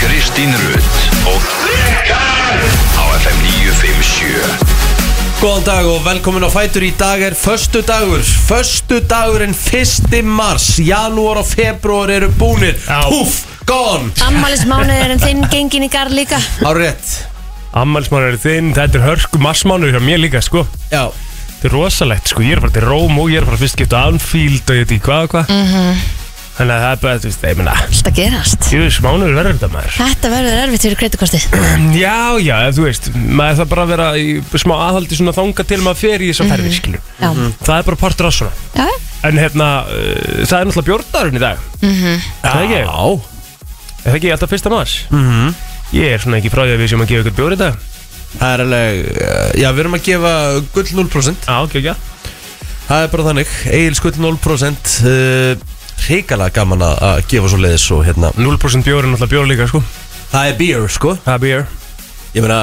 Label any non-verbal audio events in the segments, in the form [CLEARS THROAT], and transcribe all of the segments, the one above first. Kristín Rutt og Rikar á FM 957 Góðan dag og velkomin á Fætur í dag er Föstu dagur, föstu dagurinn 1. mars, janúar og februar eru búnir Já. Puff, gone Ammælismánuðurinn þinn gengin í garð líka Á rétt, Ammælsmánuður þinn, þetta er hörku massmánuður hjá mér líka, sko já Þetta er rosalegt, sko, ég er að fara til Róm og ég er að fara fyrst skipt á Anfield og ég veit ekki hvað og hvað Þannig að það er bara, þú veist, ég meina Alltaf gerast Jöfis, mánuður verður þetta maður Þetta verður erfitt fyrir kreditkortið Já, já, ef þú veist, maður það bara að vera í smá aðhaldi svona þanga til maður fer í þess að ferði, skilju Já, Það er bara partur af svona já, En hérna, uh, það er náttúrulega bjórnarinn í dag Mhm. Er Það ekki, Já, Mhm. er það ekki alltaf fyrsta maður Ég er svona ekki frá því að við séum að gefa ykkur bjór í dag það er alveg, uh, já við erum að gefa gull 0% Já, ekki, ekki Það er bara þannig, Egil's gull 0% uh, Ríkalega gaman að að gefa svo leiðis og hérna 0% bjór er náttúrulega bjór líka, sko Það er beer sko, Það er bjór ég meina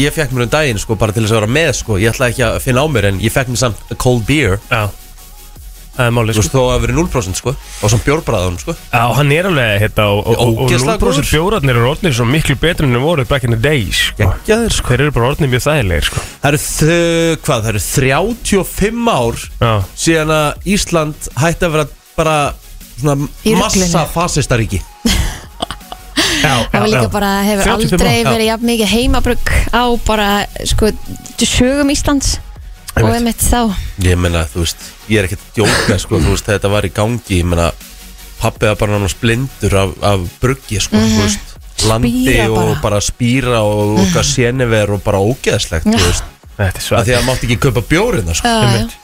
Ég fekk mér um daginn sko bara til þess að vera með sko Ég ætlaði ekki að finna á mér en ég fekk mér samt cold beer Já Það er Þú málið sko veist þó að vera 0% sko Og svona bjórbræðun sko Já, hann er alveg hérna og, og, og, og Ógeðslega 0% góður. bjórarnir eru orðnir svo miklu betri en þeir voru back in the days sko. Geggjaðir, sko. Þeir eru bara orðnir mjög þægilegir sko Það eru þ- Eh, hvað, það eru 35 ár Já, síðan að Ísland hætti að vera bara svona Í ruglinu. massa [LAUGHS] fasistaríki já, það var líka bara 35 hefur aldrei ár, já. verið jafn mikið heimabrugg á bara, sko, sögum Íslands Einmitt. og einmitt þá Ég meina, þú veist, ég er ekkert að djóka sko, þú veist, þetta var í gangi ég meina, pappi var bara náttúrulega blindur af, af bruggi, sko, þú veist landi og Spíra Mhm. bara. Mhm. bara. spýra og okkar séniver og bara ógeðslegt, þú veist, Þetta er að því svært að mátt ekki kaupa bjórina, sko uh, Einmitt.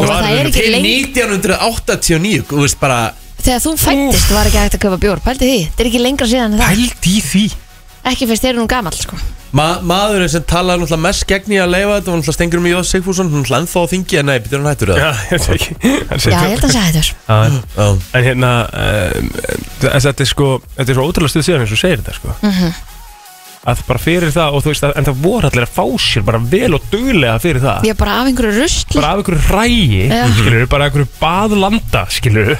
Og Það var það er alveg ekki Til lengi 1989, þú veist, bara Þegar þú fættist var ekki hægt að köpa bjór Pældi því, þetta er ekki lengra síðan en það Pælt í því Ekki fyrst þeir eru nú gamall, sko Ma maðurinn sem talaði náttúrulega mest gegn í að leifa þetta var náttúrulega Stengur Mjóð Sigfússon hann hlænþá á þingi en nei, betur hann hættur það Já, ég veit ekki Hann Já, segir- ég held að segja þetta Já, en- Já. En hérna um, Þetta er sko Þetta er svo ótrúlega stuð síðan eins og segir þetta sko Mm. Mhm. Að bara fyrir það og þú veist að, En það voru allir að fá sér bara vel og duglega fyrir það Ég er bara af einhverju rusli bara af einhverju rægi Já. Mhm. skilur, bara af einhverju baðlanda skilur,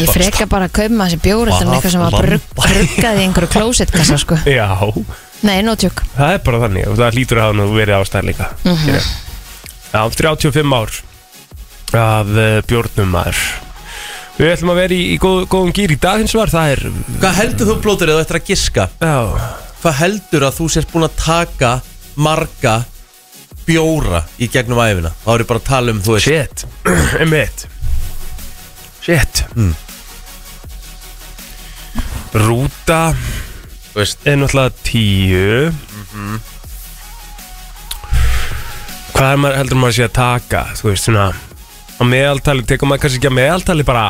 Ég freka bara að kaupa maður þessi bjór Þetta er eitthvað sem var [LAUGHS] brugg- bruggað í einhverju klósetkassa, sko já, Nei, nótjúk það er bara þannig og það hlýtur að hafa nú verið ástæð líka Mhm. mm já, um 35 ár af uh, bjórnum maður við ætlum að vera í, í góð, góðum gýr í dag hins vegar, það er Hvað heldur þú blótur eða eftir að giska? já, Hvað heldur að þú sérst búin að taka marga bjóra í gegnum æfina? Þá er ég bara að tala um, þú veist shit [CLEARS THROAT] emitt shit Mm. rúta Þú veist, er náttúrulega tíu Hvað er maður, heldur maður sé að taka Þú veist svona Á meðaltali, tekur maður kannski ekki að meðaltali bara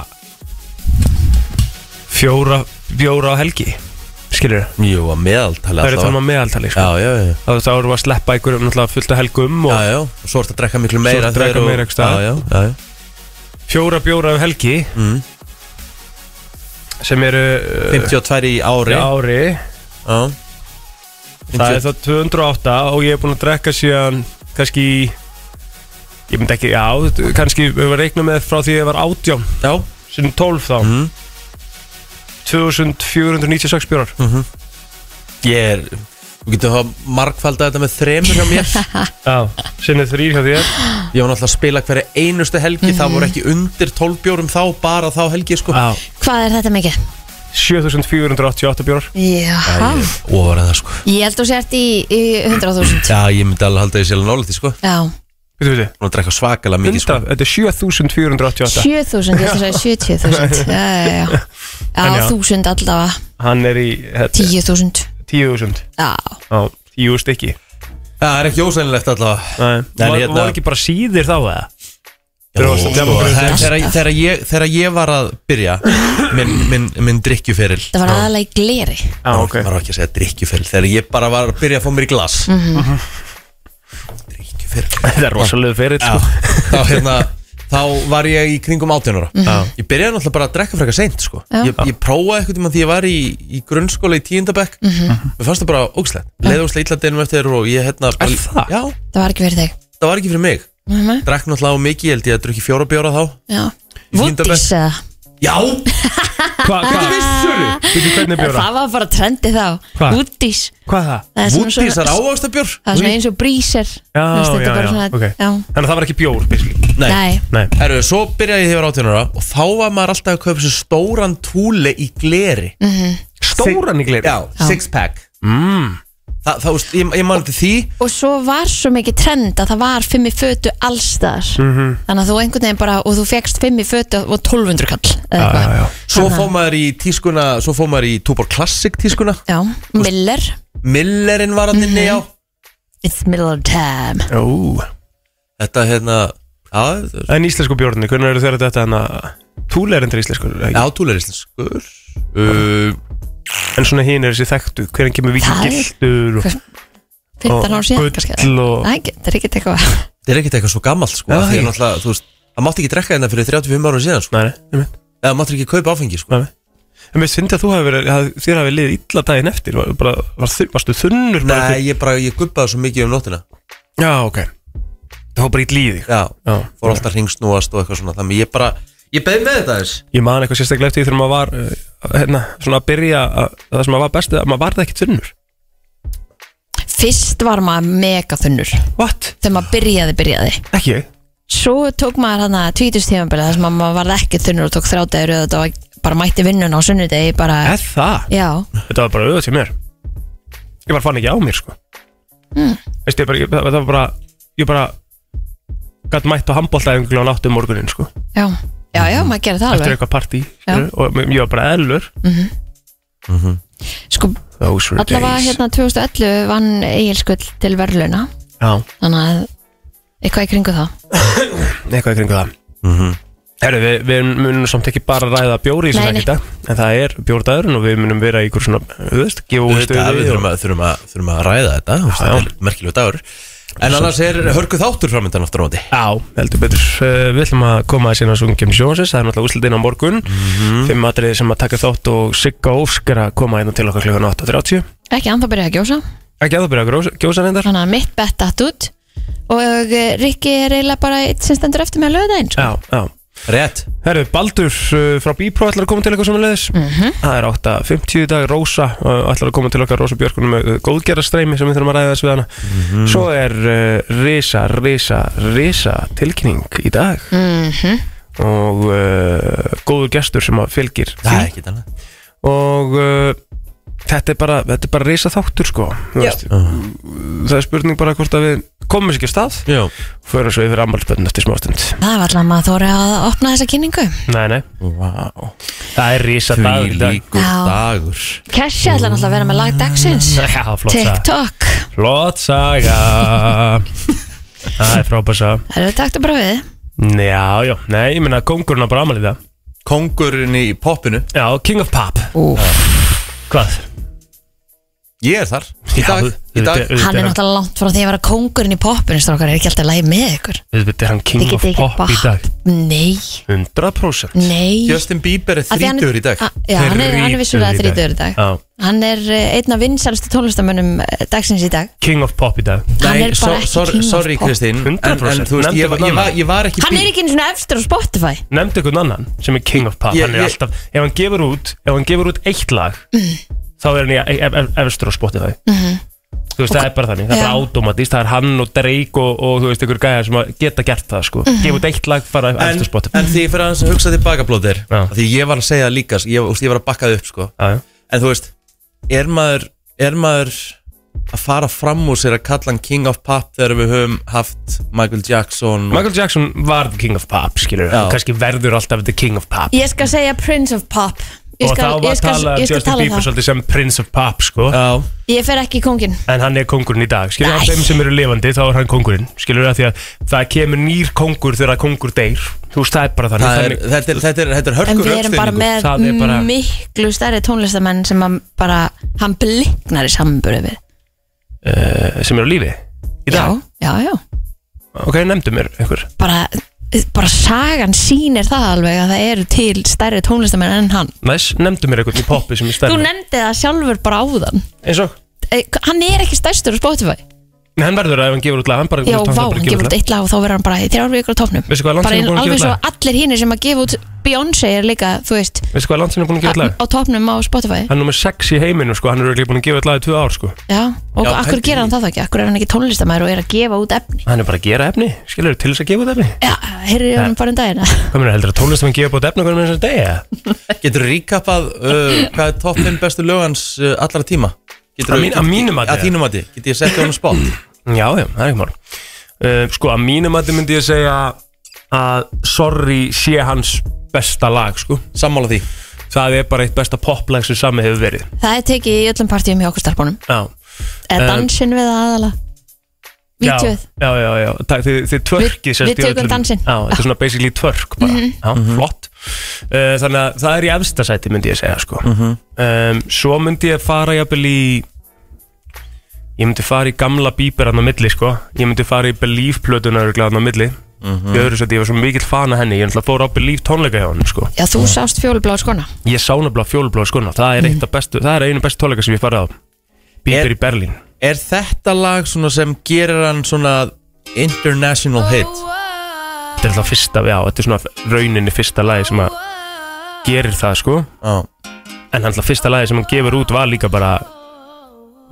Fjóra Fjóra á helgi Skilur jú, að meðaltali Það eru alltaf þannig að meðaltali sko. Já, já, já, Þá þá erum við að sleppa einhverjum náttúrulega fullt á helgum og já, já og Svo ertu að drekka miklu meira ertu að drekka þegar þú- meira einhvers staðar. Já, já, já, já Fjóra bjóra á helgi Mm. Sem eru uh, 52 í ári í ári já. Það er þá 208 og ég er búinn að drekka síðan kannski í- ég myndi ekki, já, þetta- kannski við varum að reikna með frá því ég var 18 Já, síðan 12 þá Mhm. 2496 bjórar ég er Þú getur að markfalda þetta með þremur hjá mér [LAUGHS] Já, síðan er þrýr hjá þér Mhm. Ég var náttúrulega að spila hverja einustu helgi Það voru ekki undir 12 bjórum þá Bara þá helgi sko Já, Hvað er þetta mikið? 7488 bjórar Já, Óvar að það sko ég held þú sért í, í 100.000 Já, ég myndi alveg halda því sérlega nálætti sko Já, Veitu, veitu, Nú að drekka svakalega mikið sko 100, þetta er 7488 7.000, ég [LAUGHS] held þú sért 70.000 Já, já, já En Já, já. 1.000 allavega, Hann er í hérna, þetta- 10.000 10.000 Já, Já, 10 stykki Það er ekki ósænilegt allavega Nei, En var, hérna- var ekki bara síðir þá það? Jó, varst að djamma sko, fyrir þegar- þetta. þegar- Þegar ég- þegar ég var að byrja Minn, minn, minn drikkjuferil það var aðalega í gleri Já, ok Maður á ekki að segja drikkjuferil Þegar ég bara var að byrja að fá mér í glas Mhm. Mhm. Drikkjuferil Þetta er rosalega sko. fyrir Já, þá hérna Þá var ég í kringum 18 ára Ég byrjaði náttúrulega bara að drekka frekar seint sko. Mhm. Já. ég, ég prófaði eitthvað tíma því ég var í, í grunnskóla í tíundabekk Mhm. Mhm. Mér fannst það bara ógslætt Leði ógslætt illa deginum eftir og ég hérna bara, það? Já, Það var ekki fyrir þig það var ekki fyrir mig Mhm. Drakk náttúrulega á mikið, ég held ég að drukki fjóra bjóra þá Já Í tíunda Vondís eða Já Hvað, hvað vissur þú? Veitu hvernig bjóra? Það var bara trendi þá Hvað? Woodies Hvað það? Það er svona Úti þessar svona- ávaxtabjör það er svona eins og brísir Já, Þetta já, er já, bara svona ok já. Þannig að það var ekki bjór, basically Nei, Nei, Nei Herru, svo byrjaði ég þegar ég var 18 ára og þá var maður alltaf að kaupa sér stóran túle í gleri Mm. Mhm. Stóran í gleri Já, six pack mm. Þa, Það, veist, ég, ég man til því og svo var svo mikið trend að það var fimm í fötu allstaðar Mm. Mhm. þannig að þú einhvern veginn bara og þú fegst fimm í fötu og 1200 kall eða Já, eitthvað. já, já Svo Þannig að- fór maður í tískuna, svo fór maður í Tuborg Classic tískuna sko. Já, Miller Millerinn var hann inni, já It's Miller time Ó Þetta, hérna, já, þetta er- En íslensku bjórni, hvernig eru þeirra þetta en að Túleirindir íslenskur, er já, það ekki? túle er íslenskur uh, En svona hinn er þessi þekktu Hvernig kemur vikið Það er- gildur og, 15 ár síðan kannski eða? gull og Æ, það er ekkert eitthvað Þetta er ekkert eitthvað svo gammalt, sko Já, af Því ég- að náttúrulega, þú veist, það mátti ekki drekka hérna fyrir 35 ára síðan, sko Nei, nei, ég meint Eða mátti ekki kaupa áfengi, sko Nei, nei. En mér finnst að þú hefur verið, að þér hefur liðið illa daginn eftir, var, bara, var, þur- varstu þunnur bara Nei, ég bara, ég guppaði svo mikið um nóttina til- Já, ok. Það var bara illa í þig. Já, Já. fór alltaf ringsnúast og eitthvað svona Þannig ég bara, ég beði með þetta þess Ég man eitthvað sérstaklega eftir þegar maður var, uh, hérna, svona að byrja að, að það sem maður var bestið, að maður varði ekkit þunnur. Fyrst var maður mega þunnur What? þegar maður byrjaði, byrjaði Ekki ég? svo Svo tók maður hann að tvítustífambili þar sem að maður varð ekki þunnur og tók þrjádegur og þetta var bara mætti vinnun á sunnudegi bara, eða það já, þetta var bara auðvitað til mér ég bara fann ekki á mér sko mm. Hmm. Veist, ég bara, ég, það það var bara ég bara gætt mætt á handbóltæðingu glóðan áttu um morgunin sko já Já, já, maður gerir það eftir alveg eitthvað partí skilur, og m- ég var bara eðlur Mhm. Sko, those were allavega days hérna 2011 vann Egilskull til verðluna já, Þannig að eitthvað í kringu það eitthvað í kringu það mm -hmm. Mhm. Herru, við, við munum samt ekki bara ræða bjóri í Nei, þessum nei. ekki dag en það er bjórdagurinn og við munum vera í ykkur svona, þú veist, gefa úr Þetta, við þurfum að, þurfum að, þurfum að ræða þetta þú veist, Já, já. Þetta er merkilegu dagur En annars er hörku þáttur framöndan aftur á móti Já, heldur betur uh, Við ætlum að koma að sinna að sungjum sjónsins Það er náttúrulega úslitin á morgun Mhm. Fimm atriði sem að taka þátt og Sigga Óskar að koma hérna til okkar klukkan 8.30 Ekki, hann þá byrjaði að gjósa Ekki að þú byrja að grós- gjósa reyndar Þannig að mitt bett datt út Og eh, Rikki er eiginlega bara eitt sem stendur eftir með að löða eins Já, já Rétt, Herru, Baldur uh, frá Bípró ætlar að koma til okkar samanleðis mm -hmm. Það er 8.50 í dag Rósa uh, ætlar að koma til okkar Rósa Björkunum með uh, góðgerastreimi sem við þurfum að ræða þess við hana Mhm. Svo er uh, risa, risa, risa tilkynning í dag Mhm. og uh, góður gestur sem að fylgir það er ekki þannig og uh, þetta er bara, þetta er bara reysa þáttur sko þú veist. það er spurning bara hvort að við komum sér ekki af stað Já, förum svo yfir ammálspöndin eftir smástund Það var allavega maður þóri að opna þessa kynningu nei, nei, vá, það er reysa því líkur Já. dagur Kessi ætlar náttúrulega að vera með lag dagsins Mm, já, flott saga TikTok flott saga [LAUGHS] það er frábærs að Það eru taktu bara við já, já, nei, ég meina kongurinn á bara ammál í dag Kongurinn í poppinu, já, king of pop Úf, hvað? ég er þar Í dag, í dag Hann er náttúrulega langt frá því að vera kóngurinn í poppinu Strákar er ekki alltaf læg með ykkur Þetta er hann Þið king of getið ekki pop í dag Nei, 100% nei Justin Bieber er Af því hann- þrítur í dag a- Já, hann er, hann er vissulega Þrítugur í dag. þrítugur í dag Já. Hann er eh, einn af vinsælstu tónlistamönnum eh, dagsins í dag King of pop í dag Hann er bara ekki sorry, king of sorry pop. Kristín en, en 100%, þú veist, nefndu ég, var- ég, var, ég var ekki Hann er ekki einu svona efstur á Spotify Nefndi einhvern annan sem er king of pop Ég- Hann er ég- alltaf, ef hann gefur út Ef hann gefur út eitt lag Mhm. Þá er hann í e- e- e- efstur á Spotify Þú veist, það er bara þannig Það er bara Já. automatist, það er hann og Drake Og, og þú veist, ykkur gæjar sem að geta gert það sko. Gefa út eitt lag, fara En, efstur á Spotify en því fyrir aðeins að hugsa tilbaka blóðir Já. Því ég var að segja líka, sko. ég, þú veist, ég var að bakka það upp sko. Já, já. En þú veist, er maður, er maður að fara fram úr sér að kalla hann King of Pop þegar við höfum haft Michael Jackson Michael Jackson var the king of pop skilur, Já. hann kannski verður alltaf the king of pop Ég skal segja Prince of Pop Ég og skal, þá var ég skal, talað um ég skal Justin tala um Bieber það svolítið sem prince of pop sko. Já, Ég fer ekki í kóngin en hann er kongurinn í dag skilur, Nei. af þeim sem eru lifandi þá er hann kóngurinn skilur, af því að það kemur nýr kongur þegar að kongur deyr þú veist, það er bara þannig, það er, þannig þetta er, þetta er, þetta er En hörkur við erum bara með Það er bara- miklu stærri tónlistamenn sem hann bara, hann bliknar í samburðu við eh, sem eru á lífi í dag Já, já, já ok, nefndu mér einhver bara, bara sagan sýnir það alveg að það eru til stærri tónlistamenn enn hann næs, nefndu mér einhvern í poppi sem er Þú stærri nefndi það sjálfur bara áðan eins og Eh, Hann er ekki stærstur á Spotify Nei, hann verður að ef hann gefur út lag hann bara, Já, þú veist, vá, hann bara hann gefur út eitt lag og þá verður hann bara í þrjár vikur á topnum Veistu hvað er langt Bara síðan eins- búin að gefa alveg út svo lag? allir hinnir sem að gefa út Beyoncé er líka, þú veist Veistu hvað er langt sinni búin að gefa út á lag? á topnum á Spotify Hann er nummer 6 í heiminu sko, hann er örugglega búin að gefa út lag í 2 ár sko Já, og Já, akkur pældi gera í- hann það þá ekki Akkur er hann ekki tónlistamæður og er að gefa út efni Hann er bara að gera efni, skilur til þess að gefa út efni Já, heyrðu ég hann bara um daginn Hvað meina, heldur að tónlistamenn gefa út efni hvernig með þess að degja? Getur þú ríkappað uh, hvað er topp 5 bestu lög hans uh, allra tíma? Getur Að mín- að mínu mati, Að eða? þínu mati, getur ég sett það á spott? Já, já, það er ekki mál uh, Sko, að mínum að myndi ég segja að Sorry sé hans besta lag sko Sammála því Það er bara eitt besta poplag sem sami hefur verið Það er tekið í öllum partíum hjá okkur starfbónum Já, Er Eh, dansin við það aðala? Vítjóð Já, já, já, já. Þi, þið tvörkið Við- við tökum dansinn. Mhm. Já, þetta er svona basically tvörk bara Já, flott uh, Þannig að það er í efsta sæti myndi ég segja sko um, Svo myndi ég fara jafnvel í Ég myndi fara í gamla bíber hann á milli sko Ég myndi fara í Believe plötuna örgulega hann á milli Í öðru sæti, ég var svo mikill fan af henni Ég ætla að fóra á Believe tónleika hjá hann sko Já, þú Mhm. sást fjólblá skona Ég sá nefnilega fjólublóð skona Það er, mm bestu, það er einu bestu tónleika sem ég farið á Bíber Er- í Berlín Er þetta lag svona sem gerir hann svona international hit? Þetta er alltaf fyrsta, já, þetta er svona rauninni fyrsta lagi sem að gerir það, sko Já, En alltaf fyrsta lagi sem hann gefur út var líka bara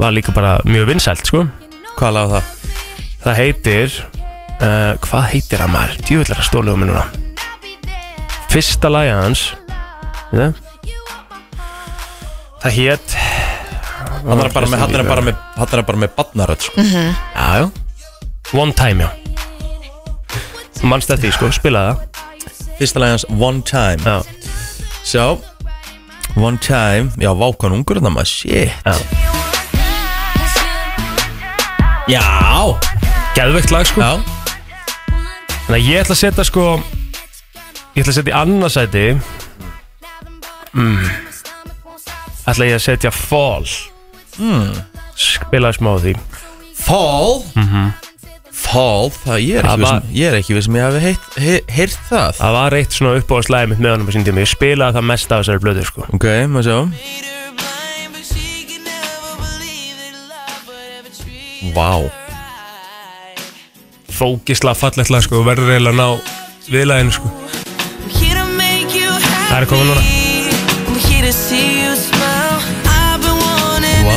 var líka bara mjög vinsælt, sko hvað lag var það? Það heitir uh, Hvað heitir hann maður? Djúvillar að stóluðu mér núna Fyrsta lagi hans ja? Það hét Hann er bara með, hann er bara með, hann er bara með badnaröld sko. Já, já One Time, já Manst þetta í, sko, spilaði Fyrsta lag hans One Time það Já, Sjá One Time Já, vákan ungur þannig maður, shit já Já Geðveikt lag, sko Já, Þannig að ég ætla að setja sko Ég ætla að setja í annarsæti mm. Ætla ég að setja Fall mm. Spilaði smá á því Fall Fall, það ég er Það ekki um- var- vissum Ég er ekki vissum ég hafi heyrt, he, heyrt það Það var eitt svona uppáðslæði mitt með honum á sín tíma Ég spilaði það mest af þessari blöðu sko Ok, maður sjá Vá Fókisla fallegt lag sko Verður eiginlega að ná viðlæðinu sko Það er komið núna. Vá.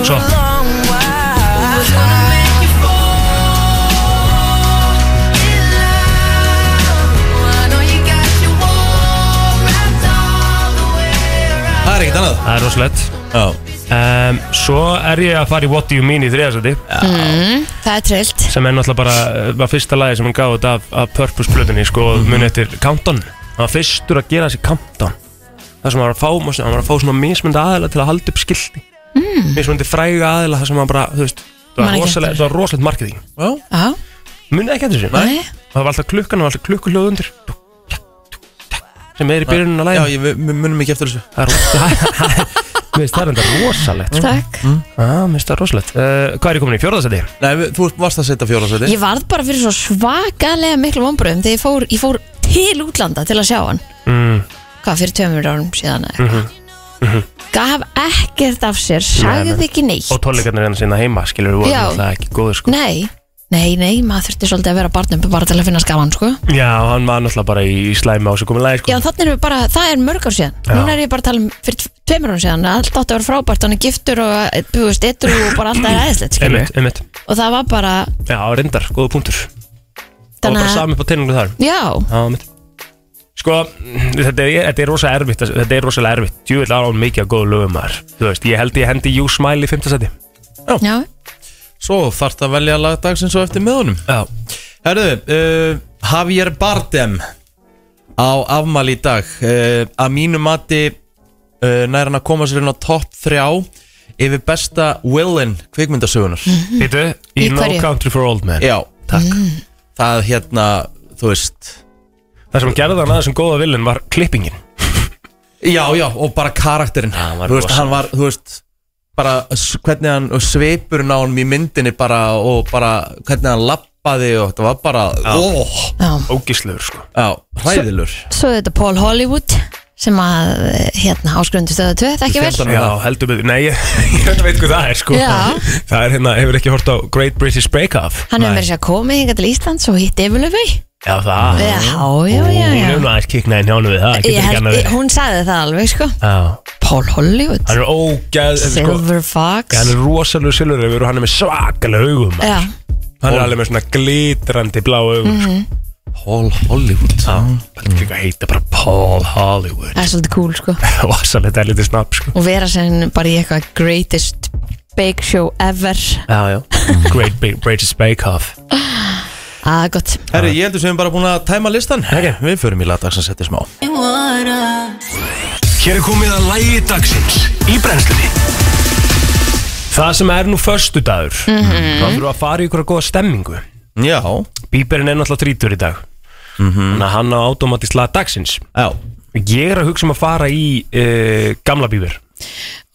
Svo. Það er ekkert annað Það er rosalegt Já, um, Svo er ég að fara í What Do You Mean í þriðasæti Mm, Það er trillt Sem er náttúrulega bara eh, var fyrsta lagi sem hann gaf út af, af Purpose blöðunni sko mm Mhm. Muni eftir Countdown Það var fyrstur að gera þessi Countdown Það sem hann var að fá, mástu, hann var að fá svona mismunda aðila til að halda upp skilti mm. Mismundi fræga aðila það sem hann bara, þú veist Það Man var ekki rosalegt, eftir. það var rosalegt marketing já, Já, Muni ekki eftir þessu Nei. Það var alltaf klukkan, það var alltaf klukkuljóð undir Sem er í byrjunum að já læginu ég við- við munum ekki eftir þessu [LAUGHS] Það er rosalegt Mér finnst það er enda rosalegt sko. takk ah, Mér finnst það rosalegt uh, Hvað er ég komin í fjórðasæti? Nei, við, þú varst að setja fjólasæti Ég varð bara fyrir svo svakalega miklu vombröðum þegar ég fór, ég fór til útlanda til að sjá hann Mm, hvað fyrir tveimur árum síðan eða mhm, eitthvað gaf ekkert af sér, Nei, sagði nei. ekki neitt og tónleikarnir hérna sinna heima skilur við vorum Já. alltaf ekki góður sko nei, nei, nei, maður þurfti svolítið að vera barnum bara til að finna skafan, sko Já, hann var náttúrulega bara í í slæmi á sig komið læg sko Já, þannig erum við bara, það er mörg ár síðan Já. Núna er ég bara að tala um fyrir tve- tveimur árum síðan að Allt átti að vera frábært, hann er giftur og eh, þú veist, etru og bara allt er aðeinslegt, skilur Einmitt, einmitt Og það var bara, Já, reyndar, góða punktur Það var þannig bara að sami upp á teiningu þar Já, Já, einmitt Sko, þetta er, þetta er rosa erfitt Þetta er rosalega erfitt Jú vil án mikið að góða lögum þar Þú veist, ég held ég hendi You Smile í fimmtasæti já, Svo þarft að velja lagdagsins og eftir með honum Já Herðu, uh, Javier Bardem á afmæli í dag uh, að mínu mati uh, nær hann að koma sér inn á topp 3 yfir besta villain kvikmyndasögunar Þetta, Mm. Mhm. í Í No hverju? Country for Old Men Já, Takk Mm. það hérna, þú veist Það sem gerði hann aðeins sem góða villin var klippingin Já, já, og bara karakterinn hann var Þú veist, rosa. hann var, þú veist bara s- hvernig hann, og sveipurinn á hann í myndinni bara, og bara hvernig hann lappaði og þetta var bara, óh já Ógislegur sko Já, hræðilur Svo er þetta Paul Hollywood sem að eh, hérna áskrundu stöðu 2 þekki vel Fjöldanum. Já, heldur betur, nei, [LAUGHS] ég ég veit hvað það er sko Já. Það er hérna, hefur ekki hort á Great British Break Off hann er verið sér að koma hingað til Íslands og hitt Efulöfau Já, það Já, já, já, Hún já. er nú aðeins kiknaði njánum við það, Ég getur ekki held, annað ég- verið. hún sagði það alveg sko Já, Paul Hollywood, hann er ógæð sko, Silver Já, Fox hann er rosalega silurreifur og hann er með svakalega augum maður. Já, Hann er alveg með svona glitrandi blá augum mm Mhm. -hmm. Paul Hollywood Þetta er ekki að heita bara Paul Hollywood [LAUGHS] það er svolítið cool sko Rosalega dælítið snabb sko og vera sem bara í eitthvað greatest bake show ever Já, já Great Big British Bake Off að Ah, gott, Herri, ég heldur sem við erum bara búin að tæma listan okay. Við förum í lagdags að setja smá Hér er komið að lægi dagsins í brennslunni Það sem er nú föstudagur mm Mhm. -hmm. Það þurfa að fara í ykkur að góða stemmingu Já, Mhm. Bíberinn er náttúrulega þrítur í dag Þannig að hann á automatist lag dagsins já Ég er að hugsa um að fara í uh, gamla bíber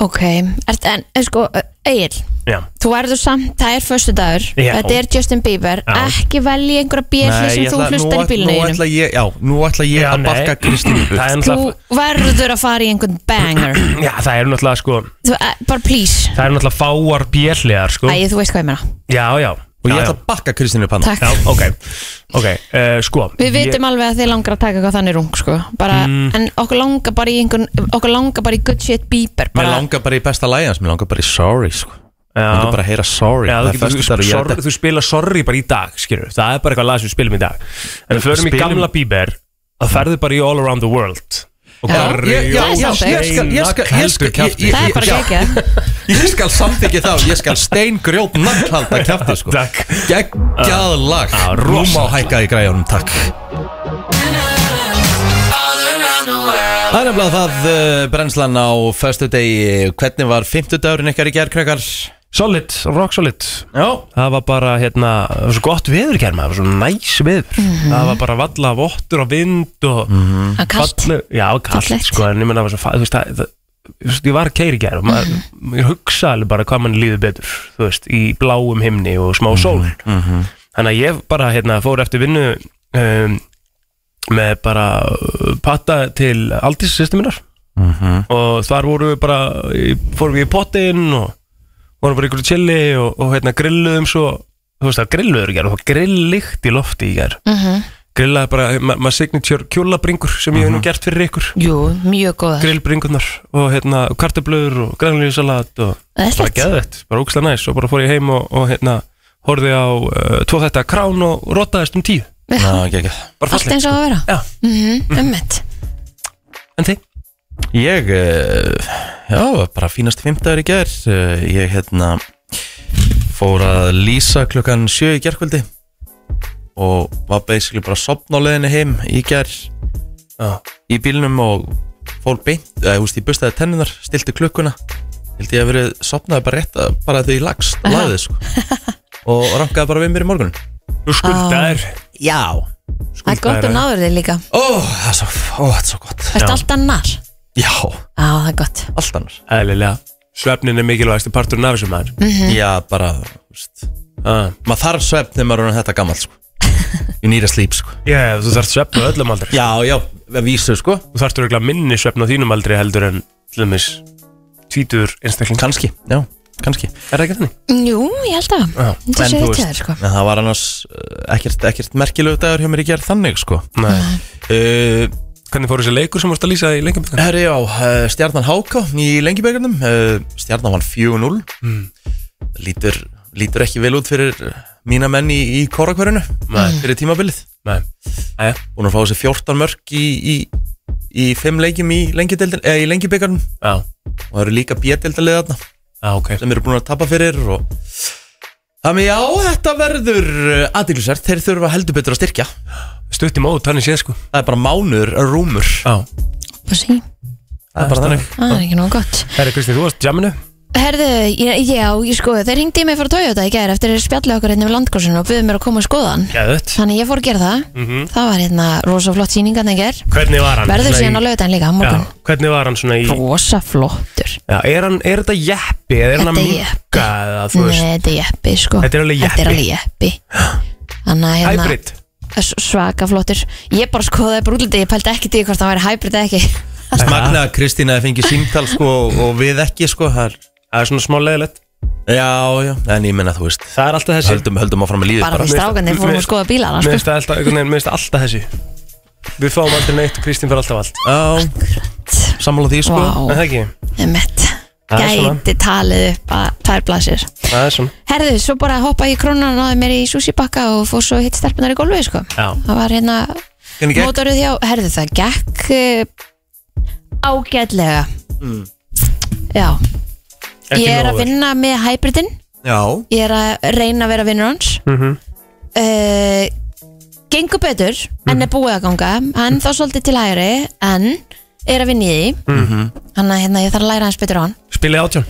ok Ert, en en sko, Egil Já þú verður samt, það er förstu dagur Já. þetta er Justin Bieber, Já. ekki velji einhverja björli sem þú hlustar í nú bílunum ætla ég, já, nú ætla ég Já, að nei. barka Kristín upp Það er þú náttúrulega verður að fara í einhvern [CLEARS THROAT] banger Já, það er náttúrulega sko þú, eh, bara please Það er náttúrulega fáar björliðar sko Æ, þú veist hvað ég meina Já, já Og ég já, ætla að bakka Kristín upp hann Takk. Já, já ok Ok, uh, sko Við ég- Mm. vitum alveg að þið langar að taka eitthvað þannig rung sko. bara, En okkur langar bara í einhvern Okkur langar bara í good shit Bieber Mér bara, langar bara í besta lagi hans, mér langar bara í sorry sko. Já. Mér langar bara að heyra sorry Það Já, þú, er getur, föstudagur, þú, ég held sorry, að- þú spila sorry bara í dag, skilur Það er bara eitthvað lag sem við spilum í dag En við förum í Spilum- gamla bíber Það ferðu bara í all around the world Og Já, bara ég- já, Það er já, svolítið. ég skal- ég skal- ég skal- Heldur kjafti. ég- Það ég- er bara já, gekkja Ég skal samþykja þá, ég skal steingrjót naglhalda kjafti sko Takk. Geggjað lag Já, Rúm á rosalegt hækka í græjunum, takk Það er nefnilega það uh, brennslan á föstudegi Hvernig var fimmtudagurinn ykkar í gerkrakkar? Já Solid, rock solid Það var bara, hérna, það var svo gott veður germa Það var svo næs veður Það var bara valla vottur og vind og Það er kallt falleg- Já, kallt, Fallegt. sko En ég menna, það var svo, fa- þú veist, það, það þú veist, ég var keiri gær og maður, ég hugsa alveg bara hvað mann líður betur, þú veist, í bláum himni og smá sól Mhm, Mhm. Þannig að ég bara, hérna, fór eftir vinnu um, með bara uh, patta til Aldís sýstu minnar Mhm. og þar vorum við bara í- fórum við í pottin og vorum bara ykkur chilli og, og hérna grilluðum svo þú veist það grilluður í gær og það grillíkt í lofti í gær grillaði bara, ma- maður signature kjólabringur sem ég hef nú gert fyrir ykkur Jú, mjög góða grillbringurnar og hérna kartöblöður og grænlýðsalat og Það er bara slett geðvett, bara ógstlega næs og bara fór ég heim og, og hérna horfði á uh, tvo þetta krán og rotaðist um tíu Já, geggjað bara Allt fallegt sko. eins og að vera Já. Mm. Mhm, Ummitt en þið? Ég, uh, já, bara fínast fimmtagur í ger uh, Ég, hérna, fór að lýsa klukkan sjö í gerkvöldi Og var basically bara sopn á leiðinni heim í ger Já. Í bílnum og fór beint, eða, þú veist, ég bustaði tennunar, stilti klukkuna Held ég að verið sopnaði bara rétt, að- bara því ég lagst, lagði, [LAUGHS] sko Og rankaði bara við mér í morgunum þú skuldaðir Já Það er gott Skuldaðir, að já. náður þig líka Ó, það er svo, ó, það er svo gott Það er allt annar Já, Já, það er gott allt annars eðlilega, svefnin er mikilvægast parturinn af þessu maður Já, bara, þú veist Ah. maður þarf svefn þegar maður er orðinn þetta gammal sko. you need a sleep sko. Já, þú þarft svefn á öllum aldrei já, já, að vísu sko. þú þarft örgulega minni svefn á þínum aldrei heldur en til dæmis tvítur einstakling kannski, já, kannski er það ekki þannig? Jú, ég held að Já. Þetta sé þú rétt hjá þér sko en það var annars uh, ekkert, ekkert merkilegu dagur hjá mér í gerð þannig sko. Nei. uh, hvernig fór þessi leikur sem vorst að lýsa í lengjum herri já, uh, stjarnan Háka í lengjubegarnum uh, stjarnan vann 4-0 Mm. lítur, lítur ekki vel út fyrir uh, mína menn í, í korakverinu fyrir tímabilið Nei, og nú fá þessi 14 mörg í, í, í 5 leikjum í lengjubegarnum já, og það eru líka bjetildarlega þarna já, ok sem eru búin að tapa fyrir og þannig já, þetta verður aðeinsvært, þeir þurfa heldur betur að styrkja það stutt í mót, þannig séð sko er bara mánuður, rúmur Já, Bara sí, það er bara þannig það er ekki nóg gott herri Kristi, þú varst jamminu Herðu, ég, já, ég sko, þeir hringdi í mig frá Toyota í gær eftir að þeir spjallu okkur hérna við landkorsinu og buðu mér að koma að skoða hann Gæðut Þannig ég fór að gera það Það var hérna rosa flott sýning að það ger Mhm. Hvernig var hann? Verður Svona í- síðan á lögudaginn líka á morgun Já, hvernig var hann svona í Rosa flottur já, er, hann, er þetta jeppi eða er hann að Þetta er minka eða þú Nei, veist þetta er jeppi sko Þetta er alveg jeppi. Þetta er alveg jeppi Þannig að hérna Hybrid s- Svaka flottur Ég bara skoðaði bara útlitið Ég pældi ekki því hvort hann væri hybrid eða ekki Magna að Kristína hefði fengið símtal sko og, og við ekki sko það er, Það er svona smá leðilegt Já, já, en ég menna þú veist Það er alltaf þessi Höldum, höldum áfram að líða bara bara því strákandi fórum mér- að skoða bílana Mér sko. finnst það alltaf, einhvern veginn, mér finnst það alltaf þessi Við fáum aldrei neitt, Kristín fyrir alltaf allt Já, sammála því sko Vá, En það ekki, emitt Það er svona. Gæti talið upp að tvær blasir það er svona Herðu, svo bara hoppaði ég í krónan og náði mér í sushibakka og fór svo hitt stelpunar í gólfi sko. Já. Það var hérna Hvernig gekk? mótorið hjá, herðu það gekk uh, ágætlega Mm. Já Ekki Ég er nógu að vel. vinna með hybridin Já, Ég er að reyna að vera vinnur hans mm Mhm. Gengur betur Mhm. en er búið að ganga Hann þá svolítið til hægri en er að vinna í því mm Mhm. að hérna, ég þarf að læra hans betur á hann Mhm. Spilið átján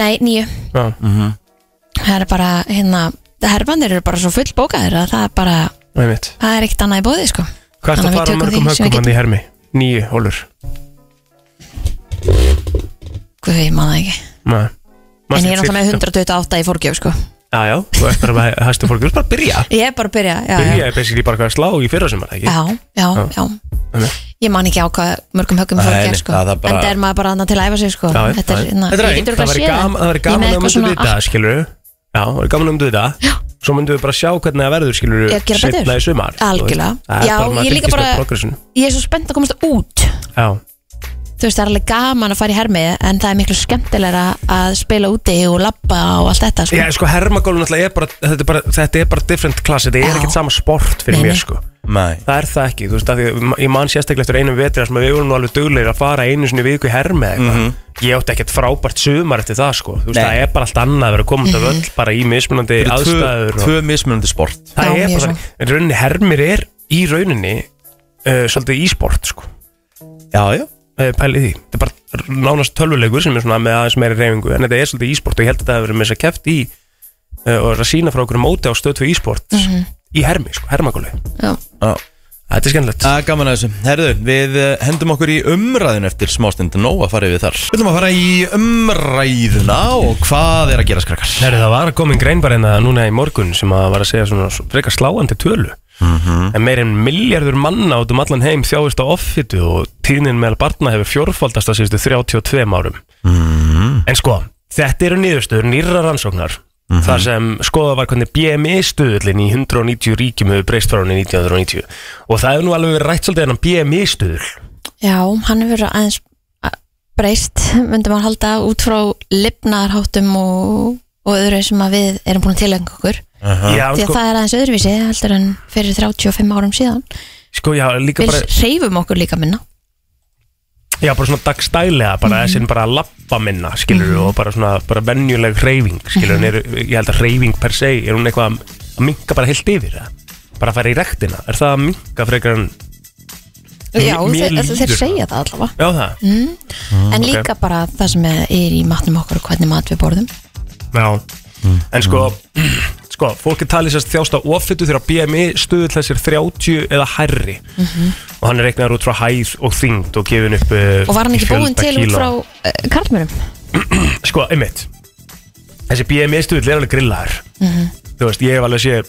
Nei, nýju Já, Mhm. Það er bara, hérna, herrbandir eru bara svo full bókaðir að það er bara, einmitt það er ekkert annað í bóði, sko. Hvað ertu Þannig að við fara á tökum mörgum því sem við höggum hann í hermi? Nýju hólur Guð, ég man það ekki. Nei En ég er náttúrulega með 128 í fórgjöf, sko. Já, já, þú ert bara með hæstu fólk Þú ert bara að byrja Ég er bara að byrja, já, Byrja já. er basically bara hvað að slá í Ah. fyrra sem er ekki Já, já, já. Nei. Ég man ekki á hvað mörgum höggum Nei, fórgjöf, nei, sko. það er bara- En það er maður bara annað til að æfa sig, sko. Já, já, já. Þetta er, hérna, Þetta er ég æfing. getur Það örugglega væri séð gaman, það væri Ég er gaman með að eitthvað myndu svona vita, sko. allt- skilur Já, það væri gaman að myndu vita Svo myndum við bara sjá hvernig það verður, skilur Ég er að gera betur. Seinna í sumar þú veist. Algjörlega. Það er Já, bara, ég maður líka fylgist með bara- progressinu. Ég er svo spennt að komast út. Já, Þú veist, það er alveg gaman að fara í hermið, en það er miklu skemmtilegra að spila úti og labba og allt þetta, sko. Já, sko, hermagólf náttúrulega er bara þetta, er bara þetta er bara different class, þetta Já. er ekkert sama sport fyrir Nei, mér, nei. sko nei Það er það ekki, þú veist, af því að ég man sérstaklega eftir einum vetri þar sem við vorum nú alveg duglegir að fara einu sinni í viku í hermi eða Mhm. eitthvað Ég átti ekkert frábært sumar eftir það, sko Þú Mm. Nei. veist, það er bara allt annað að vera komund Mhm. af öll bara í mismunandi Þetta eru aðstæður tvö, tvö mismunandi sport Það Já, er mjög bara, svo. en rauninni hermir er í rauninni uh, svolítið ísport, sko Já, já Það er pælið í því, þetta er bara nánast tölvuleikur sem er svona með aðeins meiri reyfingu en þetta er svolítið ísport og ég held að þetta hafi verið með þess að keft í uh, og er að sína frá okkur móti á stöðtvi ísport mm í hermi, sko, hermagóli Mhm. Já. Já. Þetta er skemmtilegt Það er gaman að þessu Herðu, við eh, hendum okkur í umræðun eftir smástund Nóa farið við þar Við ætlum að fara í umræðuna og hvað er að gera skrakkar Herri, það var að koma einn grein bara hérna núna í morgun sem að var að segja svona svo- frekar sláandi tölu Mhm. en meir en miljardur manna út um allan heim þjáist á offitu og tíðnin meðal barna hefur fjórfaldast að síðustu 32 árum En sko, þetta eru niðurstöður nýrra rannsóknar þar sem skoða var hvernig BMI stuðullin í 190 ríkjum hefur breyst frá henni 1990 og það hefur nú alveg verið rætt svolítið hennan BMI stuðull Já, hann hefur aðeins a- breyst, [LAUGHS] myndi maður halda út frá lifnaðarháttum og, og öðru sem að við erum búin að tilengja okkur. Já, en Því að sko, það er aðeins öðruvísi heldur en fyrir 35 árum síðan. sko, já, líka Við bara reyfum okkur líka minna. Já, bara svona dagstælega, bara Mhm. þessi bara að lappa minna, skilur og bara svona, bara venjuleg hreyfing, skilur Mhm. mm ég held að hreyfing per se, er hún eitthvað að- að minka bara heilt yfir það? Bara að fara í rektina, er það að minka frekar en, Já, mér þeir, líður þeir það. Mm, segja það allavega. Mm. Mhm. já það? en líka bara það sem er í matnum okkur og hvernig mat við borðum. Já. En sko, [CLEARS THROAT] sko, fólki talið sérst þjást á offitu þegar BMI stuðull þessir 30 eða hærri Mhm. og hann er reiknaður út frá hæð og þyngd og gefin upp uh, Og var hann í ekki búin fjölda til út kílóa. frá uh, karlmörum? sko, einmitt þessi BMI stuðill er alveg grillaður Mhm. þú veist, ég hef alveg sé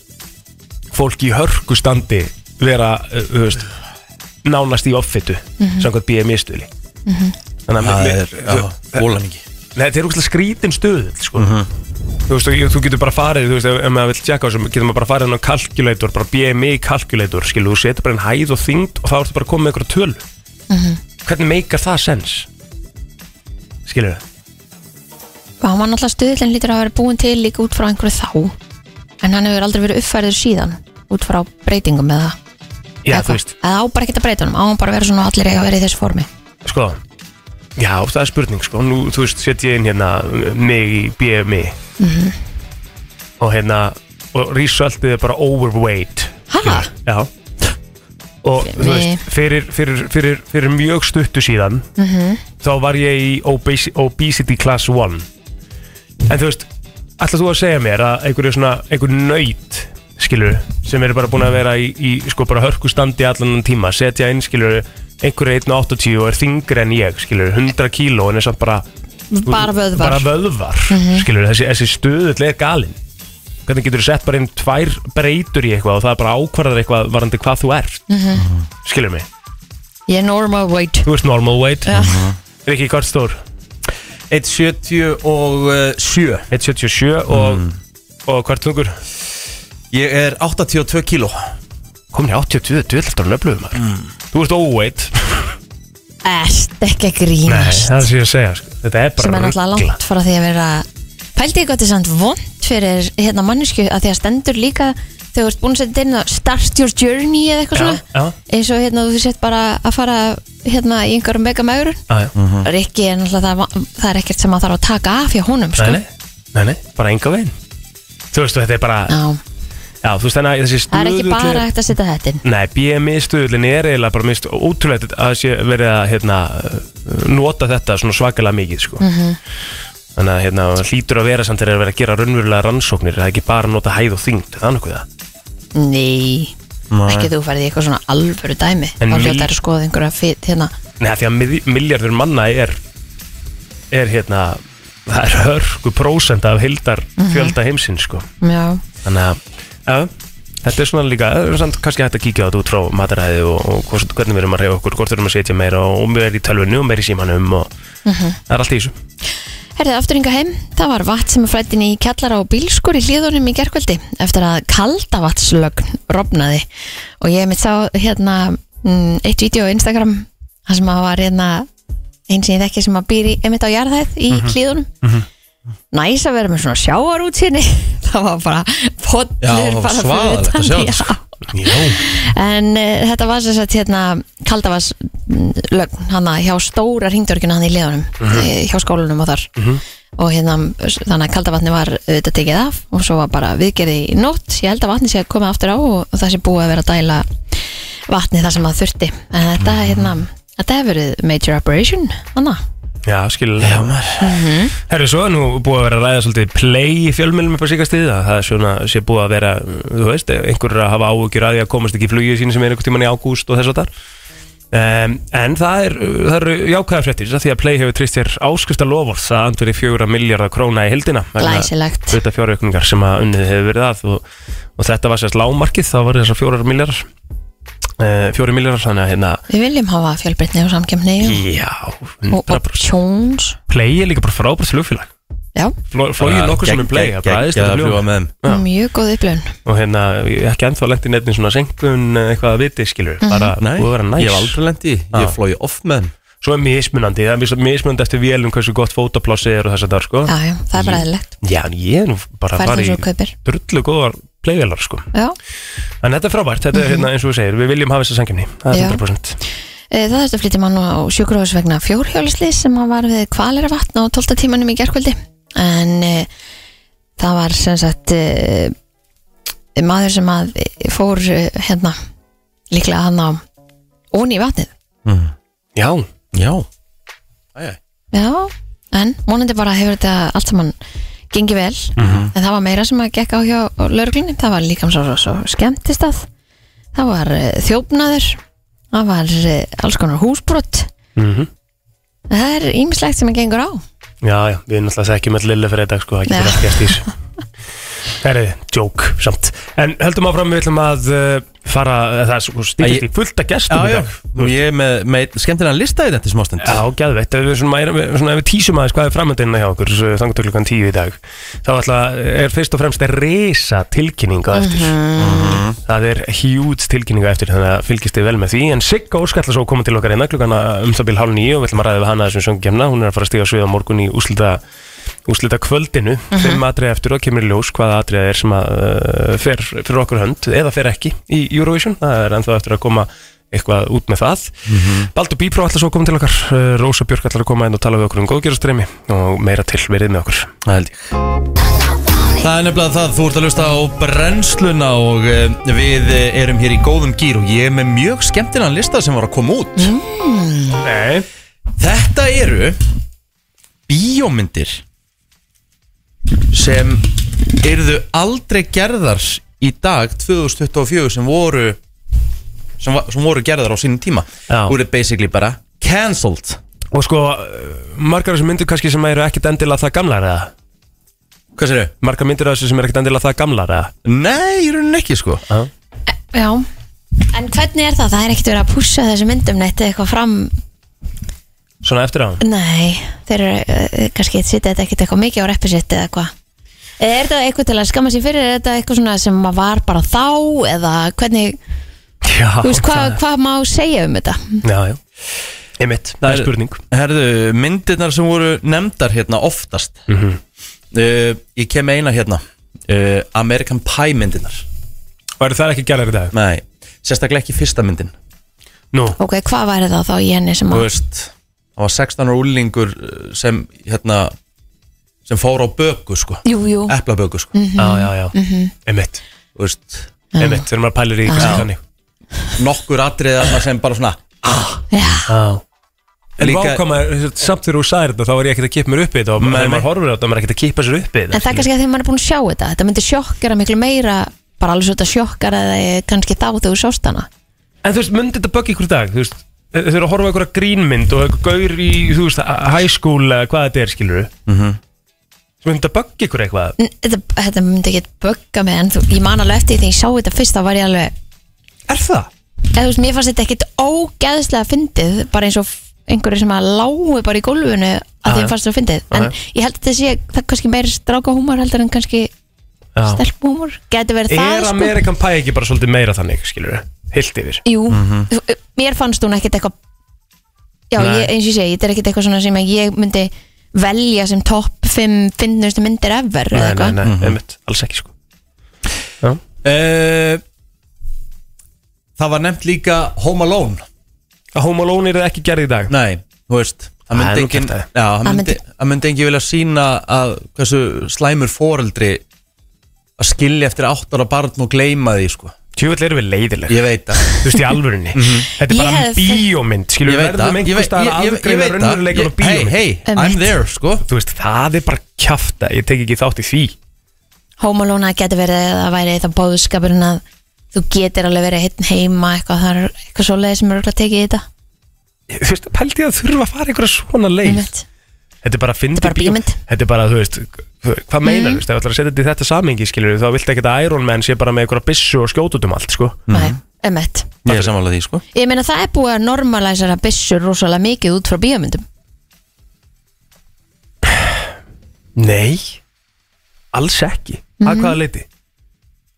fólk í hörku standi vera, uh, þú veist nánast í offitu, samkvæmt BMI stuðli þannig að Það mér- er, já, þú- bólan ekki Nei, þetta er úrslega skrítin stuðull, sko þú veist, og ég- þú getur bara farið þú veist, ef, ef maður vill tjekka á þessu, getur maður bara farið inn á kalkulator, bara BMI kalkulator skilu, þú setur bara einn hæð og þyngd og þá ertu bara komið með einhverja tölu Mhm. hvernig meikar það sens? skilur það? Og hann var náttúrulega stuðlinn lítur að vera búin til líka út frá einhverju þá. En hann hefur aldrei verið uppfærður síðan út frá breytingum með það. Já, Eða þú hvað? veist, Eða á bara ekki að breyta honum, á hann bara að vera svona og allir eiga að vera í þessu formi sko Já, það er spurning sko Nú, þú veist, set ég inn hérna mig í BMI Mhm. Og hérna Og resultið er bara overweight Ha? Skilur, Já Og þú BMI. veist, fyrir, fyrir, fyrir, fyrir mjög stuttu síðan Mhm. Þá var ég í obesi, obesity class 1 En þú veist Ætlar þú að segja mér að einhverju svona Einhver nöyt, skilur Sem eru bara búin að vera í, í sko bara hörkustandi Allan þennan tíma, setja inn, skilur Einhverju 1.80 og er þingri en ég Skilur, 100 kíló en er samt bara Mhm. Bara vöðvar Mhm. bara vöðvar skilur, þessi, þessi stöðull er galinn hvernig getur þú sett bara inn tvær Mhm. Mhm. breytur í eitthvað og það er bara ákvarðar eitthvað varandi hvað þú ert skilur mig Mm. Ég er normal weight Þú ert normal weight Já. Rikki, hvað er stór? 177 177 og, og hvað er tungur? Mhm. Ég er 82 kíló Mm. Komin í 82, þú ert að löfluðu maður Þú ert óveit Erst ekki að grínast það er sem ég að segja sko. Þetta er bara sem er náttúrulega ruglað. langt frá því að vera pældi ég gott er samt vond fyrir hérna mannesku að því að stendur líka þegar þú ert búin að setja þetta inn að start your journey eða Já, eitthvað svona eins og hérna þú sett bara að fara hérna í einhverjum mega megrun Já, já, Mhm. já Rikki er náttúrulega það, það er ekkert sem að þarf að taka af hjá honum sko. Nei, nei, nei, nei, bara enga veginn Þú veist, þetta er bara Já, Já, þú veist, þannig að þessi það er stöðullir ekki bara hægt að setja þetta inn Nei, BMI stöðullin er eiginlega bara mist ótrúlegt að það sé verið að hérna, nota þetta svona svakalega mikið sko. Mhm. Þannig að hérna, hlýtur að vera samt þegar er verið að gera raunverulega rannsóknir það er ekki bara að nota hæð og þyngd, það er nokkuð það Nei, ekki þú færði eitthvað svona alvöru dæmi En þá mil- hljóta er að skoða einhverja fit hérna Nei, af því að mið- milljarður manna er er hérna það er hörku prósent af hildar fjölda heimsins sko. Já, Þannig að ja, þetta er svona líka, það er samt kannski hægt að kíkja á þetta út frá mataræði og, og hvort, hvernig við erum að reyfa okkur, hvort við erum að setja meira og, og meira í tölvunni og meira í símanum og það er allt í þessu. Herðið aftur yngar heim, það var vatn sem flættin í kjallara og bílskur í hlíðunum í gerkvöldi eftir að kaldavatslögn rofnaði og ég mitt sá hérna mm, eitt vídeo á Instagram þar sem að var hérna einn sem ég þekki sem að býri einmitt á jarðæð í Mhm. hlíðunum næs að vera með svona sjáar [LAUGHS] það var bara Já, það var pollur bara fyrir svaðalegt að utan, sjá þetta, já. sko. Jó, En uh, þetta var sem sagt hérna kaldavasslögn hana hjá stóra ringdörgjuna hann í liðunum Mhm. eh, hjá skólanum og þar Mhm. og hérna s- þannig að kaldavatni var auðvitað tekið af og svo var bara viðgerði í nótt ég held að vatni sé að koma aftur á og, og það sé búið að vera að dæla vatni þar sem það þurfti en þetta Mhm. hérna þetta hefur verið major operation hana já, skilja. Já, maður. Mhm. Herru, svo er nú búið að vera að ræða svolítið play í fjölmjölum upp á síkast að það er svona, sé búið að vera, þú veist, einhverjur að hafa áhugjur að því að komast ekki í flugið sín sem er einhvern tíman í ágúst og þess að þar. Um, en það er, það eru jákvæðar fréttir af því að Play hefur trist þér áskrifta lovorð að andverið fjögur miljardar króna í heldina Glæsilegt. Þetta fjáraukningar sem að unnið hefur verið að og, og þetta var sérst lágmarkið, þá var þessar fjórar miljardar uh, fjóri miljardar, þannig að hérna við viljum hafa fjölbreytni og samkemni Já, og 100% options Play er líka bara frábært flugfélag Já, Mm. Flóið nokkur sem um Play, það er bara aðeins Gekkið að fljúa að með þeim Já. mjög góð upplöun og hérna, ég er ekki ennþá lengt í nefnin svona senkun eh, eitthvað að viti, skilur Mhm. bara, Nei, búið að vera ég hef næs aldrei lendi Já. Ég flói oft með þeim Svo er mismunandi, það er mis- mismunandi eftir vélum hversu gott fótaplássið er og þess að það, sko Já, já, það er bara eðlilegt Já, en ég er nú bara Færð að fara eins og þú í kaupir drullu góðar playvelar sko. Já En þetta er frábært, þetta er hérna, eins og þú segir, við viljum hafa þessa sangimni, það Mhm. Já. er 100%. Eh, Það þurfti að flytja mann á sjúkrahús vegna fjórhjólisli sem hann var við kvalera vatn á 12. tímanum í gerkvöldi en e, það var sem sagt e, maður sem að eh, fór e, hérna líklega hann á ón í vatnið Mhm. Já, Já Æ, æ. Já, en vonandi bara hefur þetta allt saman gengið vel en það var meira sem að gekk á hjá lauruglunni, það var líka um svo, svo, svo skemmtist að það var eh, þjófnaður það var eh, alls konar húsbrott mm Það er ýmislegt sem að gengur á já, já, við náttúrulega þekkjum öll lilla fyrir þetta, sko, það Já. getur allt gæst ís. [LAUGHS] Það er djók, samt. En höldum áfram, við ætlum að uh, fara, eh, það er svo Æ, stíkist í fullt að gestum Já, í já, dag. nú ég er með, með skemmtilegan lista í þetta smástund Já, gæðveitt, ef við, svona, ef við, svona, ef við tísum aðeins hvað er framöndinna hjá okkur þangt til klukkan tíu í dag þá alltaf er fyrst og fremst að reysa tilkynninga eftir Mhm. það er hjúts tilkynninga eftir þannig að fylgist þið vel með því en Sigga Óskalla svo komið til okkar einna klukkan að um það bíl hálf nýju og við ætlum að ræða við hana þessum söngkjæmna hún er að fara að stíga á svið á morgun í úslita úslita kvöldinu, fimm atrið eftir og kemur í ljós hvaða atrið það er sem að uh, fer fyrir okkur hönd eða fer ekki í Eurovision, það er ennþá eftir að koma eitthvað út með það Mhm. Baldur Bípró ætlar svo að koma til okkar uh, Rósa Björk ætlar að koma inn og tala við okkur um góðgerastreimi og meira til verið með okkur Það held ég Það er nefnilega það, þú ert að lusta á brennsluna og eh, við eh, erum hér í góðum gýr og ég er með mjög skemmtilegan lista sem var að koma út Mhm. Nei, Þetta eru bíómyndir sem yrðu aldrei gerðar í dag 2024 sem voru sem, va- sem voru gerðar á sínum tíma Já. Þú eru basically bara cancelled og sko uh, margar af þessum myndir kannski sem eru ekkit endilega það gamlar eða Hvað sér þau? margar myndir af þessu sem eru ekkit endilega það gamlar eða Nei, í rauninni ekki sko Eh, Já, En hvernig er það? Það er ekkert verið að pússa þessi myndum neitt eitthvað fram Svona eftir á Nei, þeir eru eh, kannski sitja þetta ekkert eitthvað mikið á reppi sitt eða eitthvað Eða er þetta eitthvað til að skamma sér fyrir, er þetta eitthvað svona sem maður var bara þá eða hvernig, Já, þú veist, hvað það- hva má segja um þetta? Já, já Einmitt, það er spurning Herðu, myndirnar sem voru nefndar hérna oftast Mhm. uh, Ég kem með eina hérna uh, American Pie myndirnar Væri það ekki gerðar í dag? Nei, sérstaklega ekki fyrsta myndin Nú, Ok, hvað væri það þá í henni sem Þú að, veist, það var 16 ára úlingur sem hérna sem fór á böku sko jú, jú, Eplaböku sko, já, já, já Einmitt, þú veist einmitt, þegar maður pælir í ykkur sem þannig Nokkur atriði þarna sem bara svona "Ah." já, Já En Líka- Líka... vákoma, samt þegar þú sagði þetta, þá var ég ekkert að kippa mér upp í þetta og Nei, þegar nei. maður horfir á þetta, maður er ekkert að kippa sér upp í en það þetta er kannski að því maður er búin að sjá þetta, þetta myndi sjokkera miklu meira, bara alveg svo þetta sjokkar eða kannski þá þegar þú sást hana. En þú veist, myndi þetta bögg ykkur í dag, þú veist Þau eru að horfa ykkur að grínmynd og ykkur gaur í, þú veist, high school eða hvað þetta er, skilur við mm Mhm. -hmm. Myndi þetta bögg ykkur eitthvað? N- Þetta, þetta myndi ekki bögga mig en þú, ég man alveg eftir því þegar ég sá þetta fyrst þá var ég alveg Er það? eða þú veist, mér fannst þetta ekkit ógeðslega fyndið, bara eins og f- einhverju sem að lágu bara í gólfinu að því já. að fannst það fyndið, en ég held að þetta sé það kannski meir stráka húmor heldur en kannski Já. stelp húmor, getur verið Er það sko, Amerikan Pie ekki bara svolítið meira þannig, skilur við? Hilt yfir jú, Mhm. þú- mér fannst hún ekkit eitthvað já, Nei. ég, eins og ég segi, þetta er ekkit eitthvað svona sem að ég myndi velja sem topp 5 finnustu myndir ever eða Nei, nei, eitthvað, nei, Mhm. einmitt, alls ekki sko Já, uh, Það var nefnt líka Home Alone að Home Alone er ekki gerð í dag Nei, þú veist Það Það er myndi nú engin, kjaftæði. já, það Það myndi, myndi- það myndi engin vilja sína að hversu slæmur foreldri að skilja eftir átt ára barn og gleyma því sko. Tjúvill erum við leiðileg Ég veit það Þú veist í alvörunni Mhm. Þetta er Ég bara hefði- bíómynd Ég Skilur við veit það verðum Ég einhvers veit staðar að ég- ég afgreina veit það raunveruleikan og Ég- Hey, bíómynd hey, I'm Einmitt. there sko Þú veist, það er bara kjafta Ég tek ekki þátt í því homolóna getur verið að það væri það bóðskapurinn að þú getur alveg verið hitt heima eitthvað, það er eitthvað svoleiði sem er örugglega tekið í þetta Þú veist, pældi ég að þurfa að fara einhverja svona leið Einmitt. Þetta er bara að Þetta er bara bíómynd. Mhm. Þetta er bara, þú veist Hvað meinar, þú veist, ef þú ætlar að setja þetta í þetta samingi skilur Þá viltu ekki að Iron Man sé bara með einhverja byssu og skjótutum allt, sko Nei, emmett Mhm. Ég er samanlega því sko Ég meina það er búið að normalæsara byssur rosalega mikið út frá bíómyndum Nei, alls ekki Mhm. Að hvaða leiti?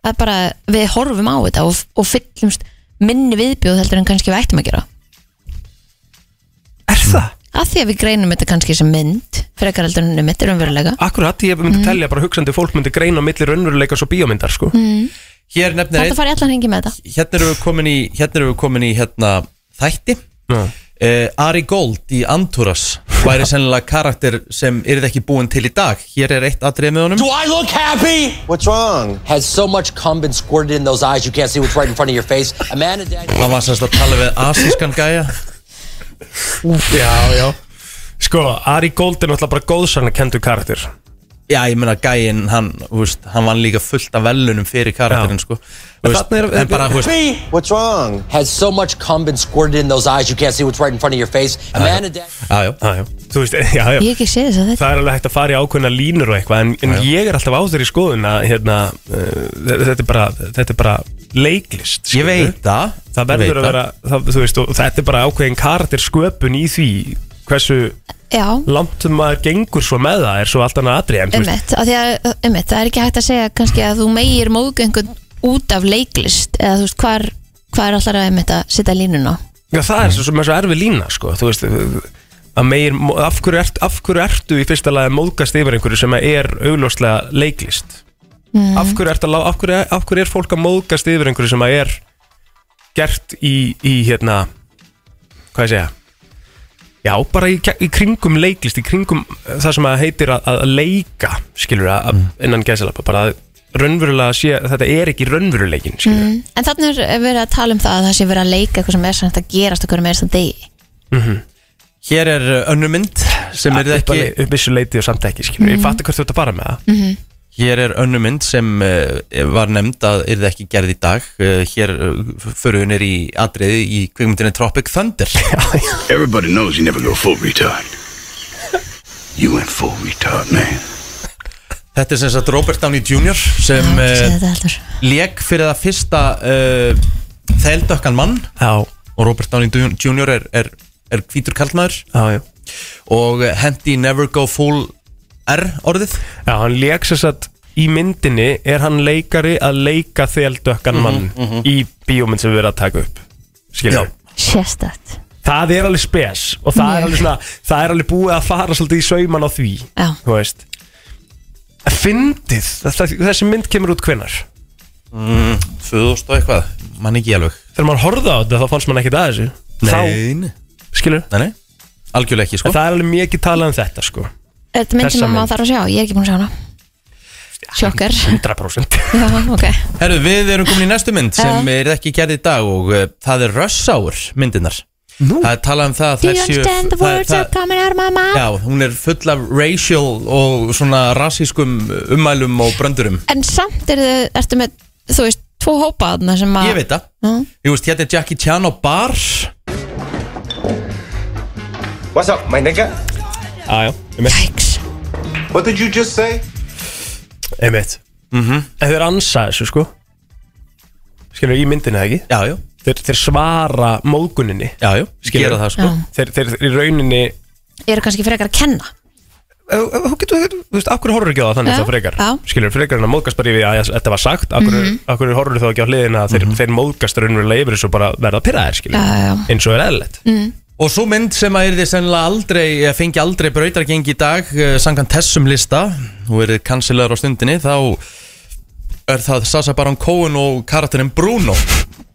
Það er bara, við horfum á þetta og, og fyllumst minni viðbjóð heldur en kannski við ættum að gera Er það? Af því að við greinum þetta kannski sem mynd frekar heldur en Mm. mitt er umverulega Akkurat, ég myndi Mhm. telja bara hugsandi fólk myndi greina á milli raunveruleikas og bíómyndar sko. Hér nefnir Mm. Þetta einn fari allan hengi með þetta Hérna erum við komin í Hérna erum við komin í hérna þætti Já. Uh, Ari Gold í Anturas væri sennilega karakter sem yrði ekki búin til í dag Hér er eitt atrið með honum Do I look happy? What's wrong? Has so much cum been squirted in those eyes you can't see what's right in front of your face? A man and dad. Hann var semst að tala við asískan gæja Já, já Sko, Ari Gold er náttúrulega bara góðsarna kendur karakter Já, ég meina gæinn, hann, þú veist, hann vann líka fullt af velunum fyrir karakterinn, Já. sko Þú veist, þarna er- eh, En bara, þú veist, What's wrong? Has so much cum been squirted in those eyes you can't see what's right in front of your face? A man and dad. já, já Já, já Þú veist, [LAUGHS] já, já Ég hef ekki séð þess að þetta Það er alveg hægt að fara í ákveðna línur og eitthvað En, en ég er alltaf á þeirri skoðun að hérna, uh, þetta, er bara, þetta er bara leiklist Ég skilurðu. veit það Það ég verður veit að vera, það, þú veist, og þetta er bara ákveðin karakter sköpun í því Hversu Já, langt maður gengur svo með það er svo allt annað atri En þú veist, ummitt, af því að ummitt, það er ekki hægt að segja kannski að þú meir móðgöngun út af leiklist eða þú veist hvar, hvar er allar að einmitt að setja línuna já, það er svo, svo, með svo erfi lína, sko Þú veist, að meir, af hverju, ert, af hverju ertu í fyrsta lagi að móðgast yfir einhverju sem er augljóslega leiklist Mm. af, hverju ertu að, lá- af, hverju, af hverju er fólk að móðgast yfir einhverju sem að er gert í, í hérna hvað ég segja já, bara í, í kringum leiklist í kringum eh, það sem að heitir að, að leika skilur að mm. innan gæsalapa bara að raunverulega sé þetta er ekki raunveruleikin skilur mm. En þannig er verið að tala um það að það sé verið að leika eitthvað sem er sann að gerast okkur meðist að degi. það. Mhm. Hér er uh, önnur mynd sem er ekki upp, upp vissu leiti og samt ekki skilur ég fatta hvert þú ert að fara með það mm. Hér er önnur mynd sem uh, var nefnd að yrði ekki gerð í dag uh, Hér uh, fyrir hún er í atriði í kvikmyndinni Tropic [LAUGHS] Thunder Everybody knows you never go full retard. You went full retard, man. Þetta er sem sagt Robert Downey Jr. sem Um, uh, þetta heldur. lék fyrir það fyrsta uh, þeldökkan mann Já, og Robert Downey Jr. er, er, er hvítur kallmaður já, já og hendi Never Go Full R orðið Já, hann leik sér satt í myndinni er hann leikari að leika þeldökkan mann í bíómynd sem við erum að taka upp Skiljum Sérstætt Það er alveg spes og það er Mjög. alveg svona það er alveg búið að fara svolítið í sauman á því Já. Þú veist Fyndið, þetta- þessi mynd kemur út hvenar Föðust Mm, og eitthvað, mann ekki alveg Þegar maður horfði á þetta þá fannst maður ekkert að þessu Þá, nei, skilur nei, nei. algjörlega ekki En sko það er alveg mikið talað um þetta sko Þetta er mynd Þessa sem að mynd. maður þarf að sjá, ég er ekki búin að sjá hana Sjokkar 100% Já, ok [LAUGHS] Herru, við erum komin í næstu mynd sem Já. er ekki gerð í dag og uh, það er rössáur myndinar Nú? Það er talað um það að Do þær you séu- understand the það er- words that are það- coming out of my mouth? Já, hún er full af racial og svona rasískum ummælum og bröndurum En samt er þau, ertu með, þú veist, tvo hópa þarna sem að Ég veit það Mm. Ég veist, hérna er Jackie Chan á bar Þetta What's up, my nigga? Jájá, einmitt, Yikes. What did you just say? einmitt. Mhm. En þeir ansa þessu sko Skilur, í myndinni eða ekki Já, já, Þeir, þeir svara móguninni já, já, Skilur. gera það sko Já. Þeir, þeir, þeir í rauninni Eru kannski frekar að kenna Ef- ef- Þú getur, þú veist, af hverju horfur ekki á það þannig Já, þá frekar já. Skilur, frekar en að móðgast bara yfir að þetta var sagt Af hverju, Mhm. af hverju horfur þú ekki á hliðina að Mhm. þeir, þeir móðgast raunverulega yfir þessu og bara verða pyrraðir skilur Já, já, já. Eins og er eðlilegt mm. Og svo mynd sem að er þið sennilega aldrei eh, fengi aldrei brautargengi í dag sangan þessum lista og er kansilegar á stundinni þá er það Sasa Baron Cohen og karakterinn Bruno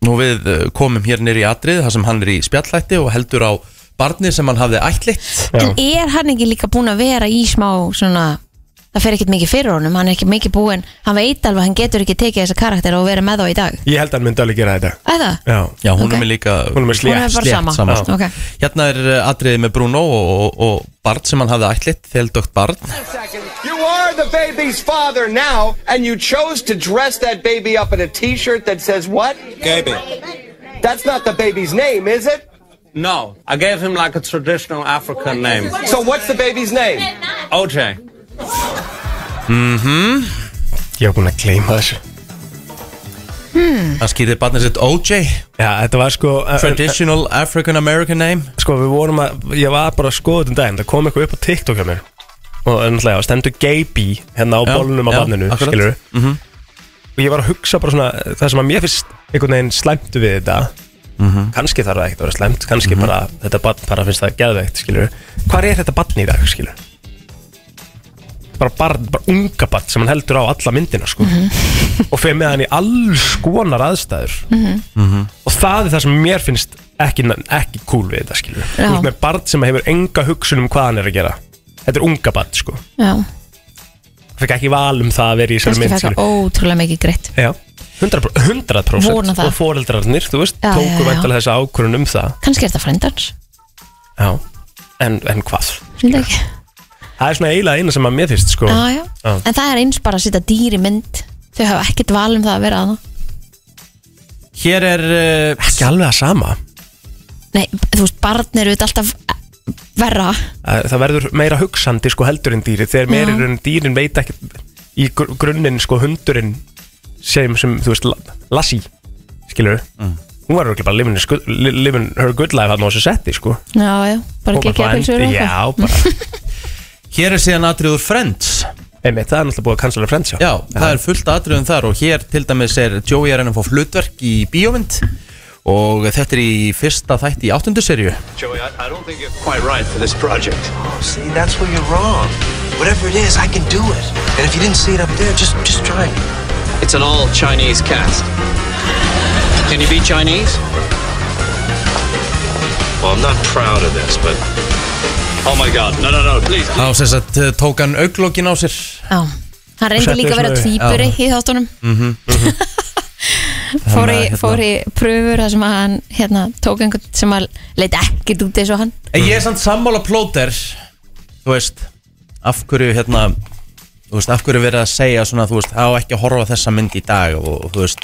Nú við eh, komum hér nýri í atrið þar sem hann er í spjallætti og heldur á barni sem hann hafði ætlitt En er hann ekki líka búin að vera í smá svona Það fer ekkert mikið fyrir honum, hann er ekkert mikið búinn Hann veit alveg, að hann getur ekki tekið þessa karakter og verið með þá í dag Ég held að hann myndi alveg gera þetta Eða? Já, Já, hún Ok. er með líka hún er með Hún er slétt bara slétt sama, sama, sko. Ok. Hérna er eh, atriðið með Bruno og, og, og barn sem hann hafði ætlitt þeldögt barn You are the baby's father now, and you chose to dress that baby up in a t-shirt that says what? Gaby. That's not the baby's name, is it? No, I gave him like a traditional African name. So what's the baby's name? OJ. Mhm. Ég var búin að gleyma þessu Mhm. Hann skýrði barnið sitt OJ Já, þetta var sko Traditional African American name sko við vorum að, ég var bara að skoða þetta um daginn, það kom eitthvað upp á TikTok hjá mér og náttúrulega, það stendur Gaby hérna á Já, bólunum á já, barninu, akkurat. Mhm. skilur og ég var að hugsa bara svona, það sem að mér finnst einhvern veginn slæmt við þetta Mhm. kannski þarf það ekkert að vera slæmt, kannski bara þetta barn bara finnst það geðveikt, skilur hvar er þetta barn í dag, skilur bara barn, bara unga barn sem hann heldur á alla myndina, sko Mhm. [LAUGHS] og fer með hann í alls konar aðstæður og það er það sem mér finnst ekki, ekki cool við þetta skilur Já. Þú veist með barn sem hefur enga hugsun um hvað hann er að gera þetta er unga barn sko Já, fekk ekki val um það að vera í þessari kannski mynd fækka skilur ótrúlega mikið greitt Já, 100%, 100% Vona það. og foreldrarnir, þú veist, Já, já, tóku já. væntalega þessa ákvörun um það Kannski er þetta frendans, já. En, en hvað? finnst ekki Það er svona eiginlega eina sem að mér finnst sko já, já. Já. En það er eins bara að setja dýr í mynd Þau hafa ekkert val um það að vera að það Hér er uh, ekki alveg að sama Nei, þú veist, barn eru þetta alltaf eh, verra Æ, það verður meira hugsandi sko heldur en dýri þegar meira Já. en dýrin veit ekki í gr grunninn sko hundurinn sem, sem þú veist la Lassi skilur Mm. hún var ekki bara living, his good- li- living her good life hann á þessu setti sko Já, já, bara Hún var ekki að pilsu endi- já bara Hér er síðan atriður Friends einmitt það er náttúrulega búið að cancela Friends já, Já, það er fullt atriðum þar og hér til dæmis er Joey er enn að fá flutverk í bíómynd og þetta er í fyrsta þætti í áttundu serju Joey, I, I don't think you're quite right for this project. Oh, see, that's where you're wrong. Whatever it is, I can do it. And if you didn't see it up there, just just try it. It's an all Chinese cast. Can you be Chinese? Well, I'm not proud of this, but oh my God, no, no, no, please. Þá sem sagt eh, tók hann auglókin á sér Já, hann reyndi Setti líka að vera svona- tvíburi í þáttunum Mhm, fór, í, hérna- Þannig að, fór í pröfur þar sem að hann hérna, tók einhvern sem að leit ekkert út eins og hann En ég er samt sammála plóter Þú veist, af hverju hérna Þú veist, af hverju verið að segja svona, þú veist, á ekki að horfa á þessa mynd í dag og þú veist,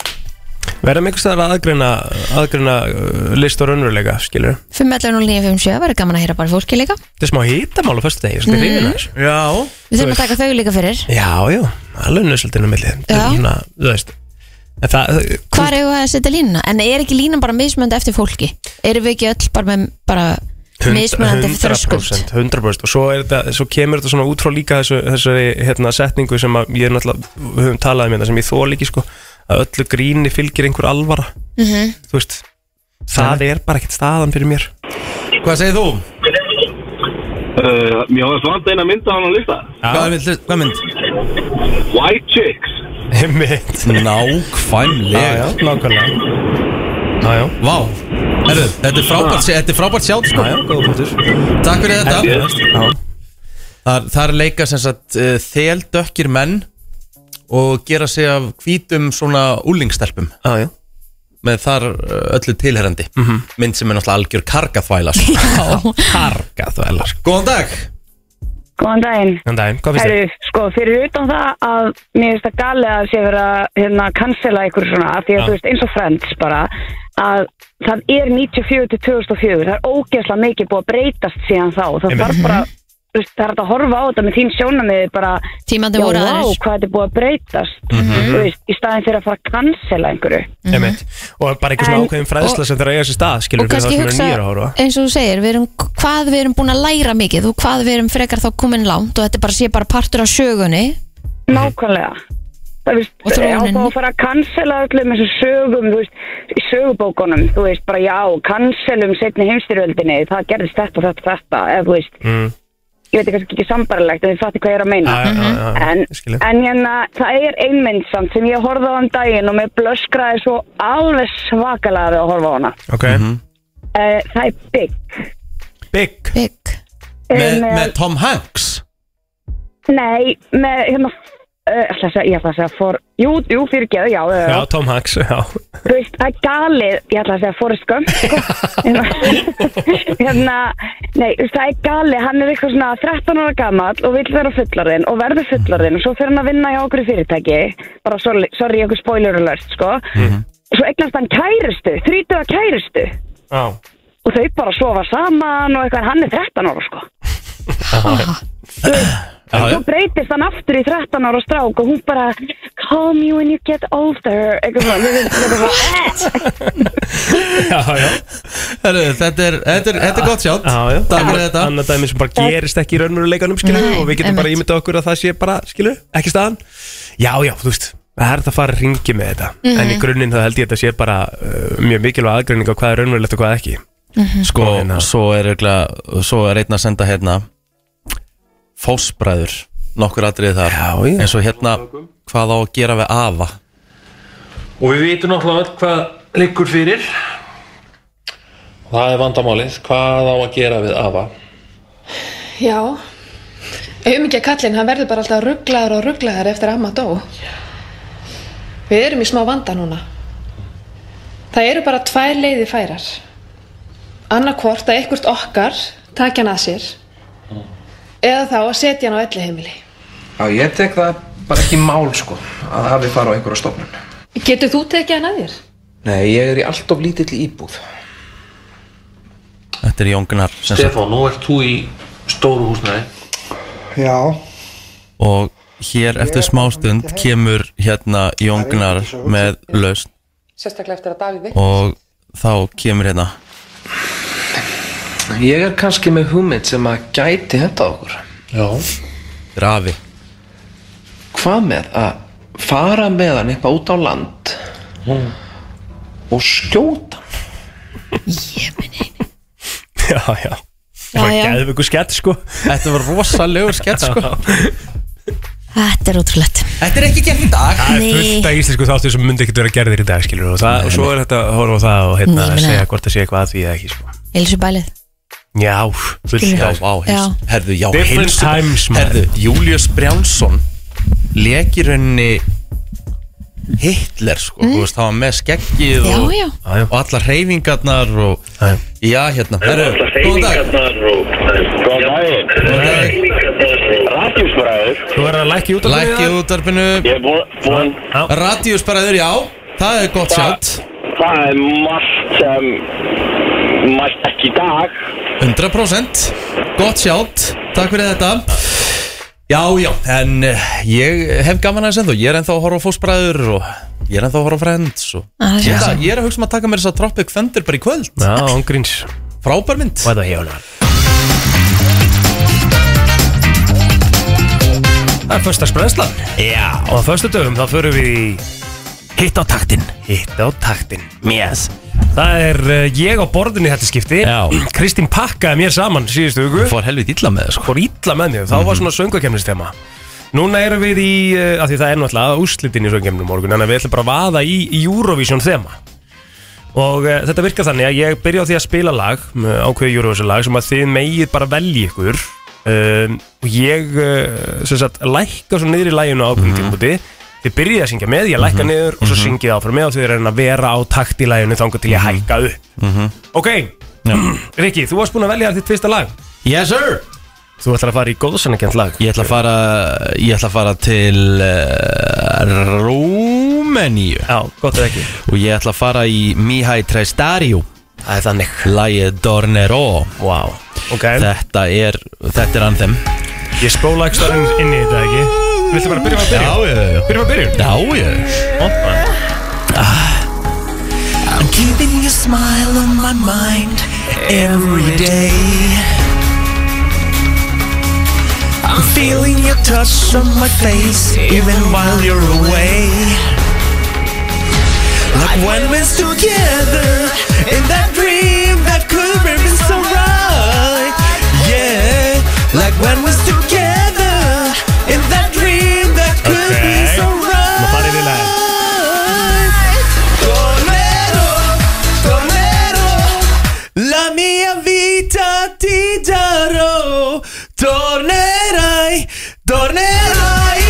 verðum einhvers staðar að aðgreina, aðgreina uh, [LAUGHS] list og raunveruleika skilur 5.11.09.57 verður gaman að heyra bara fólki líka þetta er smá hitamál á fyrstu degi þetta er Mm. hrifin aðeins já, Við þurfum að taka þau líka fyrir já, já, alveg nöðsöldinu milli Já. þú veist En það, eh, Hvar eigum við að setja línuna? En er ekki línan bara mismunandi eftir fólki? Erum við ekki öll bara með bara mismunandi eftir þröskuld? 100%, 100% og svo, er þetta, svo kemur þetta svona út frá líka þessu, þessari hérna, setningu sem að ég er náttúrulega við höfum talað um hérna sem ég þól ekki sko að öllu gríni fylgir einhver alvara Mhm. -hmm. þú veist það er bara ekkert staðan fyrir mér Hvað segir þú? Uh, mér hafði svand eina mynda hann á lista Hvað, vill- hvað mynd? White Chicks mitt Nákvæmlega nákvæmlega Já, já, Vá Herru, þetta er frábært, þetta er frábært sjátt sko já, já, góða punktur Takk fyrir þetta Já, Þar, þar leika sem sagt uh, þeldökkir menn og gera sig af hvítum svona úlingstelpum já, já Mhm. með þar eh, öllu tilherandi -hmm. mynd sem er náttúrulega algjör kargaþvæla sko. Kargaþvælar Góðan dag Góðan daginn. En daginn, hvað finnst þér? Herru, sko, fyrir utan það að mér finnst það galið að sé verið að hérna, cancela ykkur svona, af því að Já. þú veist, eins og Friends bara, að það er 94 til 2004, það er ógeðslega mikið búið að breytast síðan þá, það Einmitt. þarf bara, þú veist, það er hægt að horfa á þetta með þín sjónamiði bara, Tímandi voru já, vá, aðeins hvað þetta er búið að breytast, Mhm. þú Mm. veist, í staðin fyrir að fara að cancela einhverju. Mhm. Einmitt. og bara eitthvað En- svona ákveðin fræðsla sem þeir eiga sér stað skilur og fyrir það kannski sem er hugsa, nýra ára eins og þú segir við erum, hvað við erum búin að læra mikið og hvað við erum frekar þá komin langt og þetta bara sé bara partur af sögunni Nákvæmlega Það veist, Og á þróunin. þá að fara að cancela öllum þessum sögum, þú veist, í sögubókunum, þú veist, bara já, cancelum setni heimstyrjöldinni, það gerðist þetta og þetta og þetta, eða þú veist, Mm. ég veit kannski ekki sambarlegt, en þið fattir hvað ég er að meina. Mhm. En, en en hérna, það er einmynd samt sem ég horfði á hann daginn og mér blöskraði svo alveg svakalega við að horfa á hana. ok, Uh, það er bygg. big Big. með, með Tom Hanks Nei, með, hérna, uh, ætla að segja, ég ætla að segja, for, jú, jú, fyrirgeðu, já, já, já, já, Tom Hanks, já þú veist, það er galið ég ætla að segja Forrest Gump sko. Hérna- hérna, nei, þú veist, það er galið hann er eitthvað svona 13 ára gamall og vill vera fullarðinn og verður fullarðinn og svo fer hann að vinna hjá okkur fyrirtæki bara sorry, sorry okkur spoiler alert sko. Mhm. svo eignast hann kærustu 30 kærustu Já. og þau bara sofa saman og eitthvað en hann er 13 ára sko. Já, já. svo breytist hann aftur í 13 ára strák og hún bara call me when you get older eitthvað svona, Mér finnst þetta bara, eh. já, já, Herru, þetta, er, þetta, er, þetta er gott sjátt já, já. Takk fyrir þetta Annað dæmi sem bara gerist ekki í raunveruleikanum skilu Nei, og við getum bara einmitt. ímyndað okkur að það sé bara skilu, ekki staðan Já, já, þú veist, það er þetta að fara að ringi með þetta en Mhm. í grunninn þá held ég að þetta sé bara uh, mjög mikilvæg aðgreining á hvað er raunverulegt og hvað ekki Mhm. Sko, hérna. svo er, örugglega- svo er einn að senda hérna Fósbræður Nokkur atriði þar Já, já. Eins og hérna, hvað á að gera við afa Og við vitum náttúrulega öll hvað liggur fyrir. Það er vandamálið, hvað á að gera við afa? Já, ef mikið kallinn, hann verður bara alltaf rugglaður og rugglaður eftir að amma dó. Við erum í smá vanda núna. Það eru bara tvær leiði færar. Annarkvort að eitthvað okkar taki hann að sér eða þá að setja hann á elli heimili. Já, ég tek það bara ekki í mál sko, að hafi fara á einhverja stofnun. Getur þú tekið hann að þér? Nei, ég er í allt of lítill íbúð. Þetta er Jóngnar Stefán, nú ert þú í stóru húsnæði. Og hér eftir smástund kemur hérna Jóngnar með lausn Sérstaklega eftir að Davíð veit. Og þá kemur hérna Ég er kannski með hugmynd sem að gæti henda okkur. Já. Rafi Hvað með að fara með hann eitthvað út á land og skjóta hann? Já, já, það já. geðum ykkur skett sko Þetta var rosalegur skett sko þetta er ótrúlegt Þetta er ekki gert í dag Það Nei. er fullt af íslensku þáttu sem myndi ekkert vera gerðir í dag skilur og, það, og svo er þetta að horfa á það og hérna, Nei, ég meina- segja hvort það sé eitthvað að því eða ekki sko. Elisabælið Já, fullt Já, af vá, heils, Já. herðu, já, Different heilsu- times, maður. Herðu, Július Brjánsson Leki rauninni Hitler, sko Þú veist, það var með skeggið Mm. Já, og, já. Já, já. og allar hreyfingarnar og, Já, já. Já, hérna, herðu, góðan dag Góðan daginn Góðan dag. sko, Rækjusbræður Þú verður að lækja út af Lækki útarpinu Ég er búinn- búinn Radíusbæraður, já Það er gott sjátt Það er margt sem Mætt ekki í dag 100% Gott sjátt, takk fyrir þetta Já, já, en eh, ég hef gaman aðeins ennþá Ég er ennþá að horfa á fósbræður og Ég er ennþá að horfa á Friends og... Ah, ég, það er er svo. að, ég er að hugsa um að taka mér þess að Tropic Thunder bara í kvöld Já, ángríns Frábær mynd Hvað það hefur hann? Það er förstagsbrennslan Já Og á förstudöfum þá förum við í Hitt á taktin Hitt á taktin Yes Það er uh, ég á borðinu í þetta skipti Já [CLEARS THROAT] Kristín pakkaði mér saman síðustu hugu Fór helvit illa með það sko Fór illa með mér Þá var svona söngakemnistema Núna erum við í uh, af Því það er náttúrulega úrslitin í söngakemnum morgun Þannig að við ætlum bara að vaða í í Eurovision þema Og uh, þetta virkar þannig að ég byrja á því að spila lag uh, ákveðið Eurovision lag sem að þið megið bara velji ykkur um, og ég uh, sem sagt lækka svo niður í læginu á ákveðin mm þið byrjið að syngja með, ég lækka niður og svo syngið áfram með og þið er að vera á takt í læginu þangar til ég Mhm. hækka upp Ok, Rikki, þú varst búin að velja þitt fyrsta lag Yes sir Þú ætlar að fara í góðsannakent lag Ég ætla að fara, ég ætla að fara til uh, Rúmeníu Já, gott er ekki Og ég ætla að fara í Mihai Trestario Það er þannig Lægið Dornero wow. okay. Þetta er, þetta er anthem Ég spóla ekki starfinn inn í þetta ekki Viltu bara byrja að Já, byrja? já, já Byrjum að byrja? Já, já I'm keeping your smile on my mind every day. I'm feeling your touch on my face even while you're away. Like when we're together in that dream that could have been so right. Yeah, like when we're together in that dream that could be Okay. so right. Má fara yfir lagið. Tornero, tornero, la mia vita ti darò. Tornerai, tornerai.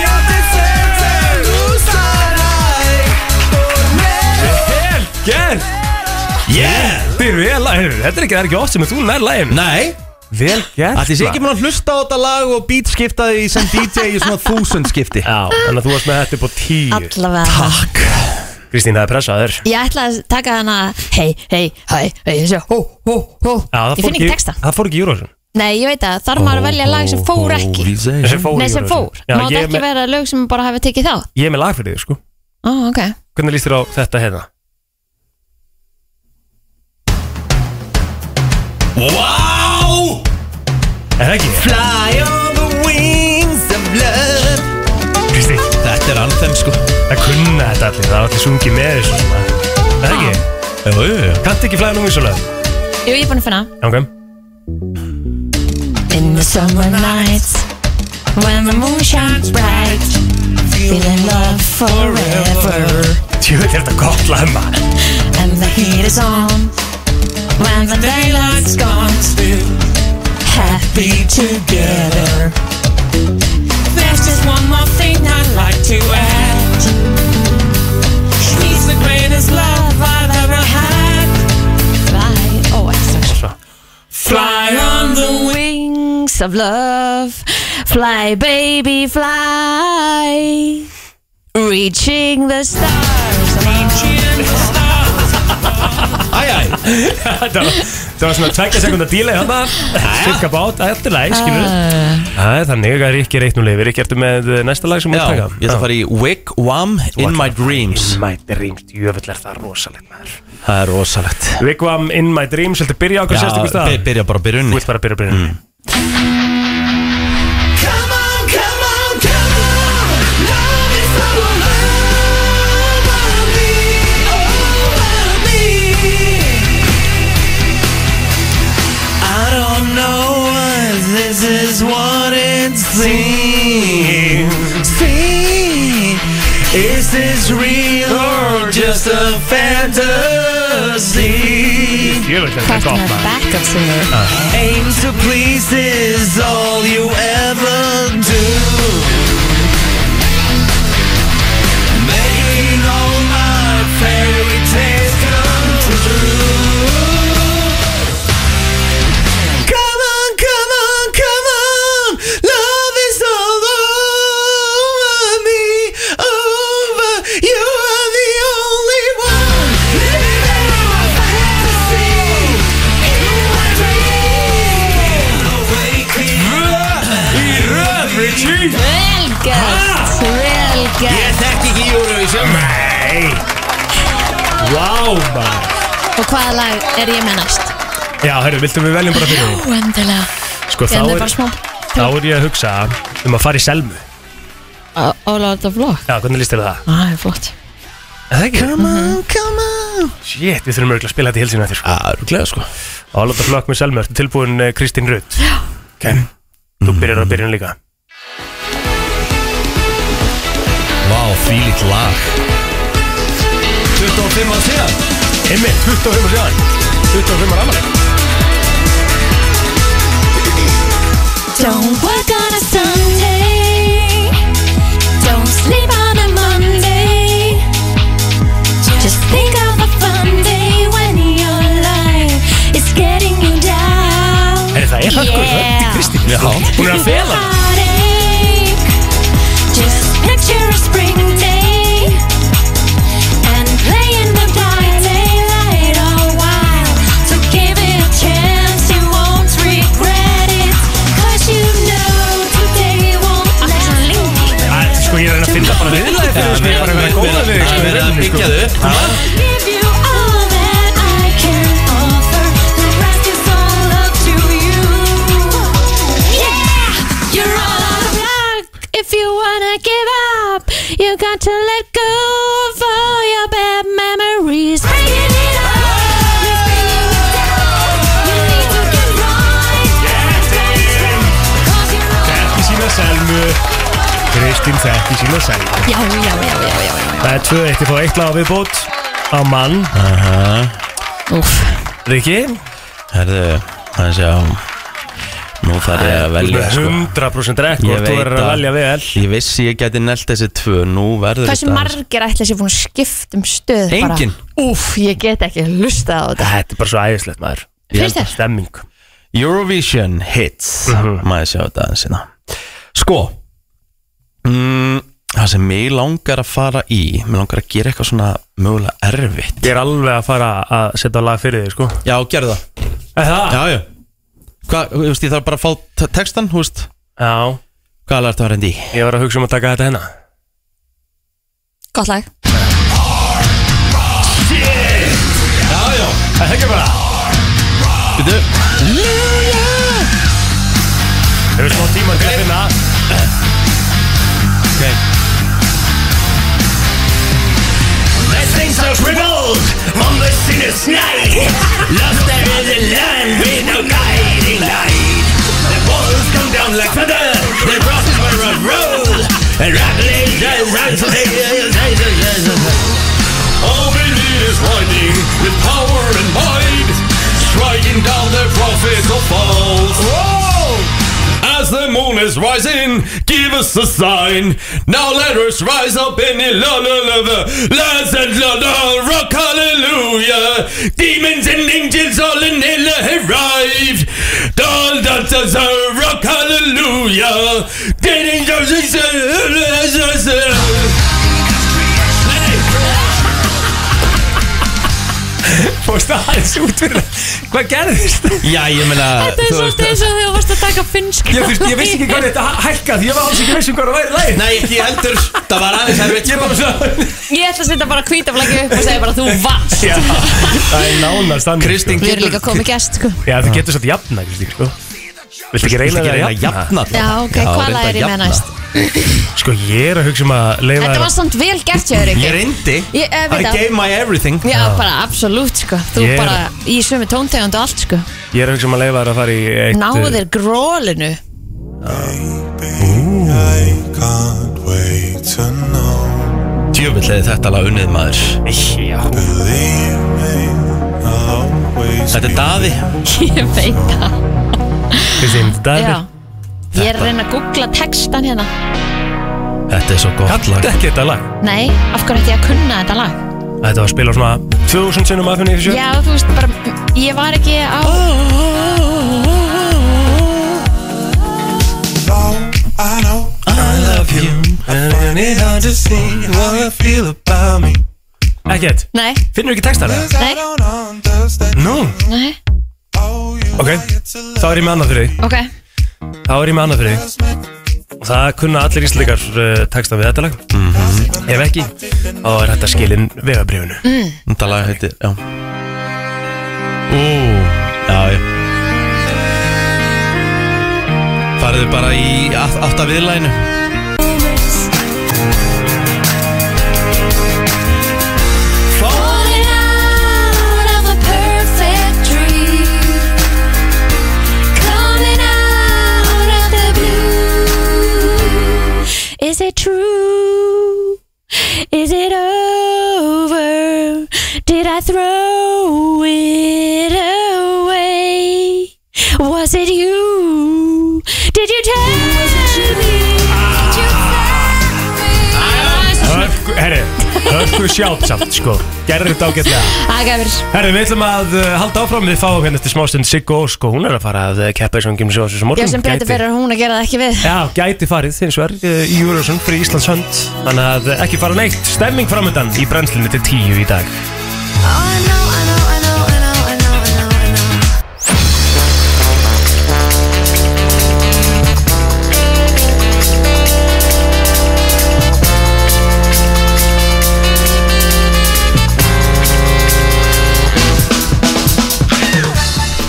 Io te sempre tu sarai. Tornero. Gert Yeah Þetta er vel, heyrðu, þetta er ekki, það er ekki oft sem þú nær læginu Nei Vel gert Ætli sé ekki mun að hlusta á þetta lag og beat skipta því sem DJ í svona þúsund skipti Já, þannig að þú varst með þetta upp á tíu Allavega Takk Kristín, það er pressað þér Ég ætla að taka hana Hei, hei, hei, hei þessi, hó, hó, hó. Ég finn ekki texta Það fór ekki í Eurovision Nei, ég veit að þarf maður að velja lag sem fór ekki Þessi fór Nei, í Eurovision. sem fór Já, Má þetta ég, er ekki með, vera lög sem bara hafi tekið þá ég er með lag fyrir þig, sko Ó, ok Hvernig líst þér á þetta hérna? Wow! Er það ekki? Oh, Fly on the wings of love. Kristín Þetta er anthem, sko Það kunna þetta allir, það var allir sungið með þessu svona Er það ekki? Jú, jú, jú Kannt ekki flæðin um vísulega? Jú, ég er búin að finna Ok In the summer nights, when the moon shines bright, feeling love forever. Tjóð, er þetta gott lag maður And the heat is on, when the daylight's gone, still happy together. There's just one more thing I'd like to add. He's the greatest love I've ever had. Fly, ó, ekki strax Fly on the wings of love Fly, baby, fly Reaching the stars Reaching the stars Æjæ Þetta var- þetta var svona tvekja sekunda díla í hana Cirka bát, þetta er læg, skilur Það er þannig að Ríkki reitt nú lifir Ríkki, ertu með eh, næsta lag sem við Já, taka? ég ætla að fara í Wig Wam In My Dreams In My Dreams, jöfell er það rosalegt maður Það er rosalegt Wigwam In My Dreams, heldur byrja á okkur sérstaklega stað by- byrja bara Mm. að byrja unni Þú vilt bara byrja að byrja unni Come on, come on, come on. Love is all over me, over me. I don't know if this is what it seems. Seems. Is this real or just a fantasy? Jöfell er Hvort þetta gott hann er maður Ah. backup singer Aims to please is all you ever do. Making all my fairy tales come true. Come on, come on, come on. Love is all over me, over. You are the only one. Living in my fantasy. Í röð, Ríkki Vel gert, vel gert Ég þekki ekki Eurovision sem Nei Vá maður Og hvaða lag er ég með næst? Já, herru, viltu við veljum bara fyrir því? Ú, endilega Sko, þá Ég endaði er- bara smá Þá er ég að hugsa um að fara í selmu Á- All out of luck Já, hvernig líst þér á það? Það er Ah, flott Er Það ekki? Come on, come on Shit, við þurfum örgulega að spila þetta í helsinu eftir sko. Já, örgulega sko Áláta flokk með selmu, ertu tilbúin eh, Kristín Rutt? Já Ok, þú byrjar að byrja líka Vá, þvílíkt lag 25 ára síðan Einmitt, 25 ára síðan 25 ára afmæli Don't work on a Sunday. Don't sleep on a Monday. Just think of a fun day when your life is getting you down. Er það er hörkur, rödd í Kristín Já Hún er að fela Heartache. Just picture a spring day and play in the bright daylight a while. So give it a chance, you won't regret it. 'Cause you know today won't last. Æ, Sko, ég er að reyna að finna bara viðlaði fyrir þér, sko, Ég er bara að vera góða við þig, sko, í Það er að rauninni, sko. byggja þau upp Já. Give you all that I can offer. The rest is all up to you. Yeah, you're all out of luck. If you wanna give up You got to let go of all your bad memories Bringing it Þekki sína selmu Kristín þekki sína selmu Já, já, já, já, já, já. Það er 2-1, ég fá eitt lag á viðbót á mann Aha. Úf Riki Herðu, það sé á Nú þarf ég að velja með 100% rekord, sko. Ég sko. þú veit verður að velja vel Ég vissi ég geti nelt þessi tvö Nú verður Hversu margir ætla sér búin að skipta um stöð bara? Enginn. Úf, ég get ekki hlusta á þetta Þetta er bara svo æðislegt maður Ég Finnst held að þér? Stemming Mhm. Eurovision hits Maður sjá þetta aðeins hérna Sko mm, Það sem mig langar að fara í Mér langar að gera eitthvað svona mögulega erfitt Ég er alveg að fara að setja lag fyrir þig, sko Já, gerðu það Það? Já, já Hvað, þú veist, ég þarf bara að fá te- textan, þú veist Já Hvað er þetta að rendi í? Ég var að hugsa um að taka þetta hérna Gott lag Já, já Það hekja bara Býtu Hefur smá tíma til að finna Ok There's things are crippled on the sinner's night. Lost there in the land with no guiding light. The walls come down like thunder, the crosses were on roll. And rapidly they ran to the Open is winding with power and might, striking down the prophets of false. As the moon is rising, give us a sign. Now let us rise up in the la la la la. Let's and la la rock hallelujah. Demons and angels all in hell arrived. All dancers are rock hallelujah. Dating angels Fórst það aðeins út fyrir Hvað gerðist? Já, ég meina Þetta er svolítið eins og þegar þú varst að taka finnska Ég, þurfti, ég vissi ekki hvað þetta hækkað Ég var alls ekki vissum hvað það væri læg Nei, ekki heldur Það var aðeins erfitt sko. Ég bara svo Ég ætla að setja bara kvítaflæki upp og segja bara þú vannst Já, það er nánast þannig sko. Kristín Við erum líka komið gæst sko. Já, þú getur svolítið jafna, Kristín, sko Viltu ekki reyna Viltu það ekki að reyna að jafna jafna? Já, ok, Já, hvað reyndu lag að er ég með jafna. næst? [CLEARS THROAT] Sko, ég er að hugsa um að leifa Þetta var samt vel gert hjá þér Ég ekki reyndi Ég, eh, veit I það. gave my everything Já, bara absolutt sko Þú Ég er- bara í sömu tóntegund og allt sko Ég er að hugsa um að leifa þér að fara í eitt eh, Náðir grólinu Djöfull hefði þetta lag unnið maður Já Þetta er daði [LAUGHS] Ég veit það Kristín, þetta Já er Ég er að reyna að googla textan hérna Þetta er svo gott lag Þetta er ekki þetta lag Nei, af hverju ætti ég að kunna þetta lag? Þetta var að spila svona 2000 sinnum aðfinni í sjö Já, þú veist bara Ég var ekki á Oh, I know I love you And when it's hard to see What I feel about me Ekkert Nei Finnur ekki textar það? Nei, Nú nei, Ok, þá er ég með annað fyrir þig ok Þá er ég með annað fyrir þig Það kunna allir íslendingar uh, texta við þetta lag Ef ekki, þá er þetta skilin vegabrifinu Mm. Þetta lag heiti, já Ú, já, já Farðu bara í átt- átta viðlæginu Falling out of a perfect dream. Coming out of the blue. Is it true? Is it over? Did I throw it away? Was it you? Did you tell me? Did you Herri, hörku sjátt samt sko Gerðu þetta ágætlega Ægæfur Herri, við ætlum að uh, halda áfram Við fáum hérna eftir smástund Siggo Ósk og Hún er að fara að uh, keppa í svangum svo þessu morgun Já, sem betur Gæti- [LAUGHS] fyrir að hún að gera það ekki við Já, gæti farið hins vegar uh, í Eurovision fyrir Íslands hönd Þannig að uh, ekki fara neitt Stemming framöndan í brennslunni til tíu í dag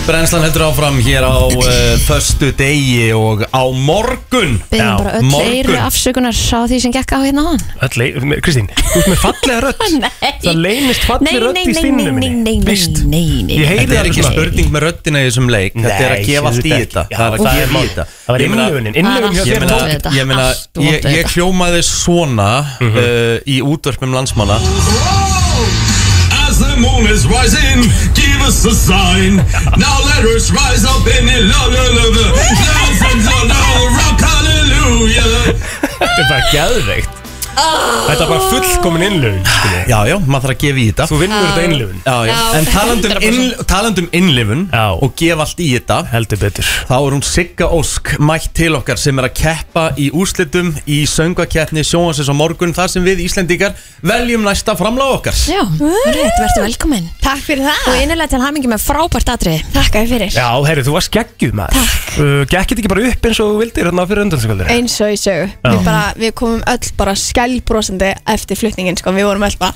Brennslan heldur áfram hér á uh, Föstu degi og á morgun Byrjum bara öll eiru afsökunar á því sem gekk á hérna á hann Öll, ei- Kristín, þú ert með fallega rödd [LAUGHS] Það leynist fallega rödd í stínu minni nei, nei, nei, nei, nei, Ég heyri það Þetta er er ekki svona- spurning með röddina í þessum leik Þetta er að Nei, gefa allt í auðvitað þetta ekki. Já, Það er það að gefa er í mál. þetta Það var Ég meina- innlifunin, innlifun hjá Ég þér meina- tók þetta. Ég meina, Allt vont ég- við ég þetta. hljómaði svona Mhm. uh, í útverfum landsmanna As the moon is rising, give us a sign. Now let us rise up in the love, love, love, love. Thousands of love, rock hallelujah. Þetta er bara geðveikt Þetta er bara fullkomin innlifun Já, já, maður þarf að gefa í þetta Þú vinnur Já. þetta innlifun. Já, já, Já, en talandum, inn, talandum innlifun já. og gefa allt í þetta Heldur betur Þá er hún Sigga Ósk mætt til okkar sem er að keppa í úrslitum í söngakeppni sjóhansins á morgun þar sem við Íslendingar veljum næsta framlag okkar Já, rétt, verður velkominn Takk fyrir það Og innilega til hamingi með frábært atrið Takk að fyrir Já, herri, þú varst geggjuð maður uh, Gekk þetta ekki bara upp eins og þú vildir hérna fyrir undansköldur Eins og í sögu Já. við, bara, við komum öll bara skælbrosandi eftir flutningin sko. Við vorum öll bara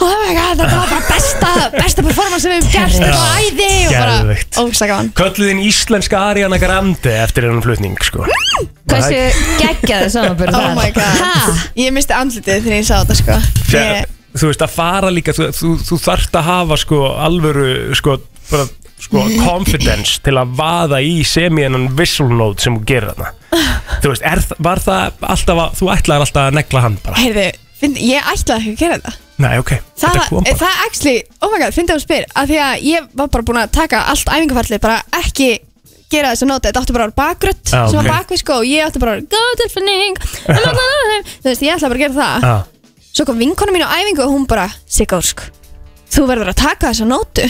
Oh my god, það var bara besta, besta performance sem við hefum gert Það var æði og bara Geðveikt. Oh ógsta gaman Kölluðin íslenska Ariana Grande eftir hennan flutning sko Hversu geggjaði samanburð Oh my god Ég misti andlitið þegar ég sá þetta sko. Þegar, þú veist að fara líka þú, þú, þú þarft að hafa sko alvöru sko, bara, [LAUGHS] sko confidence til að vaða í semienan whistle note sem þú gerir þarna þú veist, er, þa- var það alltaf að, þú ætlaðir alltaf að negla hann bara Heyrðu, finn, ég ætlaði ekki að gera þetta nei, ok, Það, þetta kom bara það actually, oh my god, fyndið hún spyr af því að ég var bara búin að taka allt æfingarfallið bara ekki gera þess að nota þetta átti bara að vera bakgrött Já, sem var ok. bakvið sko og ég átti bara að vera góð tilfinning þú veist, ég ætla bara að gera það Já. svo kom vinkona mín á æfingu og hún bara Sigursk, þú verður að taka þessa nótu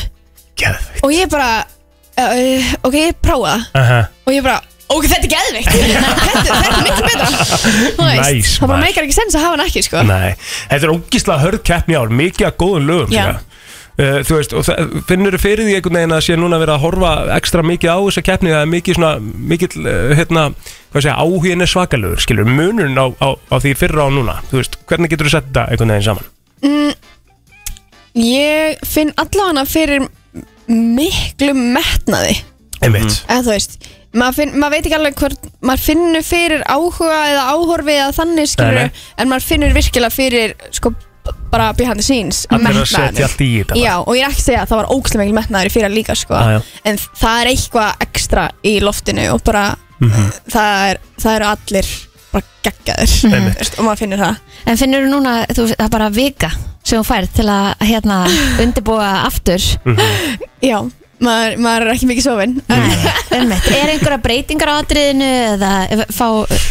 Geðveikt. og ég bara uh, ok, ég prófa það Aha. og ég bara, ok, þetta er [LAUGHS] geðvikt þetta, þetta er miklu betra [LAUGHS] [LAUGHS] Þú veist, Nice, það bara maður. meikar ekki sens að hafa hann ekki sko Nei, þetta er ógislega hörð keppni ár, mikið að góðum lögum Já. líka. Uh, þú veist, og finnur þú fyrir því einhvern veginn að sé núna verið að horfa ekstra mikið á þessa keppni það er mikið svona, mikið, uh, hérna, hvað segja, áhugin er svakalögur, skilur, munurinn á, á, á því fyrra og núna, þú veist, hvernig getur þú sett þetta einhvern veginn saman? Mm, ég finn allavega fyrir miklu metnaði Einmitt. eða þú veist maður, finn, maður veit ekki alveg hvort maður finnur fyrir áhuga eða áhorfi eða þannig skilur Nei, nei. en maður finnur virkilega fyrir sko b- bara behind the scenes Allir að metnaðinum. setja allt í þetta bara. já og ég er ekki að segja að það var ógæslega mikil metnaður í fyrra líka sko Ah, Já, já. en það er eitthvað ekstra í loftinu og bara Mhm. [LAUGHS] það, er, það eru allir bara geggjaður Einmitt. þú veist, og maður finnur það En finnur þú núna, þú, það er bara vika sem þú færð til að [LAUGHS] hérna undirbúa aftur Mhm. Já, maður, maður er ekki mikið sofinn [LAUGHS] Einmitt. Er einhverja breytingar á atriðinu eða fá Þa,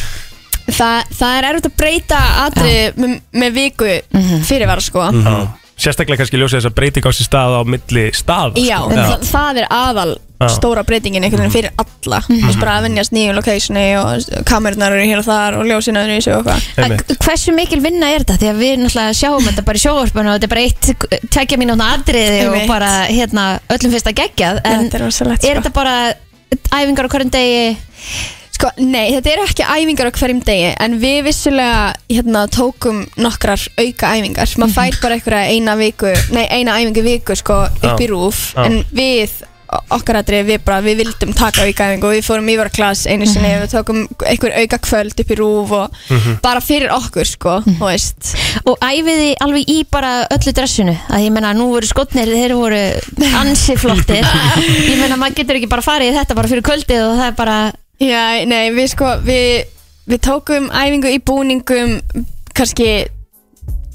Eh, það er erfitt að breyta atrið með, með viku Mhm. fyrirvara sko Mhm. Sérstaklega kannski ljósið þess að breyting á sér stað á milli staða. Já, sko. en það, það er aðal Já. stóra breytingin einhvern veginn fyrir alla mm -hmm. bara að vennjast nýjum lokationi og kamernar eru hér og þar og ljósinu öðru í sig og eitthvað Einmitt. Hversu mikil vinna er þetta? Því að við náttúrulega sjáum þetta bara í sjóvarpinu og þetta er bara eitt tvekja mínúna atriði Einmitt. og bara hérna öllum fyrst að geggjað en þetta er rosalegt, er þetta bara æfingar á hverjum degi? Sko, Sko, nei, þetta eru ekki æfingar á hverjum degi en við vissulega hérna, tókum nokkrar auka æfingar Mhm. maður fær bara einhverja eina viku nei, eina æfingu í viku sko, upp í Já. rúf Já. en við, o- okkar aðri við bara, við vildum taka auka æfingu og við fórum í varaklass einu sinni Mhm. við tókum einhver auka kvöld upp í rúf og Mhm. bara fyrir okkur sko, þú veist Og æfiði alveg í bara öllu dressinu að ég menna nú voru skotnir þeir voru [LAUGHS] ansi flottir ég menna maður getur ekki bara farið í þetta bara fyrir kvöldið og það er bara Já, nei, við sko, við, við tókum æfingu í búningum kannski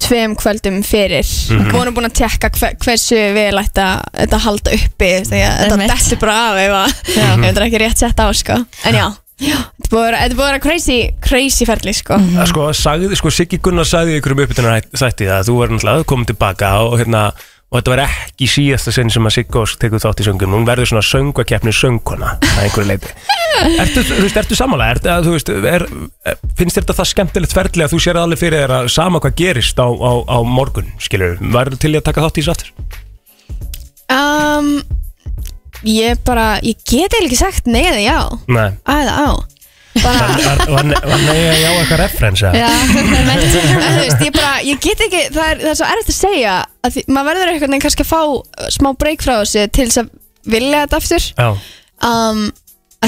tveim kvöldum fyrir Mhm. vorum búin að tekka hver, hversu vel ætta, þetta halda uppi því að þetta dettur bara af ef, að, ef þetta er ekki rétt sett á sko. en já, já, þetta búið að vera- þetta búið að vera crazy, crazy ferli sko. mm. sko, sagði, sko, Siggi Gunnar sagði í einhverjum uppbytunar þætti að þú var náttúrulega komin tilbaka og, hérna, og þetta var ekki síðasta sinn sem að Siggi Ósk tekur þátt í söngjum hún verður svona söngakeppni söngkona að einhverju [LAUGHS] leiti ertu, þú veist, ertu samanlega er, að, þú veist, er, er, finnst þér þetta það skemmtilegt ferli að þú sér alveg fyrir þér að sama hvað gerist á, á, á morgun skilur, verður til í að taka þátt í þessu aftur um, ég bara ég get eiginlega ekki sagt nei eða já Nei, aða á bara var, var, var, ne- var neyja já eitthvað referens eða? Já, en þú veist, ég bara, ég get ekki, það er, það er svo erfitt að segja að því, maður verður einhvern veginn kannski að fá uh, smá breyk frá þessu til þess að vilja þetta aftur Já. um,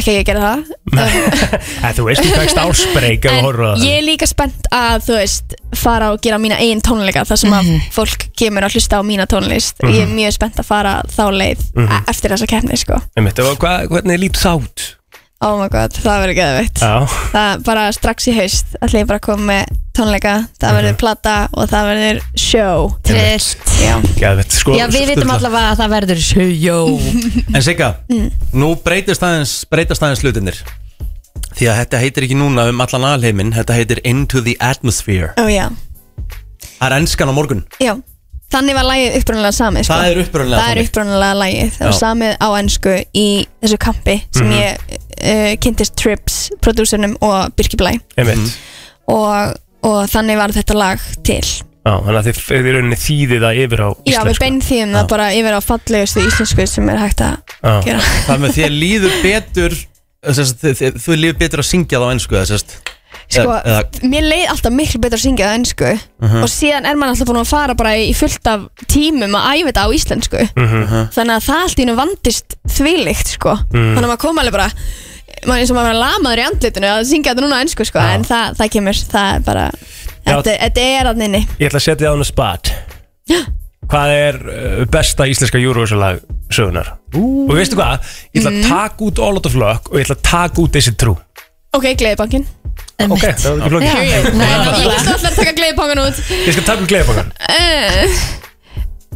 ekki að ég gera það En Eh, þú veist, þú fækst ársbreyk ef þú horfur á það ég er líka spennt að, þú veist, fara og gera mína eigin tónleika þar sem að fólk kemur að hlusta á mína tónlist ég er Mhm. mjög spennt að fara þá leið Mhm. e- eftir þessa keppni, sko Einmitt, og hvað- Hvernig lítur það út? oh my god, það verður geðveitt Já það bara strax í haust ætla ég bara að koma með tónleika Mhm. það verður plata og það verður show Trillt Já, Geðvett, sko Já, við vitum allavega að það verður [LAUGHS] sjó En Sigga, Mm. nú breytast aðeins, breytast aðeins hlutinir Því að þetta heitir ekki núna um allan alheiminn Þetta heitir Into the Atmosphere Ó, já. Það er enskan á morgun já Þannig var lagið upprunalega samið sko. Það er upprunalega Það er þannig. upprunalega lagið Það var Já. samið á ennsku í þessu kampi sem Mhm. ég uh, kynntist Trips, prodúsurnum og Birki Blæ Mhm. Einmitt og, og þannig var þetta lag til Já, þannig að þið, þið rauninni þýðið það yfir á Já, við íslensku beinþýðum Já. það bara yfir á fallegustu íslensku sem er hægt að Já. gera Þar með þér líður betur sest, þið, þið, Þú líður betur að syngja það á ensku eða sest, sko, eða, mér leið alltaf miklu betur að syngja það ennsku Mhm. og síðan er maður alltaf búin að fara bara í fullt af tímum að æfa þetta á íslensku Mhm. þannig að það allt í nú vandist þvílíkt sko, Mm. þannig að maður kom alveg bara maður eins og maður var lamaður í andlitinu að syngja þetta núna á ennsku sko, en það, það kemur það er bara, Já. þetta, þetta er að nynni Ég ætla að setja það á hana spot Hvað er uh, besta íslenska júruvísalag sögunar? Og veistu hvað? Ég Mm. ætla að taka út All Out of Luck og ég ætla að taka út Is It True ok, gleðibankin Ok, það er ekki flókið ég Ég ég get alltaf að taka gleðibankin út ég skal taka um út gleðibangan uh,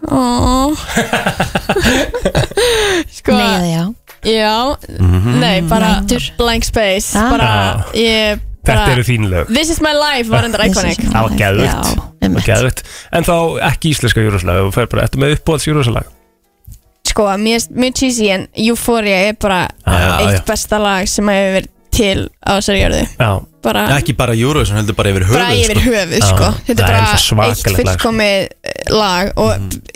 uh, oh. [LAUGHS] sko, Nei eða já Já, Mhm. Mhm. nei, bara blank space bara, ég, bara, Þetta eru þín lög This is my life var [LAUGHS] endur iconic Það var geðvögt Það var geðvögt En þá ekki íslenska júruvísalag og fer bara, ertu með uppbóðs júruvísalag? Sko, mér finnst mjög cheesy en Euphoria er bara Já, eitt Ah, já. besta lag sem hefur verið til á þessari jörðu Já bara, Ekki bara Eurovision, heldur bara yfir höfuð bara yfir höfuð Já. sko. þetta Það er svo bara eitt svakalegt lag, sko. fullkomið eh, lag og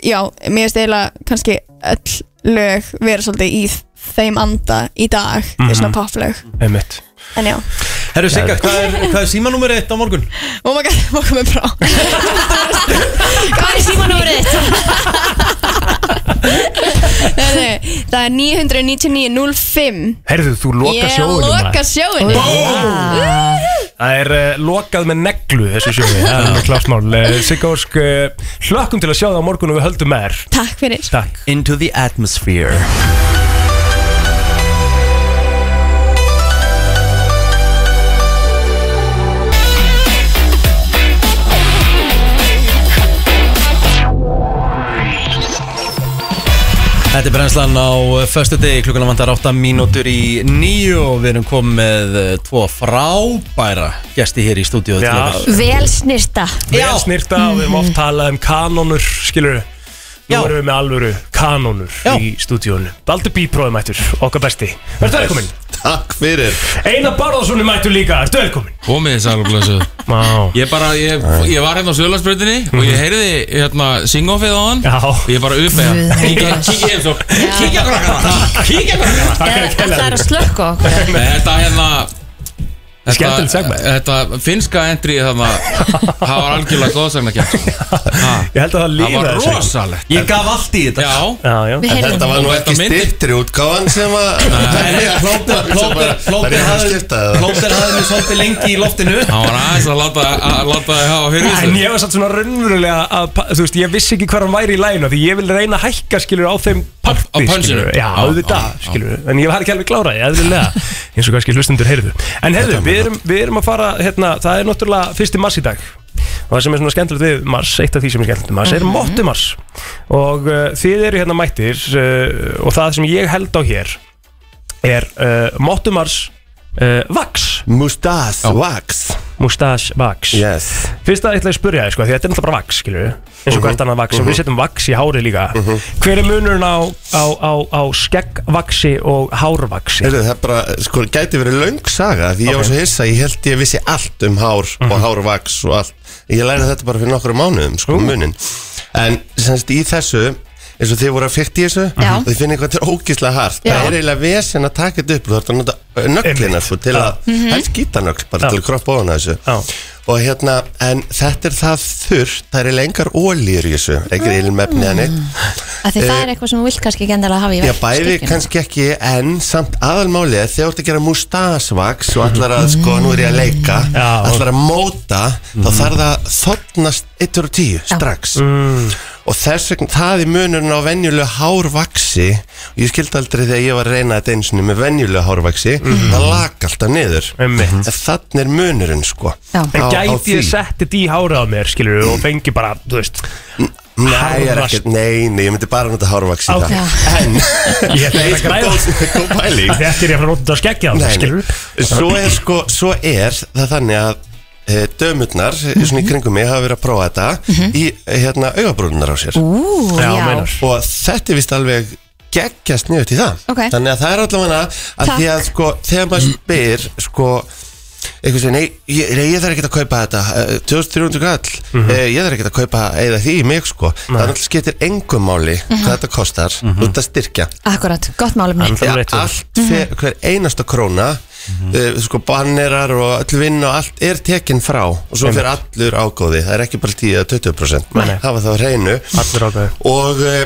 já, mér finnst eiginlega kannski öll lög vera svolítið í þeim anda í dag mm Mhm. -hmm. svona poplög, Einmitt en já Herru Sigga, hvað er, hvað er símanúmerið eitt á morgun? oh my god, má komið frá hvað er símanúmerið þitt? nei, nei, það er 999.05 Herðu, þú loka Ég sjóinu loka sjóinu Bóm Það er uh, lokað með neglu þessu [LAUGHS] sjóni Það er alveg klart mál uh, Sigga Ósk, uh, hlökkum til að sjá það á morgun og við höldum með þér Takk fyrir Takk Into the Atmosphere Þetta er brennslan á föstu degi klukkuna vantar 8 mínútur í nýju og við erum komið með eh, tvo frábæra gesti hér í stúdíu Vel snirta Vel snýrta og við erum oft talað um kanónur, skilur Nú Já. erum við með alvöru kanónur í stúdíónu Baldur Bípróðum ættur, okkar besti Verður það kominn? Takk fyrir Einar Barðarssoni mættu líka, ertu velkomin Komið þið sælublesu Ég bara, ég, ég var hérna á Sjölandsbreytinni Og Mhm. ég heyrði hérna sing-offið á hann Já Og ég bara uppið Kíkja kíkja eins og Kíkja krakkana Kíkja krakkana Eh, Það er að slökka okkur [LAUGHS] Nei, Þetta hérna Skemmtilegt segma Þetta finnska endri þarna Það var algjörlega sko. [LAUGHS] góðsagnakjæft Ég held að það Það var lífaði sig. rosalegt Ég gaf allt í þetta Já, já. En Þetta var nú ekki styrtri útgáðan sem að Plóter Plóter- Það Plóter er að hafði skipta Plóter hafði mig svolítið lengi í loftinu Það var aðeins að láta að láta þið hafa fyrir En ég var satt svona raunverulega að, pa- þú veist, ég vissi ekki hvað hann væri í læginu Því ég vil reyna að hækka, skilur, á þeim parti, á punchinu. skilurðu. Já, Á, auðvitað, á, á. skilur En ég var ekki alveg klárað, eðlilega Eins og kannski hlustundur heyrðu En heyrðu, við erum, við erum að fara, hérna, það er náttúrulega fyrsti mars í dag Og það sem er svona skemmtilegt við mars, eitt af því sem er skemmtilegt við mars, er Mhm. móttu mars Og uh, þið eru hérna mættir uh, Og það sem ég held á hér er uh, móttu mars uh, Vax Mustache Vax Mustache Vax Yes Fyrst að ætla ég að spurja þér sko, því þetta er náttúrulega bara vax, skilju eins og hvert annað vax, og mhm. við setjum vax í hárið líka Hver er munurinn á, á, á, á skeggvaxi og hárvaxi? Heyrðu, það bara, sko, gæti verið löng saga Því ég Ok. var svo hissa, ég held ég vissi allt um hár og hárvaks og allt Ég læna þetta bara fyrir nokkru mánuðum, sko, munin En semst í þessu, eins og þið voru að fyrta í þessu Já. Þið finna eitthvað til ógíslega hart Já. Það er eiginlega vesen að taka þetta upp Þú þarf að nota nöglina, sko, til að Mhm. Helst gítanögl, bara til að kroppa ofan að þessu Já. Og hérna, en þetta er það þurrt Það er eiginlega engar ólýr í þessu Ekkert ilmefni mm. eða neitt Af því það Eh, er eitthvað sem þú vilt kannski ekki endilega hafa í Já, verk- bæði skikkjunni. kannski ekki, en samt aðalmálið er þegar þú ert að gera mustasvaks og allar að, sko, nú er ég að leika Mm. allar að móta, þá þarf það að þotnast 1 og 10 strax Mm. og þess vegna, það er munurinn á venjulegu hárvaksi og ég skildi aldrei þegar ég var að reyna þetta eins og með venjulegu hárvaksi, það lak alltaf niður, Mm. Einmitt. en þannig er munurinn, sko En gæti ég sett þetta í hárið á mér, skilju og fengi bara, þú veist Nei, ég er ekkert, nei, nei, ég myndi bara nota hárvaks í Ok. það En Ég ætla ekki að græða. [LAUGHS] góð pæling Þetta er ég að fara að nota þetta skeggja á Nei, mér, nei. skilju Svo er sko, svo er það þannig að e, dömurnar mm Mhm. svona í kringum mig hafa verið að prófa þetta í eh, hérna augabrúnunar á sér Ú, Já, já. meinar. og þetta er vist alveg geggjast niður til það Ok. þannig að það er allavega að því að sko þegar maður spyr sko eitthvað sem, nei, ég, nei, ég þarf ekki að kaupa þetta eh, 2300 kall, Mhm. eh, ég þarf ekki að kaupa eða því í mig sko, það er alltaf skiptir engum máli Mhm. hvað þetta kostar út að styrkja Akkurat, gott málumni Já, allt fer, Mhm. hver einasta króna uh, sko bannerar og öll vinn og allt er tekin frá og svo fer allur ágóði, það er ekki bara 10 eða 20% Nei, nei. það var það á hreinu Allur ágóði og, eh,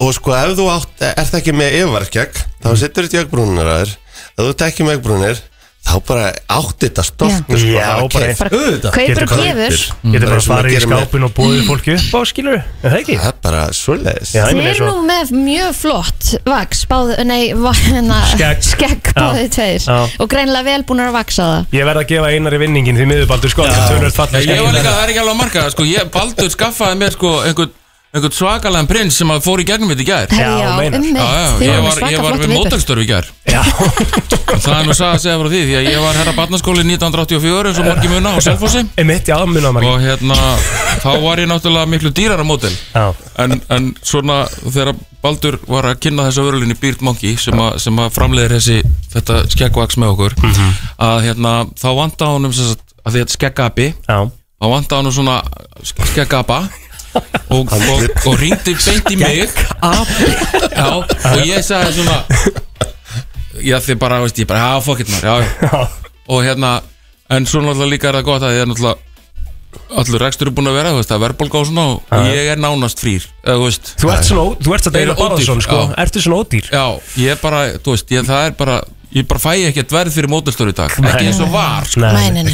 og sko ef þú átt, ert ekki með yfirvarkjag Mhm. þá setur þetta í ögbrúnir að þér ef þú ert ekki með ögbrúnir þá bara átti þetta stolt sko. Já. Já, bara- Bara Auðvitað. kaupir og gefur. Mm. Getur bara farið í skápinn og boðið fólki upp á skilur það ekki? Það er bara svoleiðis Já, ég Þið meina eru svo- nú með mjög flott vaks báð, nei, vakna, Skegg. skegg báði Já. tveir Já. og greinlega vel búin að vaksa það Ég verð að gefa einari vinningin því miður baldur sko þetta er töluvert fallegt Ég skeggið var líka, þarna. það er ekki alveg að marka það, sko, ég, Baldur skaffaði mér sko einhvern, einhvern svakalega prins sem að fór í gegnum þetta í gær Herri, já, Já, meinar. einmitt. Þið Ég voru með var, svaka ég var flotta með viðburð. mótelstörf í gær Það er nú sagði að segja frá því því að ég var herra barnaskóli 1984 eins og margi muna á Selfossi Einmitt, já, muna margi Og hérna, þá var ég náttúrulega miklu dýrara mótel en, en svona þegar Baldur var að kynna þessa vörlunni Beard Monkey sem, a, sem að framleiðir þessi þetta skeggvaks með okkur að hérna, þá vanda honum sem sagt, að því þetta er skeggapi þá vanda honum svona skeggapa og, og, og ringdi beint í mig já, og ég sagði svona já þið bara, veist, ég bara, já, fuck it maður já, já. og hérna, en svo náttúrulega líka er það gott að ég er náttúrulega allur rekstur er búin að vera, þú veist, að verðbólga og svona og Já. ég er nánast frýr, eða þú veist Þú ert svona ó- þú ert samt Ég er Einar Barðarson, ódýr, sko. já. Ertu svona ódýr? Já, ég er bara, þú veist, ég, það er bara ég bara fæ ekki að verð fyrir mótelstöru í dag ekki eins og var, sko En, en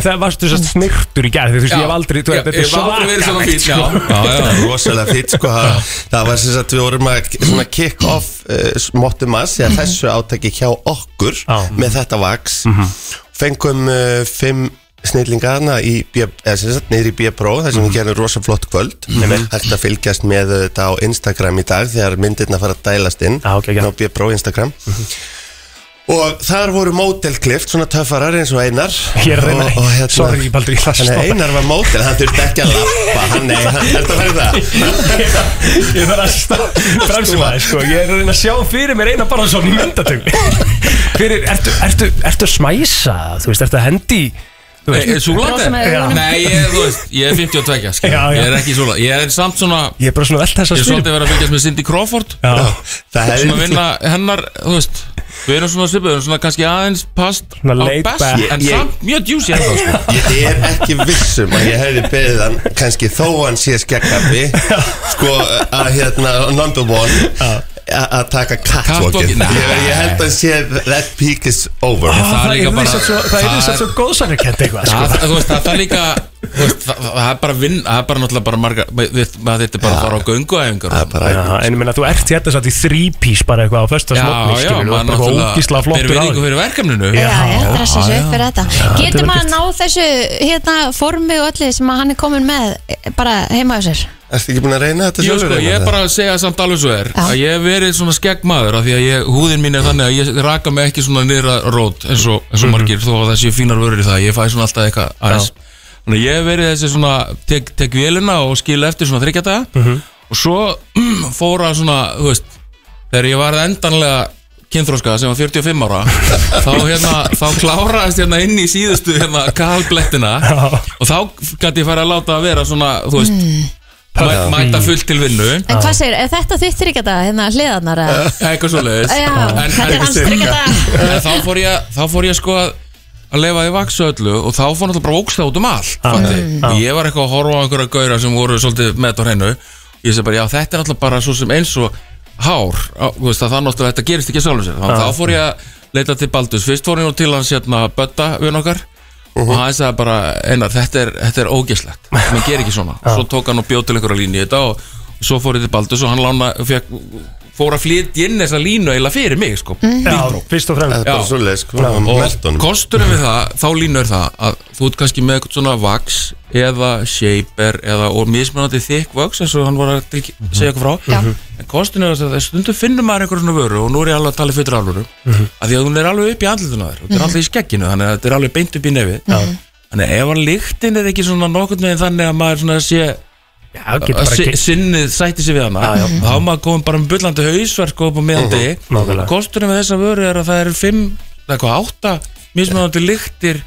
það varstu þess að snirtur í gerð Þú veist, ég hef aldrei þú veist, Þetta er svakalegt, sko. rosalega fýtt sko það, það var sem sagt við vorum að svona kick off uh, móttum að Mhm. segja þessu átaki hjá okkur með þetta vaks Mhm. fengum uh, fimm snillingarna í B, eða sem sagt niður í B-Pro þar Mhm. sem við gerum rosa flott kvöld hægt að fylgjast með uh, þetta á Mhm. Instagram í dag þegar myndirna fara að dælast inn á B-Pro Instagram Og þar voru mótelklift, svona töffarar eins og Einar Hér er Einar. Og- og hérna- Sorry, Baldur, ég ætla að Þannig að stoppa. Einar var mótel, hann þurfti ekki að lappa Hann, nei, hann, þetta var það Ég þarf að stað Bremsuma þér sko Ég er að reyna að sjá fyrir mér eina bara svona í myndatöku Fyrir, ertu, ertu, ertu að smæsa Þú veist, ertu að hendi í- þú veist- Er súlandi? Já. Eh, Nei, ég, er, þú veist, ég er 52 skilur. Já, já. Ég er ekki súlandi Ég er samt svona Ég er bara svona velt Ég þess að er svolítið verið að fylgjast með Cindy Crawford Já. Það Það er hefði- svona að vinna hennar, þú veist Við erum svona svipið, við erum svona kannski aðeins past Svona á laid best, back. en Ég- samt mjög djúsi ennþá sko. Ég er ekki vissum að ég hefði beðið hann kannski þó hann sé skekkabi sko að hérna number one a- að taka Catwalkið, catwalkið nei. ég, ég held að sé that peak is over Ah, það er líka bara- Það er þess að svo góðsakakent eitthvað Það, [LAUGHS] sko. þú veist, það, það er líka þú veist, það, það það er bara vinn, það er bara náttúrulega bara marga við, maður þetta er bara að fara á gönguæfingar Það er bara Já, en ég meina þú ert hérna satt í þrípís bara eitthvað á fösta smotni Já, já, skilur, maður bara ógísla náttúrulega flottur ber virðingu fyrir verkefninu Já, já, dressa sig upp fyrir þetta þetta Getur er maður að ná þessu hérna, formi og öllu sem að hann er komin með eh, bara heima á sér? Erstu ekki búin að reyna þetta Jú, sjálfur? sko, ég er bara að segja samt alveg svo er að ég hef verið svona skegg maður af því að ég, húðin mín er þannig að ég raka mig ekki svona niður að rót eins og, eins og Mhm. margir þó að það séu fínar vörur í það ég fæ svona alltaf eitthvað aðeins þannig að ég hef verið þessi svona tek, tek vélina og skil eftir svona þryggjata Mhm. og svo [CLEARS THROAT] fóra svona þú veist, þegar ég var endanlega kynþróska sem var 45 [LAUGHS] ára þá hérna, þá kláraðist hérna inn í síðustu hérna kalblettina og þá gæti ég fara að láta að vera svona, þú veist mæ, mæta fullt til vinnu En hvað segir, er þetta þitt þryggjata hérna hliðarnar? eða? Já, [LAUGHS] eitthvað svo leiðis Já, þetta er hans þryggjata þá fór ég þá fór ég sko að að leifa því vaksa öllu og þá fór náttúrulega bara ógsta út um allt Já, fattið. já. og ég var eitthvað að horfa á einhverja gauðra sem voru svolítið með þetta á hreinu ég segi bara já þetta er náttúrulega bara svo sem eins og hár, á, þú veist að það náttúrulega þetta gerist ekki sjálfum sér, Já. þannig að þá fór ég að leita til Baldus, fyrst fór ég nú til hans hérna Bötta við nokkar Uh-huh. og hann sagði bara einar þetta er, þetta er ógeslegt maður ger ekki [LAUGHS] svona, svo tók hann og bjóð til einhverja línu í þetta og svo fór ég til Baldus og hann lána, fekk, fór að flytja inn þessa línu eiginlega fyrir mig sko, Já, fyrst og fremst Það er bara svoleiðis, sko, Já, það var merkt og honum. kosturinn við það, þá línu er það að þú ert kannski með eitthvað svona vax eða shaper eða og mismunandi þykk vax eins og hann var að til- Mhm. segja eitthvað frá Já. en kosturinn er það að stundum finnur maður einhverjum svona vöru og nú er ég alveg að tala fyrir alvöru Mhm. að því að hún er alveg upp í andlutuna þér og þetta er alltaf í skegginu þannig að þetta er alveg beint upp í nefið þannig að ef hann líktinn er ekki svona nokkurn veginn þannig að maður svona sé Já, getur bara að si- ekki- sinnið sætti sig við hana Já, já. þá er maður komið bara um bullandi hausverk og upp á miðandi Mhm, nákvæmlega. kosturinn með þessa vöru er að það eru fimm eða eitthvað átta mismunandi lyktir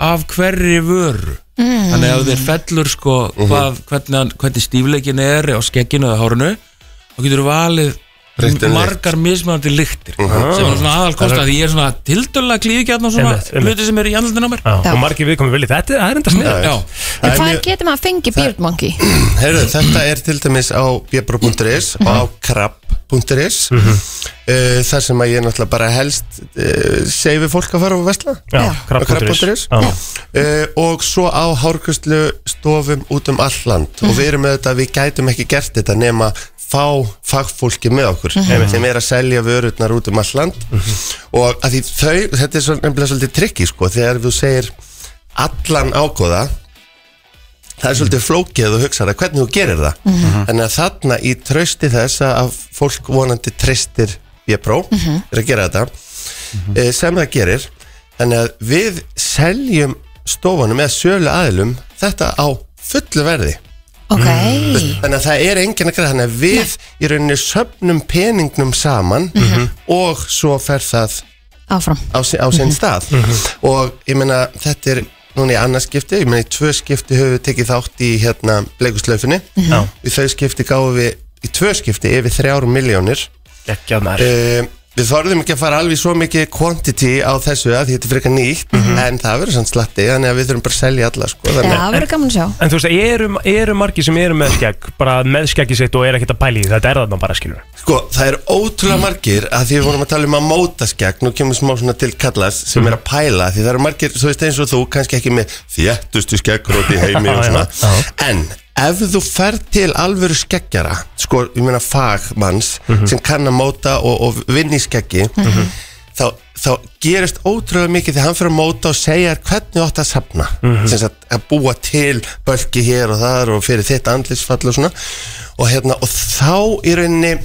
af hverri vöru Mm. þannig að ef þér fellur sko Mhm. hvað, hvernig, hann- hvernig stífleikin er á skegginu eða hárunu þá getur þú valið Breytta lykt. margar mismunandi lyktir sem er svona aðal Mhm. Það er- því ég er svona tildurlega klíðgjarn og svona Einmitt, einmitt. hluti sem eru í andlutin á mér Já, og margir viðkomið viljið Þetta er- það er enda Já. snið En hvað getur maður að fengi Beard Monkey? Heyrðu, þetta er til dæmis á bjöbra.is og Mhm. á krabb.is mm þar sem að ég náttúrulega bara helst uh, segi fólk að fara og vesla Já, krabb.is. Já. uh, og svo á hárkustlu stofum út um allt land og við erum með þetta, við gætum ekki gert þetta nema fá fagfólki með okkur Mhm. sem er að selja vörurnar út um allt land og að því þau, þetta er svo, nefnilega svolítið trikki sko, þegar þú segir allan ágóða það er svolítið flókið að þú hugsaðar að hvernig þú gerir það Mhm. þannig að þarna í trausti þess að- að fólk vonandi treystir B-Pro Mhm. er að gera þetta eh, sem það gerir þannig að við seljum stofanum eða sölu aðilum þetta á fullu verði Ok þannig að það er enginn að greiða þannig að við í rauninni söpnum peningnum saman og svo fer það Mhm. Áfram Mhm. á, si- á sinn stað og ég meina þetta er núna í annars skipti, ég meina í tvö skipti höfum við tekið þátt í hérna bleikuslaufinni Mhm. Já. í þau skipti gáðum við í tvö skipti yfir þrjár miljónir Gekkjað maður. Eh, Við þorðum ekki að fara alveg svo mikið quantity á þessu að því þetta er frekar nýtt en það verður sann slatti þannig að við þurfum bara að selja alla sko, Mhm. Já, þannig það verður gaman að sjá En þú veist, eru, eru margir sem eru með skegg bara með skeggi sitt og eru ekkert að pæli því þetta er þarna bara skilur Sko, það er ótrúlega margir að því við vorum að tala um að móta skegg nú kemur smá svona til kallas sem er að pæla því það eru margir, þú veist eins og þú, kannski ekki með þjættustu skeggróti í heimi og svona Já, já. en ef þú ferð til alvöru skeggjara sko, ég meina fagmanns Mhm. sem kann að móta og, og vinni í skeggi þá, þá gerist ótrúlega mikið því hann fyrir að móta og segja þér hvernig þú átt að safna Mhm. sem sagt að búa til bölki hér og þar og fyrir þitt andlisfall og svona og hérna og þá í rauninni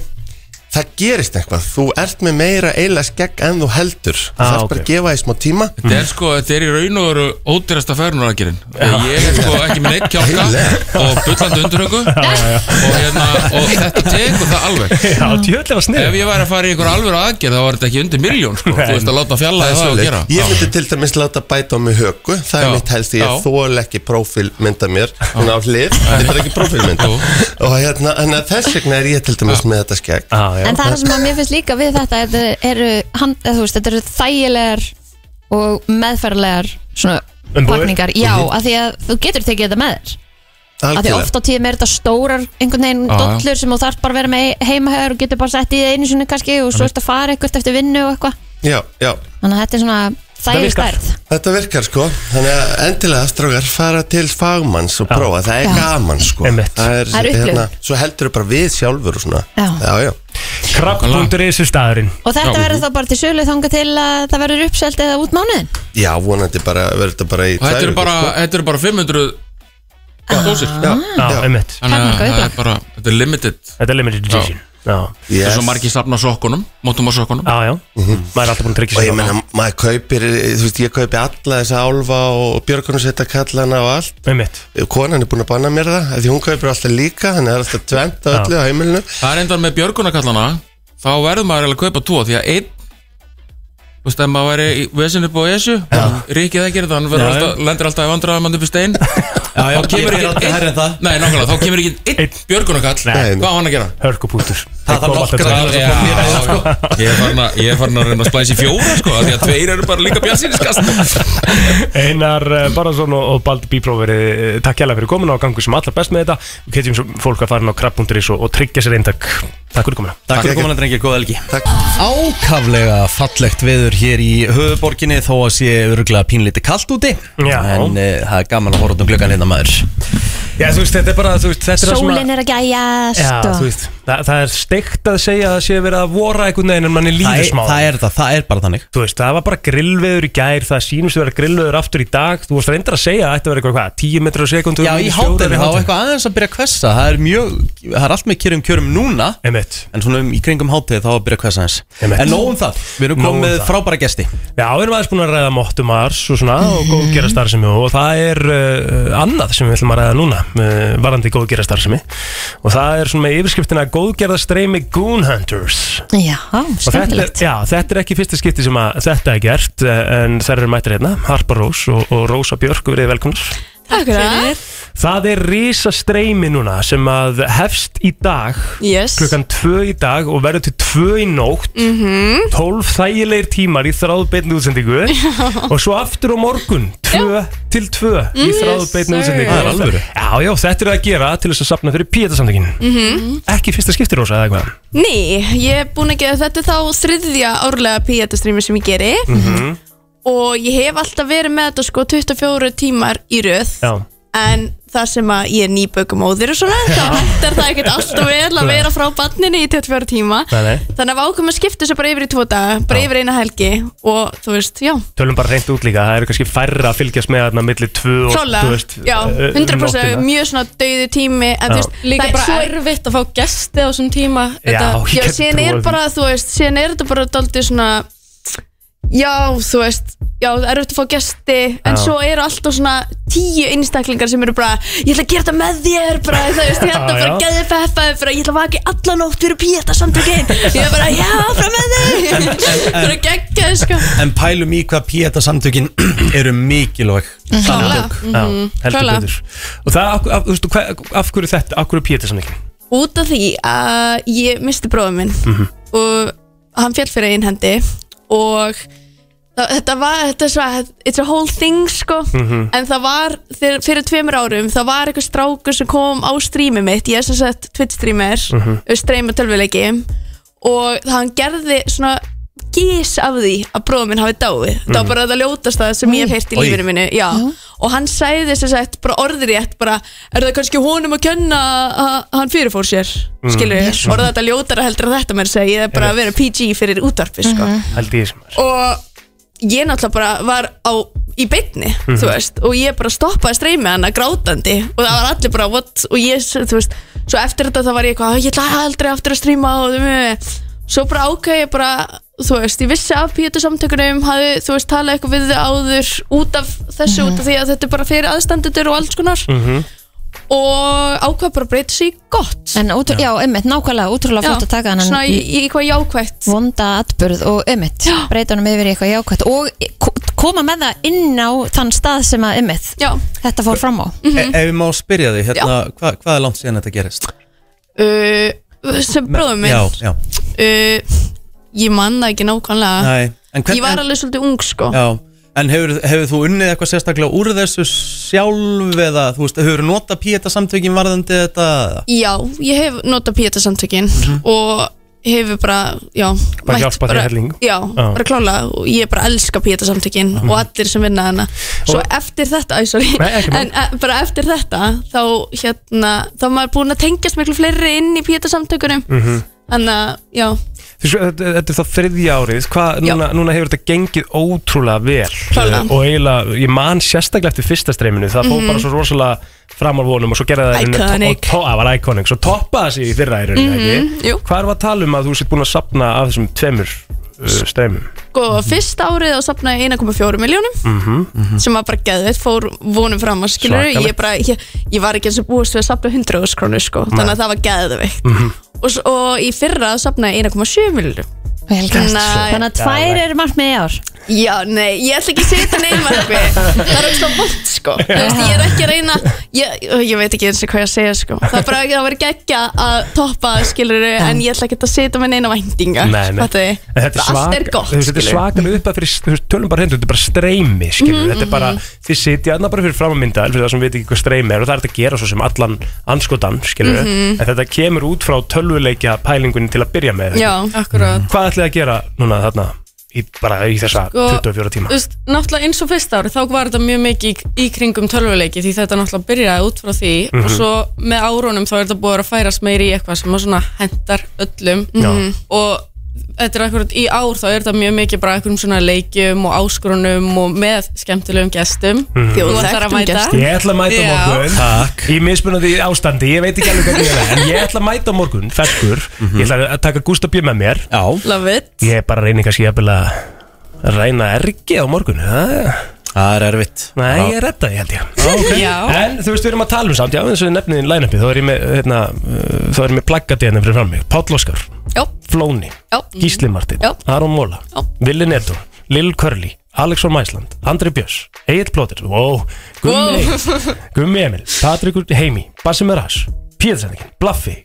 það gerist eitthvað þú ert með meira eiginlega skegg en þú heldur ah, Ah, það er bara að gefa því smá tíma Þetta er sko, þetta er í raun og veru ódýrasta færunaragerinn Ég er sko ekki með neitt [LAUGHS] kjálka og bullandi undurhaugu og, hérna, og þetta tekur það [LAUGHS] alveg Já, djöðlega snið Ef ég væri að fara í einhver alvöru aðgerð þá var þetta ekki undir miljón sko. Þú veist að láta fjalla það að svoleiðis. gera Ég myndi til dæmis láta bæta á mig höku Það er Já. mitt helst, ég Já. þól ekki prófílmynd af mér Hún á hlið, þetta er ekki prófílmynd Og hérna, en að þess vegna er ég til dæmis með þetta skegg En það er sem að mér finnst líka við þetta Þetta eru, hand, eða, þú veist, þetta eru þægilegar og meðferðlegar svona Umbúðir? pakningar Já, Mhm. af því að þú getur tekið þetta með þér Af því Algjörlega. oft á tíðum er þetta stórar einhvern veginn Já, já. dollur sem þú þarf bara að vera með heimahöður og getur bara sett í það einu sinni kannski og svo Einmitt. ertu að fara eitthvað eftir vinnu og eitthvað Já, já Þannig að þetta er svona þægileg stærð Þetta virkar sko, þannig að endilega strákar fara til fagmanns og prófa, það er Já. gaman sko Það er, hérna, Það er upplifun. svo heldur bara við sjálfur og svona Já. já, já. Krabb.is er staðurinn Og þetta verður þá bara til sölu þanga til að það verður uppselt eða út mánuðin Já, vonandi bara, verður þetta bara í Og þetta tvær eru vikur, bara, sko. þetta eru bara 500 dósir Já, já. einmitt Þannig að Takmarkað það upplag. er bara, þetta er limited Þetta er limited edition Já Það er Yes. Mhm. svo margir safna sokkunum, mótum á sokkunum Já, já Maður er alltaf búin að tryggja Og sér ég á- meina, maður kaupir, þú veist, ég kaupi alla þessa álfa og björgunarsetta kallana og allt Einmitt. Konan er búin að banna mér það, af því hún kaupir alltaf líka, þannig að það er alltaf tvent á öllu á heimilinu Það er endar með björgunarkallana Þá verður maður eiginlega að kaupa tvo Því að einn Þú veist, ef maður væri í vesinu búið Esju Ríkið það gerir það, hann verður Já, alltaf, lendir alltaf í vandræðum hann upp í stein já, Þá kemur ég er aldrei ekki hærri en það. Nei, nákvæmlega, þá kemur ekki einn björgunarkall Nei. Hvað á hann að gera? Hörkupútur Það þarf nokkra aðra sem kom mér að sko. Ég er farin að- ég er farin að reyna að splæsi fjóra sko, af Því að tveir eru bara líka bjarsinskast Einar eh, Bárðarsson og og Baldur Bípróferi Takk hérlega fyrir komuna og gangu sem allra best með þetta Við ketjum svo fólk að fara inn á krabb.is og, og tryggja sér eintak Takk fyrir komuna Takk fyrir komuna drengir, góða helgi Ákaflega fallegt veður hér í höfuborginni þó að sé örgulega pínlítið kalt úti Já. en uh, það er gaman að horfa út um glöggan hérna maður Já, þú veist, þetta er bara, þú veist, þetta er það sem að- Sólin er sko. að Já, gæjast þú og veist, það, það er steikt að segja að það sé verið að vora einhvern veginn en manni líður Það er- smá það er það, það er bara þannig Þú veist, það var bara grillveður í gær, það sýnumst að vera grillveður aftur í dag Þú varst reyndar að segja að þetta verið eitthvað, hvað, 10 metrar á sekundu Já, í hátinu, þá er eitthvað aðeins að byrja að kvessa Það er mjög, það er allt með kjörum kjörum núna Einmitt. En svona um, í kringum hátinu þá er að byrja að kvessa aðeins Einmitt. En nóg um það, við erum Nóg um komið það. frábæra [LAUGHS] gesti Já, við erum aðeins búin að ræða móttumars og svona og góðgerastarðsemi og það er uh, annað sem við ætlum að ræða núna uh, varandi góðgerastarðsemi og það er svona með yfirskriftina góðgerðastreimi Goonhunters Já, Og þetta er, skemmtilegt já, þetta er ekki fyrsta skipti sem að þetta er gert eh, en þær eru mættir hérna, Harpa Rós og, og Rósa Björk, verið velkomnar Takk fyrir Það er risastreimi núna sem að hefst í dag Yes. klukkan 2 í dag og verður til 2 í nótt mm Mhm. 12 þægilegir tímar í þráðbeitni útsendingu [LAUGHS] Mhm. og svo aftur á morgun 2 til 2 í Mm, þráðbeitni yes, sir. útsendingu Það er alvöru. Já, já, þetta er að gera til þess að sapna fyrir píetasamtökin Ekki fyrsta skipti rosa eða eitthvað Nei, Mhm. ég er búin að gera þetta er þá þriðja árlega píatastrími sem ég geri Mhm. og ég hef alltaf verið með þetta sko 24 tímar í röð Já en það sem að ég er nýbökumóðir og svona, þá vantar það ekkert alltaf vel að vera frá barninni í 24 tíma Nei, nei. þannig að við ákveðum að skipta þessu bara yfir í tvo daga, bara yfir eina helgi og þú veist, já Tölum bara reynd út líka, það eru kannski færra að fylgjast með þarna milli 2 og þú Klálega, veist, já, eh, 100% nóttina. mjög svona dauði tími en þú Já. veist, það er svo bara erfitt að fá gesti á þessum tíma Já, Þetta- ég get síðan er trúað bara, þú veist, síðan er þetta bara daldið svona já, þú veist, já, það er auðvitað að fá gesti en Já. svo eru alltaf svona tíu einstaklingar sem eru bara ég ætla að gera þetta með þér, bara, þú veist, ég ætla Já, bara já. að geða þér peppaði, bara, ég ætla að vaki alla nótt fyrir píeta samtökin, ég er bara, já, frá með En- þig en- en- bara geggja, sko En pælum í hvað píeta samtökin [CLEARS THROAT] eru mikilvæg Mhm. samtök. Klálega. Mhm. Já, heldur Klálega. betur Og það, af, af, þú veist, hvað, af hverju þetta, af hverju píetasamtökin? út af því að ég misti bróðum minn Mhm. og hann fjall fyrir einn hendi og það, þetta var þetta er svo, it's a whole thing sko Mhm. en það var þegar- fyrir tveimur árum það var eitthvað strákur sem kom á strími mitt ég er sem sagt Twitch streamer Mhm. streyma tölvuleiki og hann gerði svona gís af því að bróðum minn hafi dáið það var Mhm. bara það ljótast það sem ég hef heyrt í Oj. lífinu mínu mínu, já. Og hann sagði þess að sagt bara orðrétt bara, er það kannski honum að kenna að hann fyrirfór sér, Mm. skilur við? Jesús. Orða þetta ljótara heldur að þetta mér segi, ég er bara að vera PG fyrir útvarpi, sko. Mhm. Held ég sem Og ég náttúrulega bara var á, í bytni, Mhm. þú veist, og ég bara stoppaði streymið hana grátandi og það var allir bara, what, og ég, þú veist, svo eftir þetta þá var ég eitthvað, ég ætla aldrei aftur að streyma og þú veist, svo bara ákveð ég bara þú veist, ég vissi af Pétur samtökunum hafði, þú veist, talað eitthvað við þið áður út af þessu, út Mhm. af því að þetta er bara fyrir aðstandendur og alls konar Mhm. og ákveð bara að breyta sig í gott En út, já. einmitt, nákvæmlega, útrúlega flott að taka hann svona í, í eitthvað jákvætt vonda atbyrð og einmitt breyta honum yfir í eitthvað jákvætt og ko- koma með það inn á þann stað sem að einmitt já. Mm, þetta fór fram á Mhm. e Ef við má spyrja því, hérna, hva, hvað er langt síðan þetta gerist? uh, sem bróðum minn Já, já, uh, ég man það ekki nákvæmlega Nei, en hvern- Ah. ég var alveg svolítið ung sko já En hefur, hefur þú unnið eitthvað sérstaklega úr þessu sjálf eða, þú veist, hefur nota píeta samtökin varðandi þetta? eða? Já, ég hef notað Píeta samtökin Mhm. og hefur bara, já Bara mætt hjálpað þér helling. Já, Já. bara klála og ég bara elska Píeta samtökin Mhm. og allir sem vinna hana Svo eftir þetta, æ, sorry Nei, ekki mál. En e, bara eftir þetta, þá hérna, þá er maður búin að tengjast miklu fleiri inn í Píeta samtökunum Mm. Mhm. Þannig að, já, Þú veist, Þetta þetta er þá þriðja árið Hva, núna, núna hefur þetta gengið ótrúlega vel Klálega. Eh, Og eiginlega, ég man sérstaklega eftir fyrsta streyminu Það fór Mhm. bara svo rosalega fram á vonum Og svo gerði það í rauninni- Iconic. og to- Það var iconic, svo toppaði sig í fyrra í rauninni Mhm, ekki? Hvað erum við að tala um að þú sétt búin að sapna Af þessum tveimur uh, streymum sko, fyrsta árið þá safnaði ég 1,4 miljónum mm -hmm. sem var bara geðveitt, fór vonum fram að skilur Svakalegt. ég, bara, ég, ég var ekki eins og búist við að safna 100 skrónu sko, þannig að það var geðveitt Mhm. Mhm. og, s- og í fyrra safnaði ég 1,7 miljónum Vel gert. Þannig að tvær eru markmið í ár Já, nei, ég ætla ekki að setja neymarfi Það er ógst á bótt, sko Þú veist, Ég er ekki að reyna ég, ég veit ekki eins og hvað ég að segja, sko Það er bara ekki að vera geggja að toppa, skilur En ég ætla ekki að setja með neina væntinga Nei, nei. Fattu þið? En Þetta er Allt svak, er gott, þú veist, þetta er skilurðu. svakal upp að fyrir, þú veist, tölum bara hendur, þetta er bara streymi, skilur, Mhm, þetta er bara, þið sitja þarna bara fyrir framamynda, fyrir það sem veit ekki hvað streymi er og það er þetta að gera svo sem allan anskotan, skilur, Mhm. en þetta kemur út frá tölvuleikja pælingunni til að byrja með. Já, akkurat Hvað ætlið þið að gera núna þarna, í, bara í þessa Sko, 24 tíma? Þú veist, náttúrulega eins og fyrst ári þá var þetta mjög mikið í, í kringum tölvuleiki því þetta náttúrulega byrjaði út frá því Mhm. og svo með árunum þá er þetta búið að vera að færast meiri í eitthvað sem að svona hendar öllum Mhm. Já. og þetta er akkurat í ár þá er þetta mjög mikið bara einhverjum svona leikjum og áskrunum og með skemmtilegum gestum Mhm. Þú ætlar að mæta. Ég ætla að mæta á Já. morgun Í mismunandi ástandi, ég veit ekki alveg hvað ég er En ég ætla að mæta á morgun, ferskur Ég ætla að taka Gustaf B. með mér Já. Love it Ég er bara að reyna kannski jafnvel að reyna ergi á morgun Það er erfitt Nei, Já. ég er redda, ég held ég [LAUGHS] okay. Já. En þú veist, við erum að tala um samt Já, eins og nefniðin line-upi Þá er ég með, hérna, uh, þá er ég með plaggati hérna fyrir fram mig Páll Óskar Já. Flóni Já. Gísli Martin Já. Aron Móla Já. Willi Neto Lil Curly Alex von Mæsland Andri Björs Egil Plóter Ó, Gummi [LAUGHS] Wow. Gummi Emil Patrikur Heimi Bassi Meras Píðsendingin Blaffi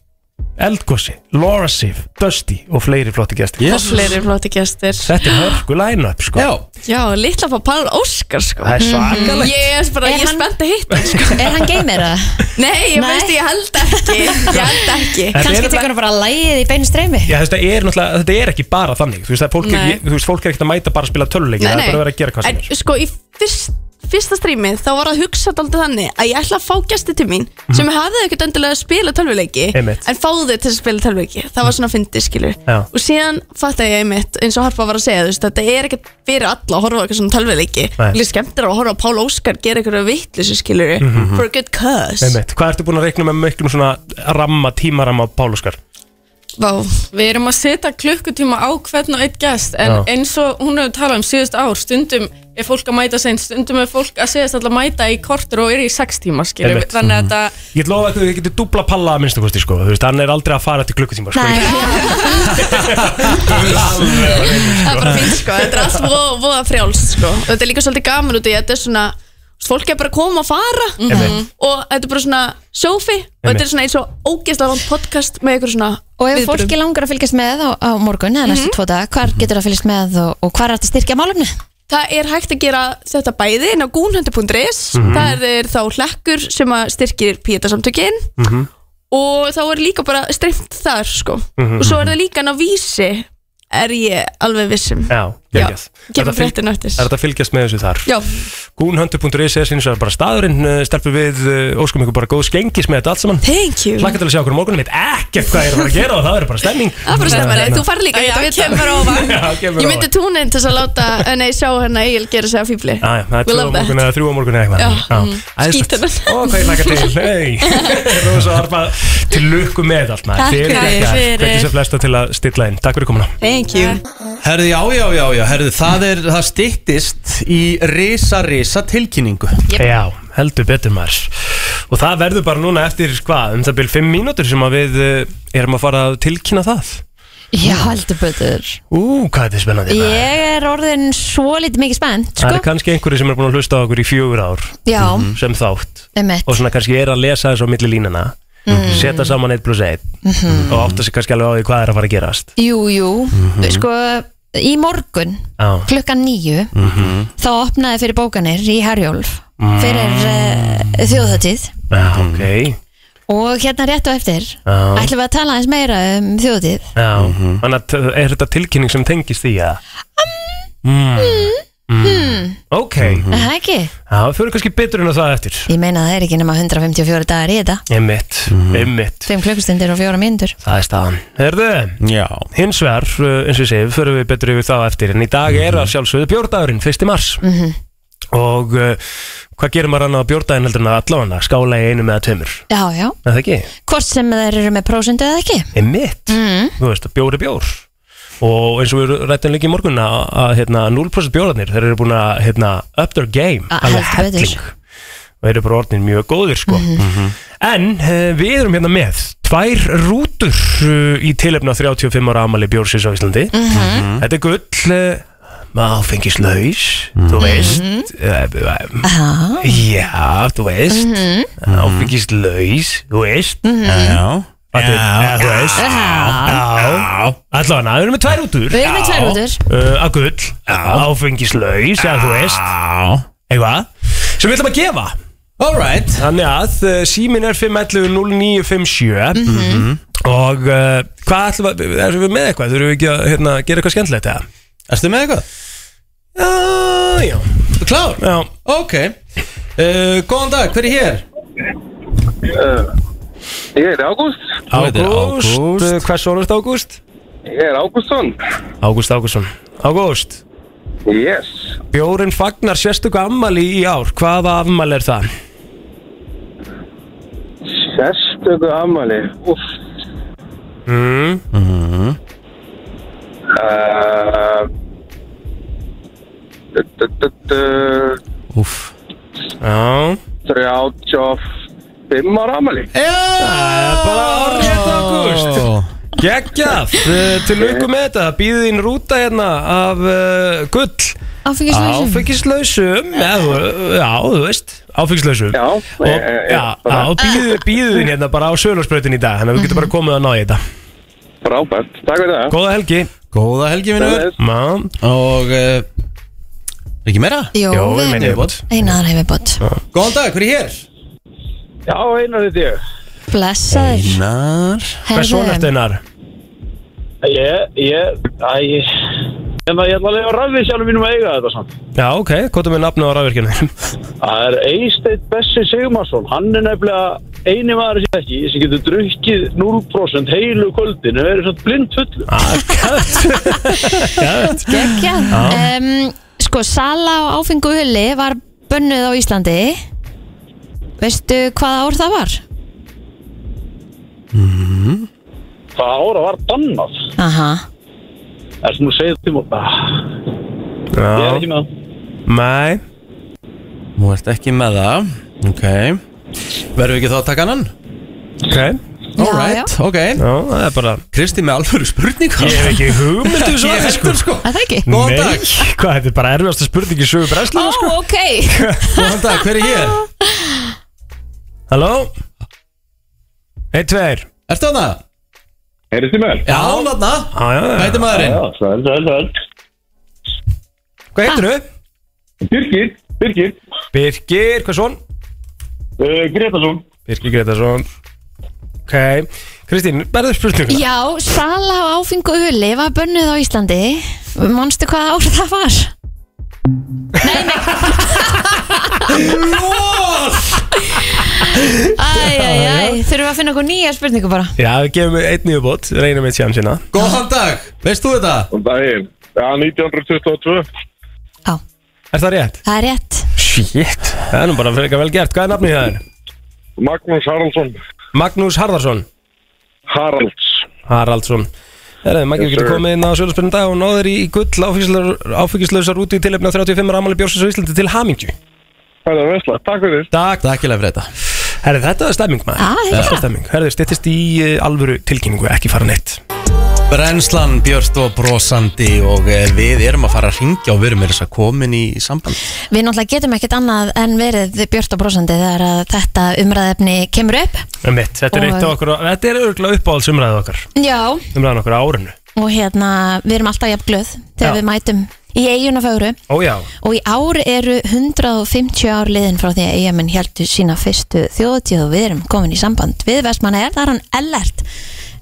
Eldgossi Laura Sif Dusty og fleiri flotti gestir Og fleiri flotti gestir Þetta er hörgu line-up sko Já Já, litla fá Pál Óskar sko Það er svakalegt. Ég er bara, ég er spennt að hitta hann, sko. Er hann gamer eða? Nei, ég Nei. veist, ég held ekki Ég [LAUGHS] held ekki Þetta er Kannski nefnilega- tekur hann bara lægið í beinu streymi Já, þetta er náttúrulega, þetta er ekki bara þannig Þú veist, það er fólk, Nei. ég, þú veist, fólk er ekkert að mæta bara að spila töluleiki Það er bara að vera að gera hvað sem en, sko, í fyrst, fyrsta strími þá var að hugsa alltaf þannig að ég ætla að fá gæsti til mín Mhm. sem hafði ekkert endilega að spila tölvuleiki Einmitt. en fáði til að spila tölvuleiki það var svona fyndið skilur Já. og síðan fattaði ég einmitt eins og Harpa var að segja þú veist, þetta er ekkert fyrir alla að horfa á eitthvað svona tölvuleiki Nei. líka skemmtir að horfa á Pál Óskar gera eitthvað vittlis skilur Mhm. for a good er cause Einmitt. Hvað ertu búin að reikna með miklum svona ramma, tímaramma á Páluskar? Vá. Við erum að setja klukkutíma á hvern og eitt gest en Já. eins og hún hefur talað um síðust ár stundum er fólk að mæta seint stundum er fólk að segjast alltaf að mæta í kortur og er í sex tíma skilur Einmitt. Mhm. þannig að þetta Ég lofa að þið getur dubla palla að minnstu kosti sko Þú veist, hann er aldrei að fara til klukkutíma sko. [LAUGHS] það er bara fínt sko, þetta er allt voða, voða frjálst sko og þetta er líka svolítið gaman út í að þetta er svona fólk er bara að koma og fara Einmitt. og þetta er bara svona sjófi og þetta er svona eins og ógeðslega langt podcast með ykkur svona Og ef fólki langar að fylgjast með á, á morgun eða Mhm. næstu tvo dag, hvar getur það að fylgjast með og, og hvar er þetta styrkja málumni? Það er hægt að gera þetta bæði inn á gúnhundu.is Mhm. það er þá hlekkur sem að styrkir píetasamtökin og þá er líka bara streymt þar sko Mhm. og svo er það líka ná vísi er ég alveg um. vissum Já Geggjað. Já, gefum Er þetta fylg- fréttina eftir. Er þetta að fylgjast með þessu þar? Já. Gúnhöndu.is er síðan bara staðurinn eh, Stelpum við, eh, óskum ykkur bara góð skengis með þetta allt saman Thank you Laka til að sjá okkur á morgunum, veit ekkert hvað ég er að fara að gera og það er bara stemming Það er bara stemmari, Þannig að- þú fari líka Já, ekkert að vita. kemur á [LAUGHS] óvart. Já, kemur Ég á myndi túnin til þess að láta, eh, nei, sjá hérna Egil gera sig að fíbli Já, já, það er We tvö á love that. morgunni eða þrjú á morgunni eða Já, eitthvað Já. mm. Æðislegt. Ó, hvað ég laka [LAUGHS] til, hei [LAUGHS] Rósa Arma, til lukku með allt maður. Takk Þið eruð fyrir. geggjað. Hvetjum sem flesta til að stilla inn Takk fyrir komuna Thank you Herði, já, já, já, já, herði, það er, það styttist í risa, risa tilkynningu Já, heldur betur maður Og það verður bara núna eftir hvað, um það byrjum 5 mínútur sem að við eh, erum að fara að tilkynna það Já, heldur betur Ú, hvað þetta er spennandi maður. Ég er orðin svo litið mikið spennt Það sko. er kannski einhverju sem er búin að hlusta á okkur í fjögur ár Já. Mhm. sem þátt Einmitt. og svona kannski er að lesa þessu á milli línana Mhm. setja saman 1 pluss 1 Mhm. og átta sig kannski alveg á því hvað er að fara að gerast Jú, jú Mhm. Sko, í morgun Já. klukkan nýju Mhm. þá opnaði fyrir bókanir í Herjólf Mm. fyrir uh, þjóðatíð Já, ok og hérna rétt og eftir Já. ætlum við að tala eins meira um þjóðatíð Já, þannig að t- er þetta tilkynning sem tengist því að mm. Um, hmm. Ok, Er Mhm. Það ekki? já, við fyrir kannski betur en að það eftir Ég meina það er ekki nema 154 dagar í þetta Einmitt, einmitt 5 klukkustundir og 4 mínútur Það er staðan Herðu, Já. hins vegar, uh, eins og ég segi, förum við betur yfir það á eftir En í dag er að sjálfsögðu bjórdagurinn, 1. mars Mhm. Og uh, hvað gerir maður annað á bjórdaginn heldur en að allavega skála í einu með tveimur Já, já Er það ekki? Hvort sem þeir eru með prósundu eða ekki Einmitt, mm. þú veist, bjór er bjór Og eins og við rættum líka í morgun að, að hérna, 0% bjórarnir, þeir eru búin að hérna, up their game Að alveg Ah, heldur betur. Mhm. helling. Og eru bara orðin mjög góðir sko En uh, við erum hérna með tvær rútur uh, í tilefna 35 ára amali bjórsins á Íslandi Mhm. Þetta er gull uh, áfengislaus, Mhm. þú veist uh, uh, Já, þú veist Mhm. áfengislaus, þú veist Mhm. Já. Þetta Já. er- eða þú veist. Já. Já Allavega, við erum með tvær rútur Við erum með tvær rútur. uh, Að gull, áfengislaus, eða þú veist Eitthvað Sem við ætlum að gefa Alright Þannig að uh, símin er 511-0957 Mhm. Og uh, hvað ætlum að, erum við með eitthvað? Þurfum við ekki að hérna, gera eitthvað skemmtilegt eða? Erstu með eitthvað? Já, já Klár? Já Ok uh, Góðan dag, hver er hér? Uh, ég heiti Ágúst Ágúst, uh, hvers orðust Ágúst? Ég er Ágústsson Ágúst Ágústsson Ágúst Yes Bjórin fagnar sérstöku ammali í ár Hvaða ammali er það? Sérstöku ammali Úff Mm. Mm-hmm. Mm. uh, du- du- du- du- Úff Já 35 ára ammali Já Bara orðið Ágúst Geggjað, uh, til auku með þetta Býðið þín rúta hérna af uh, gull Áfengislausum. Áfengislausum, já, þú- já, þú veist Áfengislausum Já, og, ég- ég- já, já og býðið býðið þín hérna bara á sölursprautin í dag Þannig að við getum bara komið að ná í þetta Frábært, takk fyrir það Góða helgi Góða helgi, vinnur Má Og uh, Ekki meira? Jó, við erum Einaðar hefur bótt Góðan dag, hver er hér? Já, einar þetta ég Blessaður Einar Hvers Herðu. svona eftir einar? Ég, ég, æ ég- En það ég ætla að lega rafið sjálfum mínum að eiga þetta samt Já, ok, hvað er með nafnu á rafvirkjunum [LAUGHS] þínum? Það er Eysteinn Bessi Sigmarsson Hann er nefnilega eini maður sem ég ekki sem getur drukkið 0% heilu kvöldin en verið svona blind fullu Ah, [LAUGHS] Gekkja Já. um, Sko, sala á áfengu hulli var bönnuð á Íslandi Veistu hvaða ár það var? Það ára var bannað Aha Það sem þú segir tíma ah, Já. Ég er ekki með Nei Nú ert ekki með það Ok Verðum við ekki þá að taka annan? Ok Alright, ok Já, það er bara Kristi með alvöru spurning Ég hef ekki hugmynd um Ég svarið, heldur sko Það ekki Nei, hvað, þetta er bara erfiðasta spurning í sögu brennslu Ó, [LAUGHS] ok Góðan dag, hver er hér? Halló? Eitt, tveir Ertu hana? Heyrðu þið mér? Já, hana Hvað heitir maðurinn? Já, svöld, svöld, svöld Hvað heitir þau? Birgir, Birgir Birgir, hvað svon? Eh, Uh, Gretarsson Birgir Gretarsson Ok Kristín, berður spurningu Já, sala á áfengu hulli var bönnuð á Íslandi Manstu hvaða ár það var? Lós! Æ, þurfum við að finna okkur nýja spurningu bara Já, við gefum einn nýjubót, reynum eitt sjansina Góðan dag, veist þú þetta? Góðan daginn, já, 1922 Já Er það rétt? Það er rétt Shit, það er nú bara frekar vel gert, hvað er nafnið það er? Magnús Haraldsson Magnús Harðarsson Haralds Haraldsson Herðu, Maggi, Yes, við getum sir. komið inn á Sjölusbyrnum dag og náður í, í gull áfengislausar- áfengislausar úti í tilefni á 35 ámali Bjórsins á Íslandi til hamingju. Það er vesla, takk fyrir. Takk. Takkilega fyrir þetta. Herðu, þetta var stemming maður. Ah, já. Þetta var stemming. Herðu, styttist í uh, alvöru tilkynningu, ekki fara neitt. Brennslan Björst og brosandi og eh, við erum að fara að ringja og við erum með þess að komin í samband Við náttúrulega getum ekkert annað en verið björt og brosandi þegar að þetta umræðefni kemur upp Um mitt, þetta er Og- eitt af okkur, þetta er örgulega uppáhaldsumræðið okkar. Já, Umræðan okkar á árinu. og hérna, við erum alltaf jafn glöð þegar Já. við mætum í eiguna fögru Ó já. og í ár eru 150 ár liðin frá því að eigamenn heldur sína fyrstu þjóðutíð og við erum komin í samband við vestmanna er, það er hann Ellert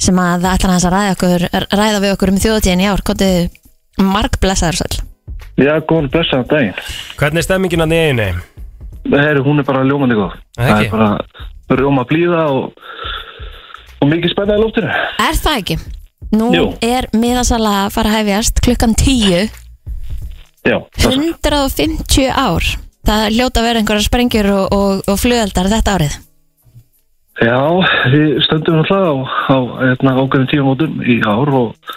sem að ætlar hans að ræða, okkur, ræða við okkur um þjóðutíðin í ár, kontu marg blessaður sæl Já, góðan blessaðan daginn. Hvernig er stemmingin að neginu? Herri, hún er bara ljómandi góð. Það er bara rjóma blíða og, og mikið spennaði lóftinu. Er það ekki? Nú Jú. er miðasala að fara að hefjast klukkan 10 Já. 150 ár Það hljóta að vera einhverjar sprengjur og, og, og flugaldar þetta árið Já, við stöndum alltaf á, á hérna, ákveðin tíumótum í ár og,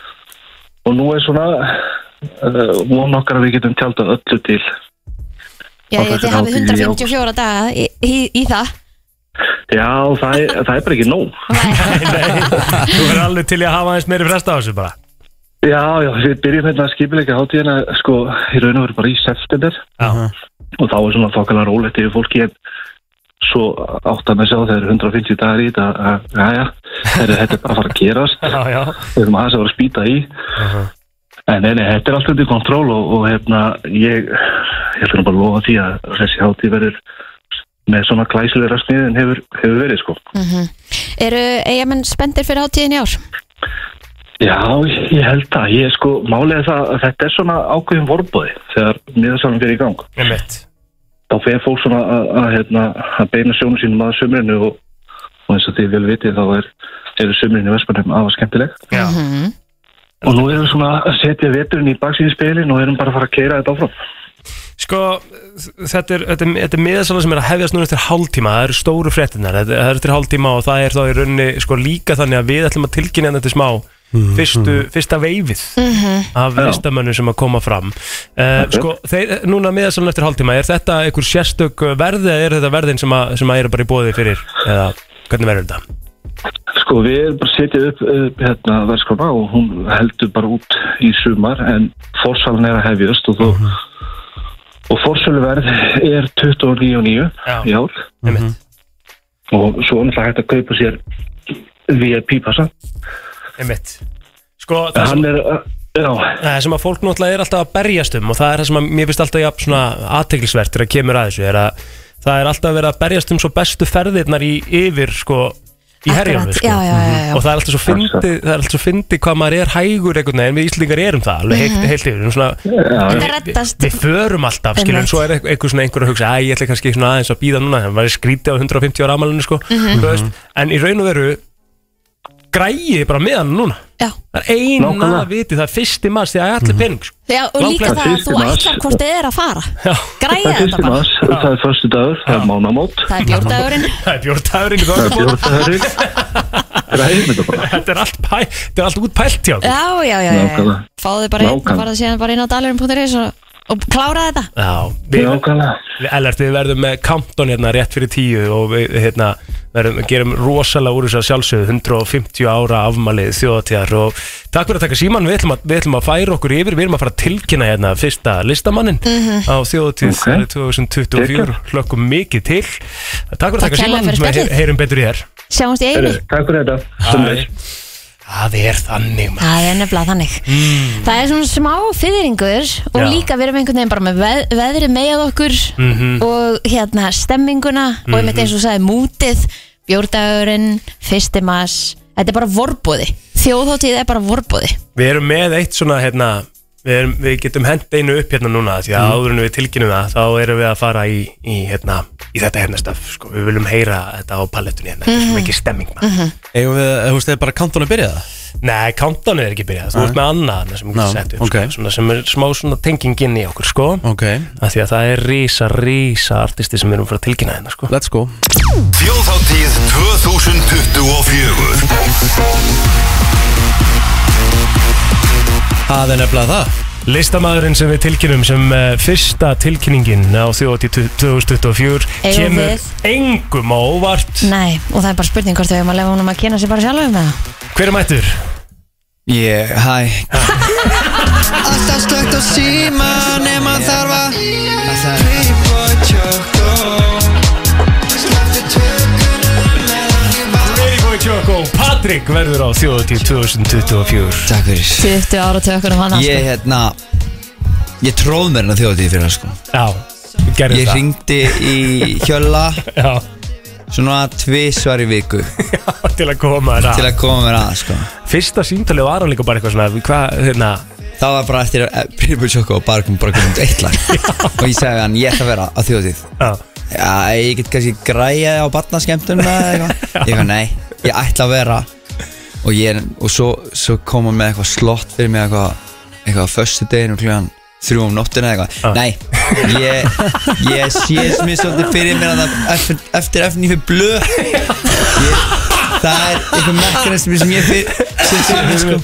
og nú er svona uh, von okkar að við getum tjaldað öllu til. Já, Og ég þetta þið er hafið hátíð í 154 daga í, í, í það Já, það er, það er bara ekki nóg. Þú verður alveg til í að hafa aðeins meiri fresta á þessu bara. Já, já, við byrjum hérna að skipilegja hátíðina sko, í raun og veru bara í september Já. og þá er svona þokkalega rólegt yfir fólki en svo átt að með sjá þegar 150 dagar í þetta að, já, já, þetta er bara að fara að gerast [LAUGHS] Já, já. við erum aðeins að vera að spýta í en nei, nei, þetta er allt undir kontról og, og hérna, ég ég ætlum bara að lofa því að þessi hátíð verður með svona glæsilega sniði en hefur, hefur verið sko mm Eru eigamenn spendir fyrir hátíðin í ár? Já, ég held það. Ég sko, málið er það að þetta er svona ákveðin vorbóði þegar miðasalum fyrir í gang. Einmitt. Þá fer fólk svona að, að, hérna, að beina sjónu sínum að sömrinu og, og eins og þið vel vitið þá er, eru sömrinu í Vespanum aða skemmtileg. Já. Mhm. Og nú erum við svona að setja veturinn í baksýðinspilin og erum bara að fara að keira þetta áfram. Sko, þetta er, þetta er, þetta er miðasala sem er að hefjast núna eftir hálftíma, það eru stóru fréttinnar, þetta það er eftir hálftíma og það er þá í rauninni sko líka þannig að við ætlum að tilkynna hérna þetta smá, fyrstu, fyrsta veifið Mhm. af Já. listamönnum sem að koma fram. Uh, sko, þeir, núna miðasala eftir hálftíma, er þetta einhver sérstök verði eða er þetta verðin sem að, sem að eru bara í bóði fyrir, eða hvernig verður þetta? Sko, við erum bara að setja upp, upp hérna, verðskona og hún heldur bara út í sumar en fórsalin er að hefjast og, þó, Mhm. og fórsöluverð er 29,9 í ár Mhm. Einmitt. og svo er náttúrulega hægt að kaupa sér VIP-passa. Einmitt. Sko, það Hann er, já, Það sem að fólk náttúrulega er alltaf að berjast um og það er það sem að mér finnst alltaf jafn svona aðteglisvert þegar kemur að þessu er að það er alltaf verið að berjast um svo bestu ferðirnar í yfir sko í herjum sko. já, já, já, já. og það er alltaf svo fyndi það er alltaf svo fyndi hvað maður er hægur einhvern veginn við Íslingar erum það alveg heilt, Mhm. heilt yfir um svona, Þetta við- reddast. við förum alltaf skilur en svo er einhver svona einhver að hugsa að ég ætla kannski svona aðeins að býða núna það var skrítið á 150 ára amalinu sko Mhm. þú veist, en í raun og veru græði bara með hann núna Já. það er eina Nákvæmlega. vitið, það er fyrsti mars því að allir pening sko. Já, og líka Langflest- það að þú Fyrsti mars. ætlar hvort þið er að fara það Græða er þetta bara fyrsti maður, það er förstu dagur, það er mánamót. Það er bjórdagurinn [LAUGHS] Það er bjórdagurinn Það er bjórdagurinn. [LAUGHS] Græðum þetta bara. Þetta er allt, pæ, þetta er allt út pælt hjá okkur. Já, já, já, já, já. Nákvæmlega. Fáðu bara einn og Nákvæmlega. farðu síðan bara inn á dalurinn.is og, og klára þetta Já, við, við, Ellert, við verðum með countdown hérna rétt fyrir tíu og við hérna, verðum, gerum rosalega úr þess að sjálfsögðu 150 ára afmalið þjóðatíðar og takk fyrir að taka síman, við ætlum að, við ætlum að færa okkur yfir, við erum að fara að tilkynna hérna fyrsta listamannin Mhm. á þjóðatíð Ok. okay. 2024, hlökkum mikið til Takk fyrir að Takk taka kærlega síman, fyrir við spjallið. heyrum betur í þér Sjáumst í einu Takk fyrir þetta Æ, Það er þannig maður. Það er nefnilega þannig mm. Það er svona smá fyrringur og Já. líka við erum einhvern veginn bara með veð, veðri með okkur Mhm. og hérna stemminguna Mhm. og einmitt eins og þú sagði mútið, bjórdagurinn, fyrstimas, þetta er bara vorbúði Þjóðhóttíð er bara vorbúði Við erum með eitt svona hérna við, erum, við getum hent einu upp hérna núna því að Mm. áður en við tilkynum það þá erum við að fara í, í, hérna, í þetta hérna staf sko. við viljum heyra þetta á palettunni hérna. þetta er svo Mhm. mikið stemming maður. Eigum við, eh, þú veist, er bara kantónu byrjað það? Nei, countdown er ekki byrjað, þú Nei. ert með annað þarna sem við Já, getum sett upp, ok. sko, svona, sem er smá svona tenging inn í okkur sko. okay. af því að það er rísa, rísa artisti sem við erum að fara að tilkynna hérna sko. Let's go Þjóðháttíð 2024 Það er nefnilega það Listamaðurinn sem við tilkynum sem uh, fyrsta tilkynningin á þjóðatíð 2024 Eigum kemur við? engum á óvart Nei, og það er bara spurning hvort við erum að lefa honum að kynna sér bara sjálfum með það Hver er mættur? Ég, hæ Alltaf slögt á síma nema þarf að Klíp og tjókó Sleppi tökunar meðan ég var Playboy Choco Patrik verður á þjóðatíð 2024 Takk fyrir 20 ára tökur um hann Ég, sko. hérna Ég tróð mér hérna þjóðatíð fyrir hann, sko Já, gerðu Ég það. ringdi í Hjölla Já Svona tvisvar í [LAUGHS] viku Til að koma þér að Til að koma mér að, sko Fyrsta síntalið var hann líka bara eitthvað svona Hvað, hérna Það var bara eftir að eh, Pyrrbu [LAUGHS] Choco og bara kom bara komum eitt lag Og ég sagði við hann, ég ætla að vera á þjóðatíð Já Já, ég get kannski græjaði á barnaskemmtuna eða eitthvað Ég var nei, ég ætla að vera Og, ég, og svo, svo kom hann með eitthvað slott fyrir mig eitthvað Eitthvað á föstu deginu kljóðan þrjú um nóttina eða eitthvað Nei, ég, ég sé mér svolítið fyrir mér að það eftir, eftir FNF blöð ég, Það er eitthvað mekanismi sem ég fyrir sem fyrir mér sko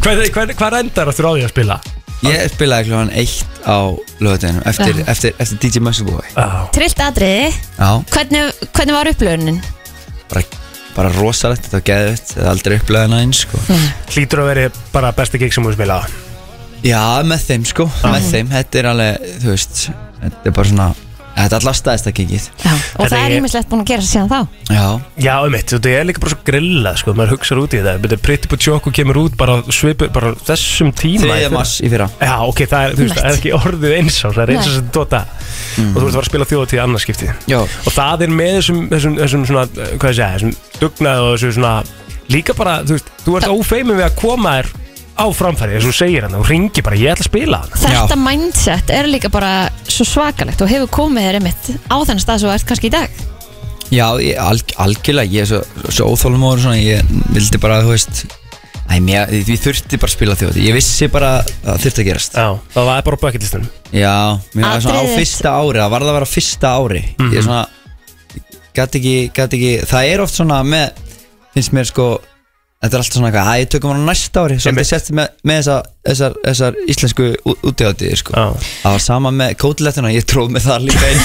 Hvað, hvað, hvað endar aftur á því að spila? Ég spilaði kljóðan eitt á löðadeginum eftir, Já. eftir, eftir DJ Muscle Boy Já, Trillt atriði Hvernig, hvernig var upplöðunin? bara, bara rosalegt, þetta var geðvitt Það er aldrei upplegaðan aðeins sko Hlýtur að veri bara besta gig sem þú spilaði Já, með þeim sko, með þeim Þetta er alveg, þú veist Þetta er bara svona, þetta er alltaf staðist að gengið Já, Og það er ímislegt búin að gera sér síðan þá Já, Já, um eitt, þetta er líka bara svo grillað sko, maður hugsar út í þetta, betur Pretty Pachoco kemur út bara svipu, bara þessum tíma í Þriðja fyrra. mars í fyrra. Já, ok, það er, þú veist, það er ekki orðið eins á, það er eins og Nei. sem dota og þú ert að fara að spila þjóðatíð annarskipti Já Og það er með þessum, þessum, þessum svona, eh, hvað ég segja, þessum dugnað og þessu svona, líka bara, þú veist, þú ert ófeimin við að koma þér á framfæri, þess að þú segir hann, þú ringir bara, ég ætla að spila hann Þetta mindset er líka bara svo svakalegt og hefur komið þér einmitt á þann stað sem þú ert kannski í dag já ég, alg, algjörlega, ég er svo, svo óþólum og svona Ég vildi bara, þú veist Æ, mér, ég, ég þurfti bara að spila þjóð Ég vissi bara að það þurfti að gerast Já, það var bara á bucketlistunum Já, mér var svona á Atriðið. fyrsta ári Það varð að vera á fyrsta ári Mhm. Ég er svona, gæti ekki, gæti ekki Það er oft svona með Finnst mér sko, þetta er alltaf svona eitthvað Æ, tökum hann á næsta ári Svolítið sett með, með þessar, þessar, þessar íslensku útíðatíð sko. Það var sama með kótilettuna Ég tróð með það líka inn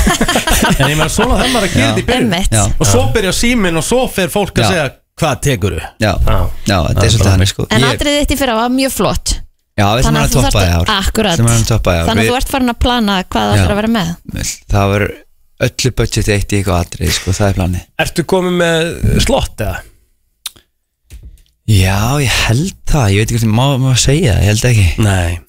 En ég meðan svona það maður að gera Já. þetta í byrjun Einmitt. Já. Og svo byrja síminn og svo fer fólk að Já. segja Hvað tekur þú? Já, já þetta er svolítið hann sko. En Ég- atriðið þitt í fyrra var mjög flott Já, við sem Þannig hann að að þú toppa þarft í að- ár Akkurat. Sem hann að toppa í ár Þannig að Við- þú ert farin að plana hvað það Já. ætlar að vera með Það var öllu budget eitt í eitthvað atrið sko, Það er planið Ertu komið með slott eða? Já, ég held það, ég veit ekki hvort má, má segja það, ég held ekki Nei,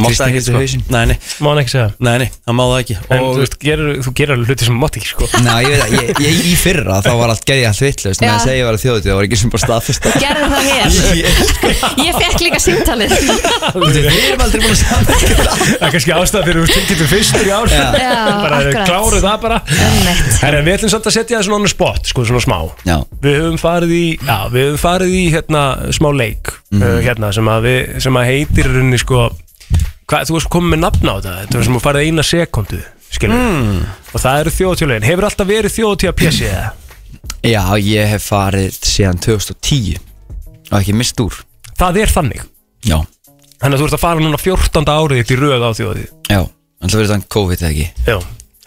Mátt það ekki sko Nei, nei Má hann ekki segja Nei, nei, það má það ekki En þú veist, gerir, þú gerir alveg hluti sem mátt ekki sko Ná, ég veit að, ég, ég í fyrra þá var allt gerði allt vittlust Já. Menn segja ég var að þjóðutíð, það var ekki sem bara staðfesta Gerðu það hér Ég fekk líka símtalið Við erum aldrei búin að samfélja Það er kannski ástæða fyrir þú tilkynntu fyrstur í ár Já. Já, Bara akkurat. kláru það bara Herra, við ætlum samt að setja það svona on the spot Sko, svona smá Já. Við höfum farið í, já, við höfum farið í hérna, smá leik Mhm. uh, hérna, sem, að við, sem að heitir í rauninni sko hvað, Þú varst komið með nafn á þetta Þetta var sem að farið eina sekundu Mm. Og það eru þjóðtjóðlegin Hefur alltaf verið þjóðtjóða pjessi eða? Já, ég hef farið síðan 2010 og ekki mist úr Það er þannig Já, Þannig að þú ert að fara núna 14. árið þitt í röð á þjóðið já, alltaf verið þannig COVID eða ekki Já,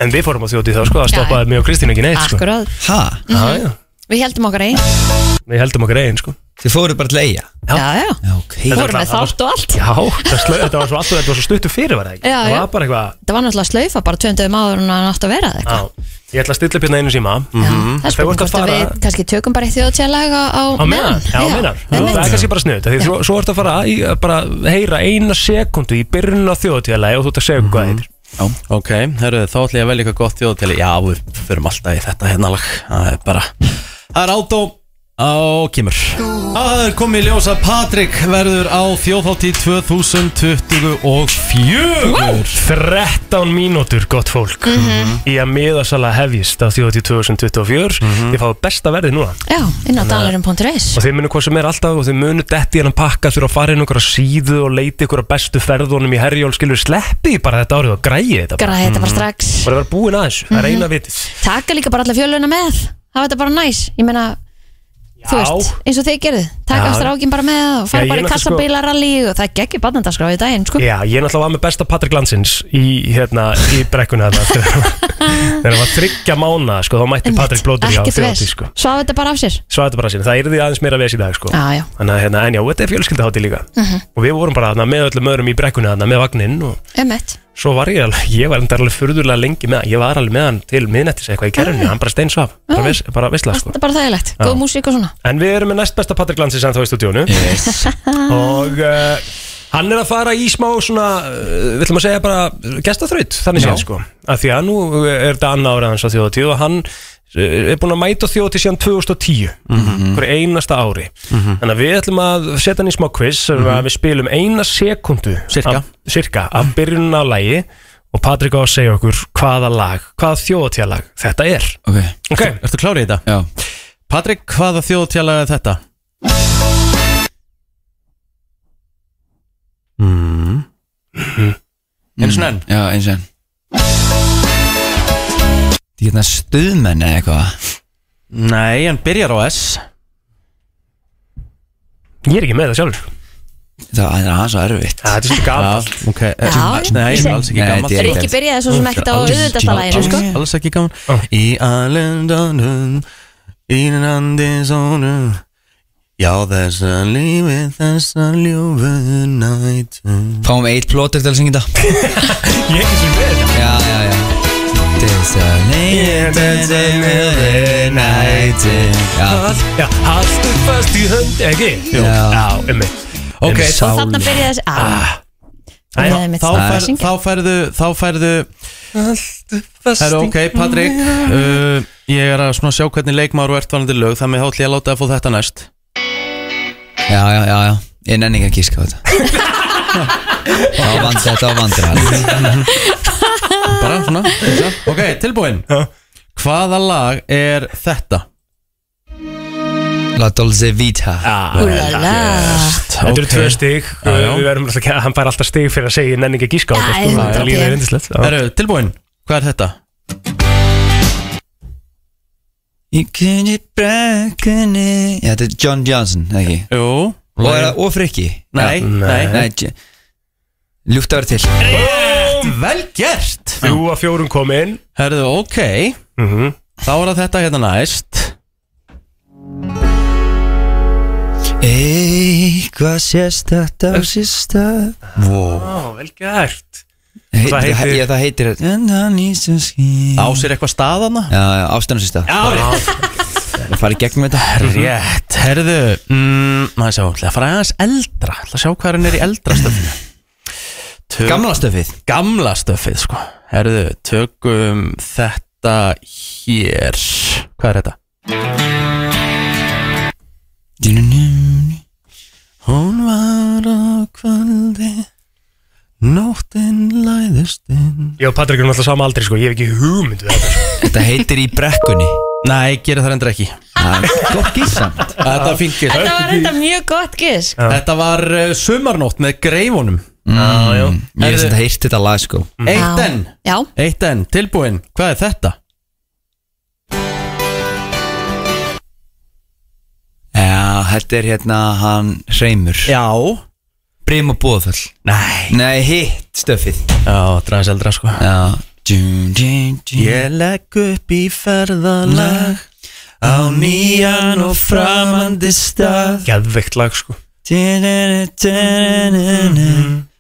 en við fórum á þjóðið þá sko Það Já. stoppaði mig og Kristín ekki neitt sko Akkurat Ha? Já, já Við heldum okkar einn Við heldum okkar eigin sko Þið fóruð bara til eiga Já, já okay. Vorum með þátt og allt Já, það slö, þetta var svo alltaf, þetta var svo stuttu fyrir var það ekki Já, Það já. var bara eitthvað Það var náttúrulega slaufa bara 20 áður en hann átt að vera það á, Ég ætla að stilla upp hérna einu síma Það er Þau vart spurning að hvort að fara við kannski tökum bara eitt þjóðtjálag á, á meðan Já, á meðan, það er kannski bara snuð Því svo, svo ertu að fara í, að bara heyra eina sekundu í byrjun á þjóðtíðalagi og þú ert að segja hvað þetta Ok, herru, þá ætla ég að velja eitthvað gott þjóðatili Já, við förum alltaf í þetta hérna lag Það er bara Það er átó Á kemur Á, Það er komið í ljós að Patrik verður á þjóðhátti 2024 13 mínútur, gott fólk Mhm. Í að miðasala hefjist á þjóðatíð 2024 Mhm. Þið fáið besta verðið núna Já, inn á dalarum.is Og þið munu hvað sem er alltaf og þið munu detti hennan pakka þurfa að fara inn okkur síðu og leita ykkur að bestu ferðunum í herjól skilur sleppi bara Mm. þetta árið og græði þetta Græið þetta bara strax. Og það var búin að þessu, það er Mhm. eina vitið Taka líka bara alla fjöluna með Hafa þetta bara næs Ég meina, þú Já. veist, eins og þið gerðu Já. Taka strákin bara með og Já, fara ég bara í náttúrulega sko- kassabílarallí og það geggir barnandarskrá í daginn, sko Já, ég náttúrulega var með besta Patrik Landsins í, hérna, í brekkuna þarna [LAUGHS] þegar þegar hann var þryggja mána sko, þá mætti Patrik Blóður í á Ekkert þjóðatíð veis, sko. svo hafa þetta bara af sér Svo þetta bara sín, það er því aðeins meira ves í dag sko. Já, já. Þannig að hérna, en já, þetta er fjölskyldahátti líka Mhm. Og við vorum bara þarna, með öllum öðrum í brekkunni þarna, með vagninn og Emmett svo var ég alveg, ég var enda alveg furðurlega lengi með hann, ég var alveg með hann til miðnættis eitthvað í kerrunni, hann bara steinsvaf, bara, ves, bara visla sko. Þetta er bara þægilegt, Já. góð músík og svona En við erum með næst besta Patrik Landsins en þá í stúdíónu yes. [LAUGHS] Og uh, hann er að fara í smá svona, uh, Mm. við ætlum að segja bara gestaþraut þannig Já. séð sko Af því að nú eh, er þetta annað árið hans á þjóðatíð og hann eh, er búinn að mæta þjóðatíð síðan 2010 Mm. Mhm. hverju einasta ári Mhm. Þannig að við ætlum að setja hann í smá quiz sem að við spilum eina sekundu Cirka. af, Cirka, af byrjunum á lægi og Patrik á að segja okkur hvaða lag, hvaða þjóðatíðalag þetta er Ok, okay. Ertu klárið í þetta? Já Patrik, hvaða þjóðtjálaga er þetta? mm. Einu sinni enn? Já, eins og enn Þið getna stuðmenn eða eitthvað Nei, hann byrjar á S Ég er ekki með það sjálfur Það er aðeins og erfitt Það er svolítið gamalt okay. Já, Nei, þetta ég er segi. alls ekki sko. gaman Rikki byrjaði svo sem ekkert á auðveldasta laginu, sko. Alls ekki gaman Í alendanum Írandi sónum Já, þessa lífi, þessa ljófu nætu Fáum eitt plótur til að syngja þetta Ég ekki sem við Já, já, já Þessa leyndinni við næti Já, Já, haldur fast í hönd, ekki? Jú. Já, einmitt Ok, Um þá- sálina. Þannig byrjaði þessi ah, Þá Það er mitt stað að fær- syngja. þá færðu Þá færðu Herra, ok, Patrik uh, Ég er að svona sjá hvernig leikmaður og ertvanandi lög Þannig þá ætlum ég að láta að fá þetta næst já, já, já, já. Ég nenni ekki að gíska á þetta [LAUGHS] Það var vandræð, þetta var vandræð Bara svona þessa. Ok, tilbúin Hvaða lag er þetta? La Dolce Vita Úlala Þetta eru tvö stig Já, já. Við verðum alltaf, hann fær alltaf stig fyrir að segja ég nenni ekki að gíska á þetta sko. Þetta líður er reyndislegt Herru, Eh, tilbúin, hvað er þetta? You can get back in it Já, þetta er John Johnson, eða ekki? Jú Og er það ofrikki? Nei, nei. nei Ljúft að vera til Vel gert Þrjú að fjórum Mhm. komin Herðu, ok Þá er það þetta hérna næst Eitthvað sést þetta á sista Wow Ó, vel gert Heit, Það það heitir- heitir, ég, það heitir En það nýst sem skýr Á sér eitthvað staðana? Já, já, ástæðan sýsta Það farið gegnum þetta Rétt, herðu mm, Maður sjá, ætla að fara aðeins eldra ætla að sjá hvað hann er í eldra stöfinu Tök, Gamla stöfið Gamla stöfið, sko Herðu, tökum þetta hér Hvað er þetta? Hún var á kvöldi Nóttin læðist inn Já, Patrik er um alltaf sama aldri sko Ég hef ekki hugmynd við þetta sko. Þetta heitir í brekkunni Nei, gera það endur ekki Gótt gísamt Þetta fingir Þetta var þetta mjög gott gisk Þetta var uh, sumarnótt með greifunum Já, já Mm. Ég Herðu- Mm. hef þetta heirt þetta lag sko Eitt enn Já, Eitt enn, tilbúin, hvað er þetta? Já, þetta er hérna hann Hreimur Já Brim og Bóðfell Nei Nei, hitt stöfið Já, dræðis eldra sko Já djum, djum, djum. Ég legg upp í ferðalag Á nýjan og framandi stað Geðveikt lag sko Á,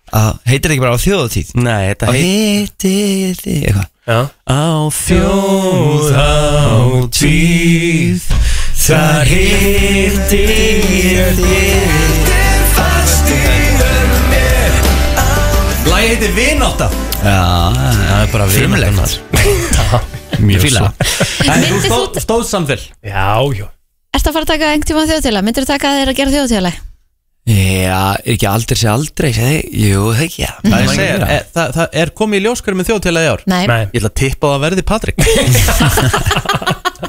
Ah, Heitir þetta ekki bara á þjóðatíð? Mm-hmm. Nei, þetta Á heit- hitti ég þig Eitthvað Já Á þjóðhátíð, þar hitti ég þig Lægi heiti Vináta Já, það er bara frumlegt. [LAUGHS] vináttan maður. Mjög Ég fíla svo. það. En þú stóð, stóð samfél Já, já Ertu að fara að taka einhvern tíma þjóðtjóðlega? Myndir þú taka þeir að gera þjóðtjóðlega? Já, er ekki aldrei sé aldrei sé, Jú, það ekki, já Það er, segja, e, það, það er komið í ljóskarum með þjóðtela í ár Nei. Nei. Ég ætla að tippa á að verði Patrik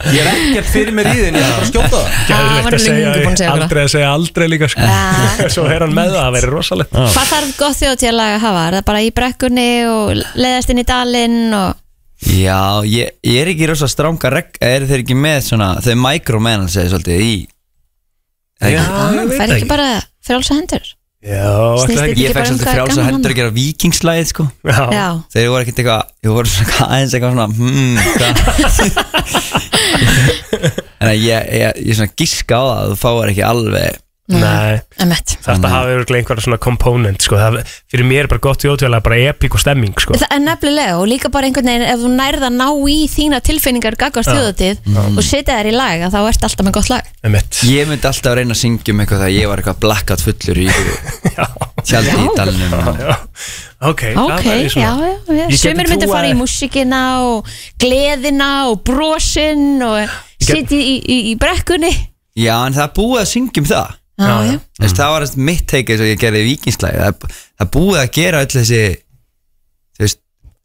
Ég er ekkert fyrir mér í þinn Ég er bara að skjóta það Geðveikt var að segja Ah, löngu búinn að segja okkur það. Ah. aldrei að segja aldrei líka sko. [LAUGHS] Svo er hann með það, það verður rosalegt Hvað þarf gott þjóðtjóðlega að hafa? Er það bara í brekkunni og leiðast inn í dalinn og... Já, ég, ég er ekki rosa stránga regg Er þeir ekki með svona Þeir micromanage eða svolítið í Það er Já, ekki- það fær ekki bara frjálsa hendur Já, Snýst þetta ekki ég bara fekk um hvað svolítið er frjálsa gaman hendur þarna? að gera vikingslæðið sko Já. Þeir voru ekkert eitthvað, ég voru svona eitthvað aðeins eitthvað svona hmm, [LAUGHS] hvað Þannig að ég, ég, ég svona giska á það að þú fáir ekki alveg Nei, Um þetta hafi örugglega einhverja svona komponent sko. Það- Fyrir mér er bara gott jótjóðlega bara epík og stemming sko. Það er nefnilega og líka bara einhvern veginn ef þú nærða að ná í þína tilfinningar gagvart Já. þjóðatíð Mm. og setja þær í lag að þá ert alltaf með gott lag Ég myndi alltaf reyna að syngja um eitthvað þegar ég var eitthvað blackout fullur í tjaldi í [LAUGHS] Já. dalnum Ok, Ok, já, já, já. Ég gæti Sumir myndu trúað- fara í músikina og gleðina og brosin og sitja í, í, í brekkunni Já, en það er búið að syngja um það Já, já. Þú veist, það var mitt teik eins og ég gerði í vikingslæði það, er- það er búið að gera öll þessi þú veist,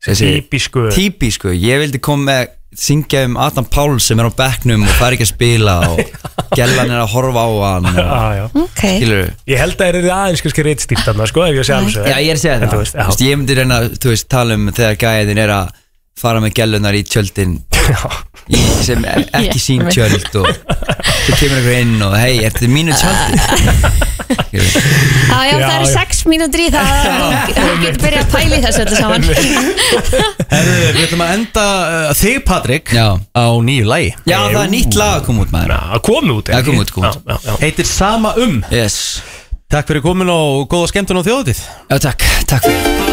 þessi Típísku. típísku. ég vildi koma með syngja um Adam Pál sem er á bekknum og fær ekki að spila [LAUGHS] og gellan er að horfa á hann og, Já, já. okay. skilur Ég held að það er aðeins kannski reitstýrt þarna sko, ef ég sé alveg svo Já, ég er að segja En það þú veist, Þú veist, Ég myndi reyna, þú veist, tala um þegar gæðin er að fara með gellunar í tjöldin í, sem er ekki sín Ég- tjöld og þú kemur einhver inn og hei, er þetta mínu tjöldi? Já, já, Já, það eru já. sex mínútur í [LAUGHS] það þú getur byrjað að pæli þessu öllu saman Herðu, Við ætlum að enda uh, þig Patrik já. á nýju lagi Já, það er nýtt lag að koma út maður Að koma út Að koma út, koma út Heitir Sama um Yes Takk fyrir komin og góða skemmtun á þjóðatíð Já, takk, takk fyrir